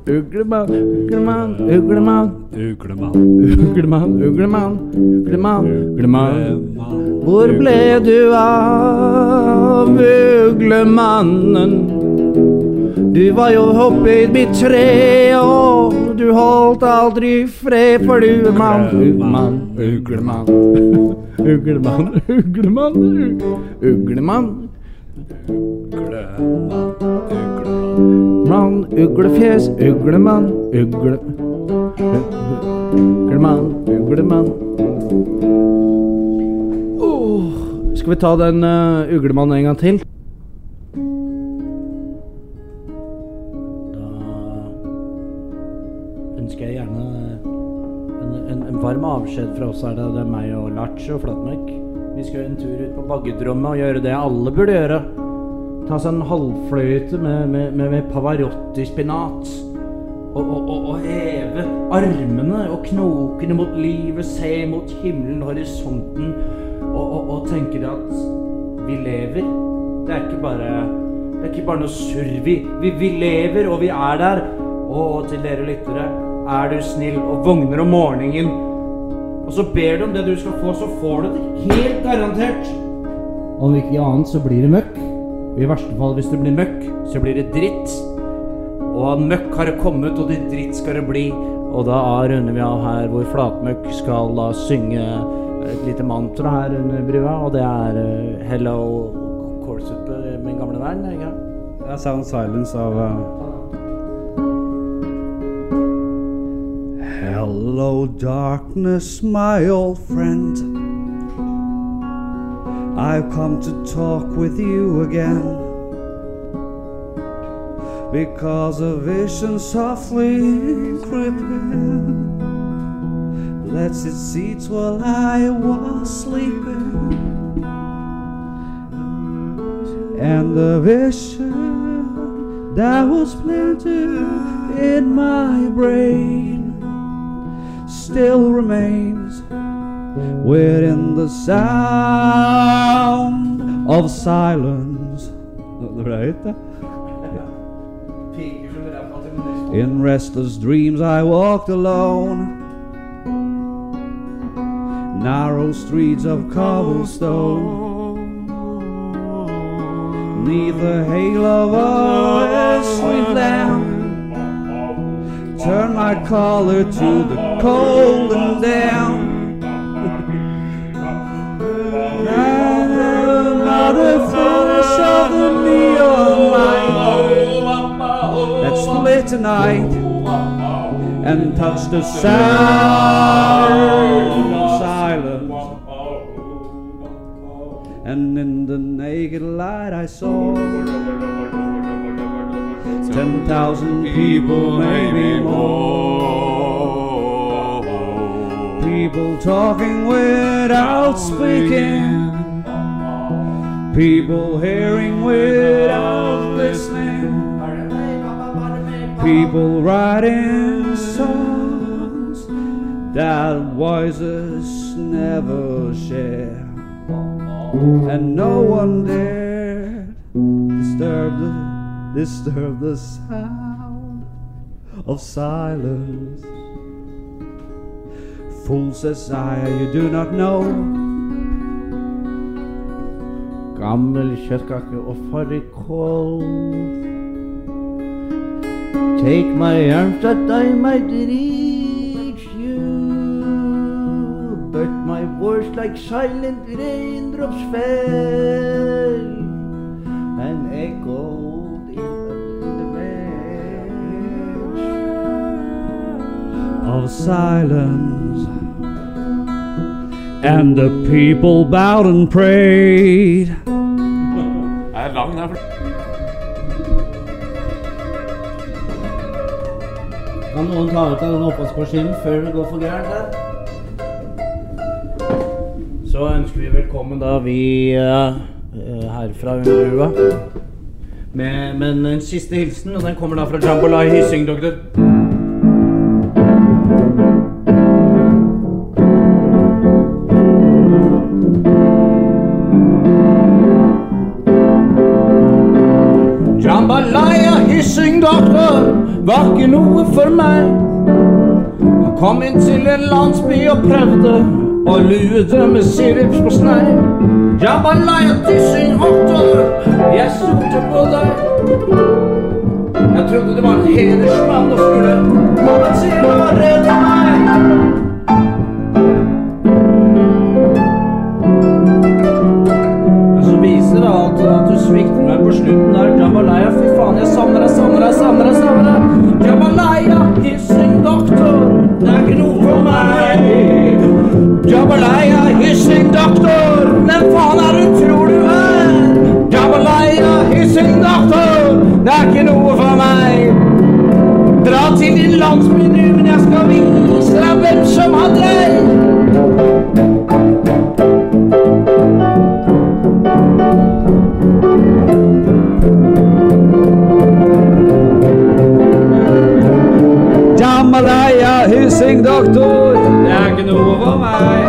Speaker 1: Uglemann, uglemann, uglemann.
Speaker 3: Uglemann.
Speaker 1: Uglemann, uglemann, uglemann, uglemann. Hvor ble du av, uglemannen? Du var jo oppe i mitt tre, og du holdt aldri fred, for du er mann. Uglemann, uglemann. [LAUGHS] Uglemann, uglemann, u- uglemann.
Speaker 3: Uglemann, uglemann.
Speaker 1: Mann, uglefjes, uglemann, ugle... Uglemann, uglemann. Åh, Oh, skal vi ta den eh, uglemann en gang til? Da ønsker jeg gjerne en, en, en varm avskjed fra oss. Er det, det er meg og Lars og Flatmark. Vi skal en tur ut på Baggedrommet og gjøre det alle burde gjøre. Ta seg en halvfløyte med, med, med, med Pavarotti-spinat. Og, og, og, og heve armene og knokene mot livet, se mot himmelen, horisonten, og, og, og tenke det at vi lever. Det er ikke bare, det er ikke bare noe surr. Vi, vi, vi lever, og vi er der. Og til dere lyttere, er du snill og våkner om morgenen, og så ber du om det du skal få, så får du det helt garantert. Om ikke annet, så blir det møkk. Og i verste fall, hvis det blir møkk, så blir det dritt. Og av møkk har det kommet, og til dritt skal det bli. Og da runder vi av her hvor Flatmøkk skal da synge et lite mantra her under brua, og det er eh, 'Hello Kålsuppe', min gamle venn. Ikke?
Speaker 2: Det er Sound Silence av eh, Hello darkness, my old friend. I've come to talk with you again. Because a vision softly creeping lets its seeds while I was sleeping. And the vision that was planted in my brain still remains within the sound of silence. Det ble høyt, det. In restless dreams, I walked alone. Narrow streets of cobblestone. Neath the halo of a sweet lamp. Turn my collar to the cold and damp. And I'm Not a flash of the neon light that split tonight and touched the sound of silence. And in the naked light I saw ten thousand people, maybe more. People talking without speaking. People hearing without listening. People writing songs that voices never share. And no one dared disturb the, disturb the sound of silence. Fool says I, you do not know.
Speaker 1: Gammel kjøttkake og fårikål. Take my arms that I might reach you. But my words like silent raindrops fell and echoed in the, in the mesh of silence. And the people bowed and prayed.
Speaker 3: Jeg er lang, der.
Speaker 1: Kan noen ta ut av den oppvaskmaskinen før det går for gærent her? Så ønsker vi velkommen da vi eh, eh, herfra under brua. Med, men en siste hilsen, og den kommer da fra Jambalay Hyssing, doktor. Jambalaya Hyssing, doktor, var ikke noe for meg. Jeg kom inn til en landsby og prøvde å lue det med sirups på snei. Jambalaya Hyssing, doktor, jeg stolte på deg. Jeg trodde det var en hedersmann og skulle komme til å redde meg. Men så viser det at, at du svikter meg på slutten der. Jambalaya, fy faen, jeg savner deg, savner deg, savner deg. savner deg Jambalaya, hissing doktor.
Speaker 2: hyssing doktor.
Speaker 6: Det er ikke noe for meg.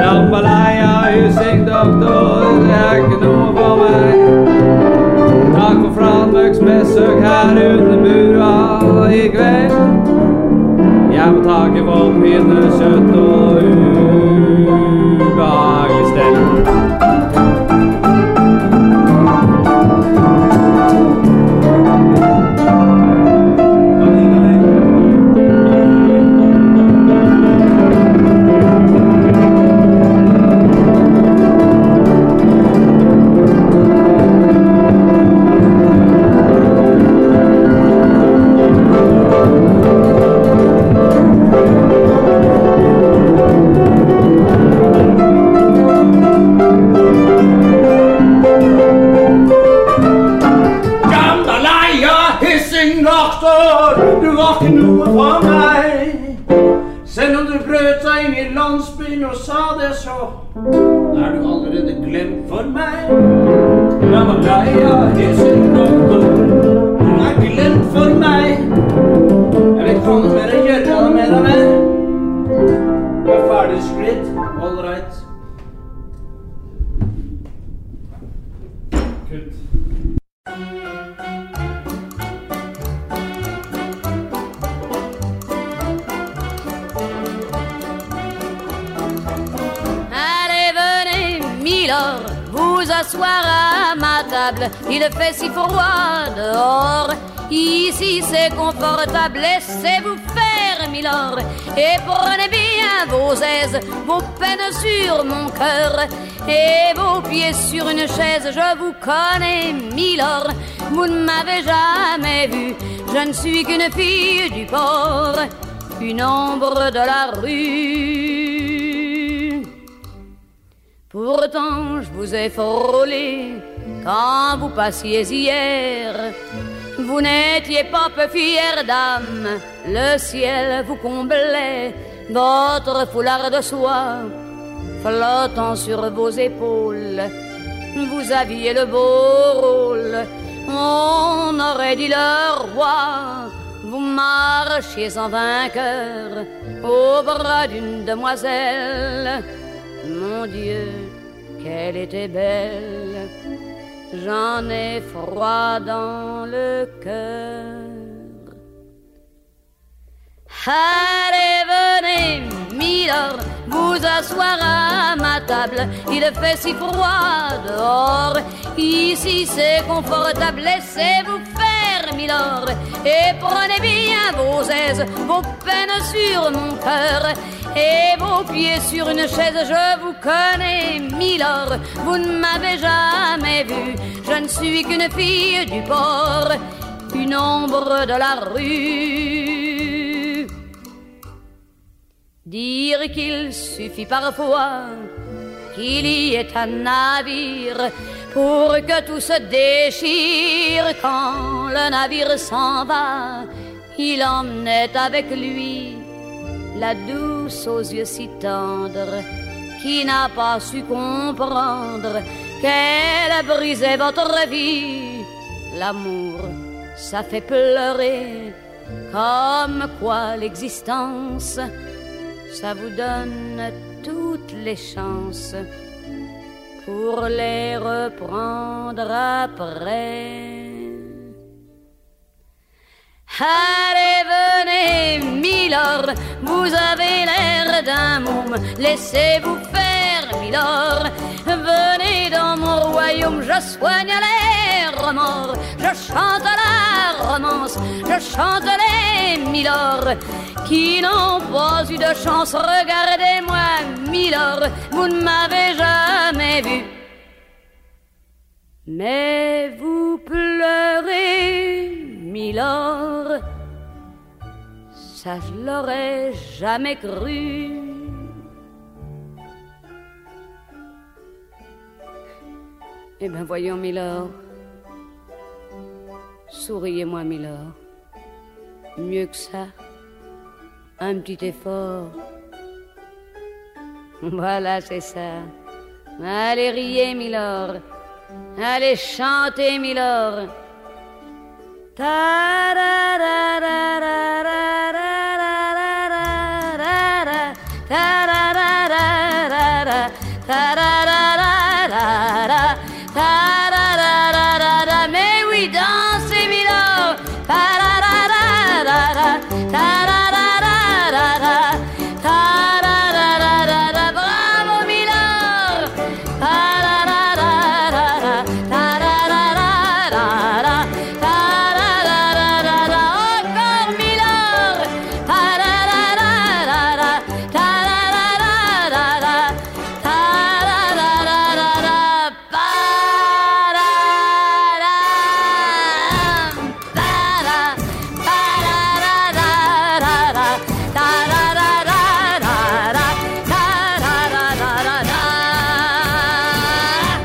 Speaker 6: Jambalaya, hyssing, doktor. Det er ikke noe for meg. Takk for Flatmøks besøk her ute bua i kveld. Jeg må takke for pinnekjøtt og ubehagelig stell.
Speaker 5: Jambalaya, hyssing, doktor, du var ikke noe for meg. Selv om du brøt deg inn i landsbyen og sa det så, er du allerede glemt for meg. Jambalaya, hyssing, doktor, du er glemt for meg. Jeg vil ikke ha noe mer å gjøre noe mer av meg. Du er ferdig skritt, all right.
Speaker 9: Allez, venez, Milord, vous asseoir à ma table. Il fait si froid dehors. Ici, c'est confortable. Laissez-vous faire, Milord. Et prenez bien vos aises, vos peines sur mon cœur. Et vos pieds sur une chaise, je vous connais, Milord. Vous ne m'avez jamais vu. Je ne suis qu'une fille du port, une ombre de la rue. Pourtant, je vous ai frôlé quand vous passiez hier. Vous n'étiez pas peu fière d'âme, le ciel vous comblait, votre foulard de soie flottant sur vos épaules. Vous aviez le beau rôle, on aurait dit le roi. Vous marchiez en vainqueur au bras d'une demoiselle. Mon Dieu, qu'elle était belle, j'en ai froid dans le cœur. Allez, venez, Milord, vous asseoir à ma table. Il fait si froid dehors. Ici, c'est confortable. Laissez-vous faire, Milord. Et prenez bien vos aises, vos peines sur mon cœur. Et vos pieds sur une chaise, je vous connais, Milord. Vous ne m'avez jamais vu. Je ne suis qu'une fille du port, une ombre de la rue. Dire qu'il suffit parfois qu'il y ait un navire pour que tout se déchire. Quand le navire s'en va, il emmenait avec lui la douce aux yeux si tendres qui n'a pas su comprendre qu'elle a brisé votre vie. L'amour, ça fait pleurer comme quoi l'existence ça vous donne toutes les chances pour les reprendre après. Allez, venez, Milord, vous avez l'air d'un môme, laissez-vous faire, Milord. Venez dans mon royaume, je soigne les remords, je chante la romance, je chante les Milord qui n'ont pas eu de chance. Regardez-moi, Milord, vous ne m'avez jamais vu. Mais vous pleurez, Milord. Ça, je l'aurais jamais cru. Eh ben, voyons, Milord. Souriez-moi, Milord. Mieux que ça, un petit effort. Voilà, c'est ça. Allez riez, Milord. Allez chanter, Milord. Ta-ra-ra-ra-ra-ra-ra-ra. Ta-ra-ra-ra-ra-ra, ta-ra-ra-ra-ra-ra. Mais oui, dans ces villas, ta-ra-ra-ra-ra-ra, ta-ra-ra-ra-ra-ra, ta-ra-ra-ra-ra-ra. Bravo, Milord! Ta-ra-ra-ra-ra-ra, ta-ra-ra-ra-ra-ra, ta-ra-ra-ra-ra-ra. Encore, Milord! Ta-ra-ra-ra-ra-ra, ta-ra-ra-ra-ra-ra, ta-ra-ra-ra-ra-ra. Ba-da-dam, ba-da, ba-da-da-da-da-da, ta-ra-ra-ra-ra-ra, ta-ra-ra-ra-ra-ra.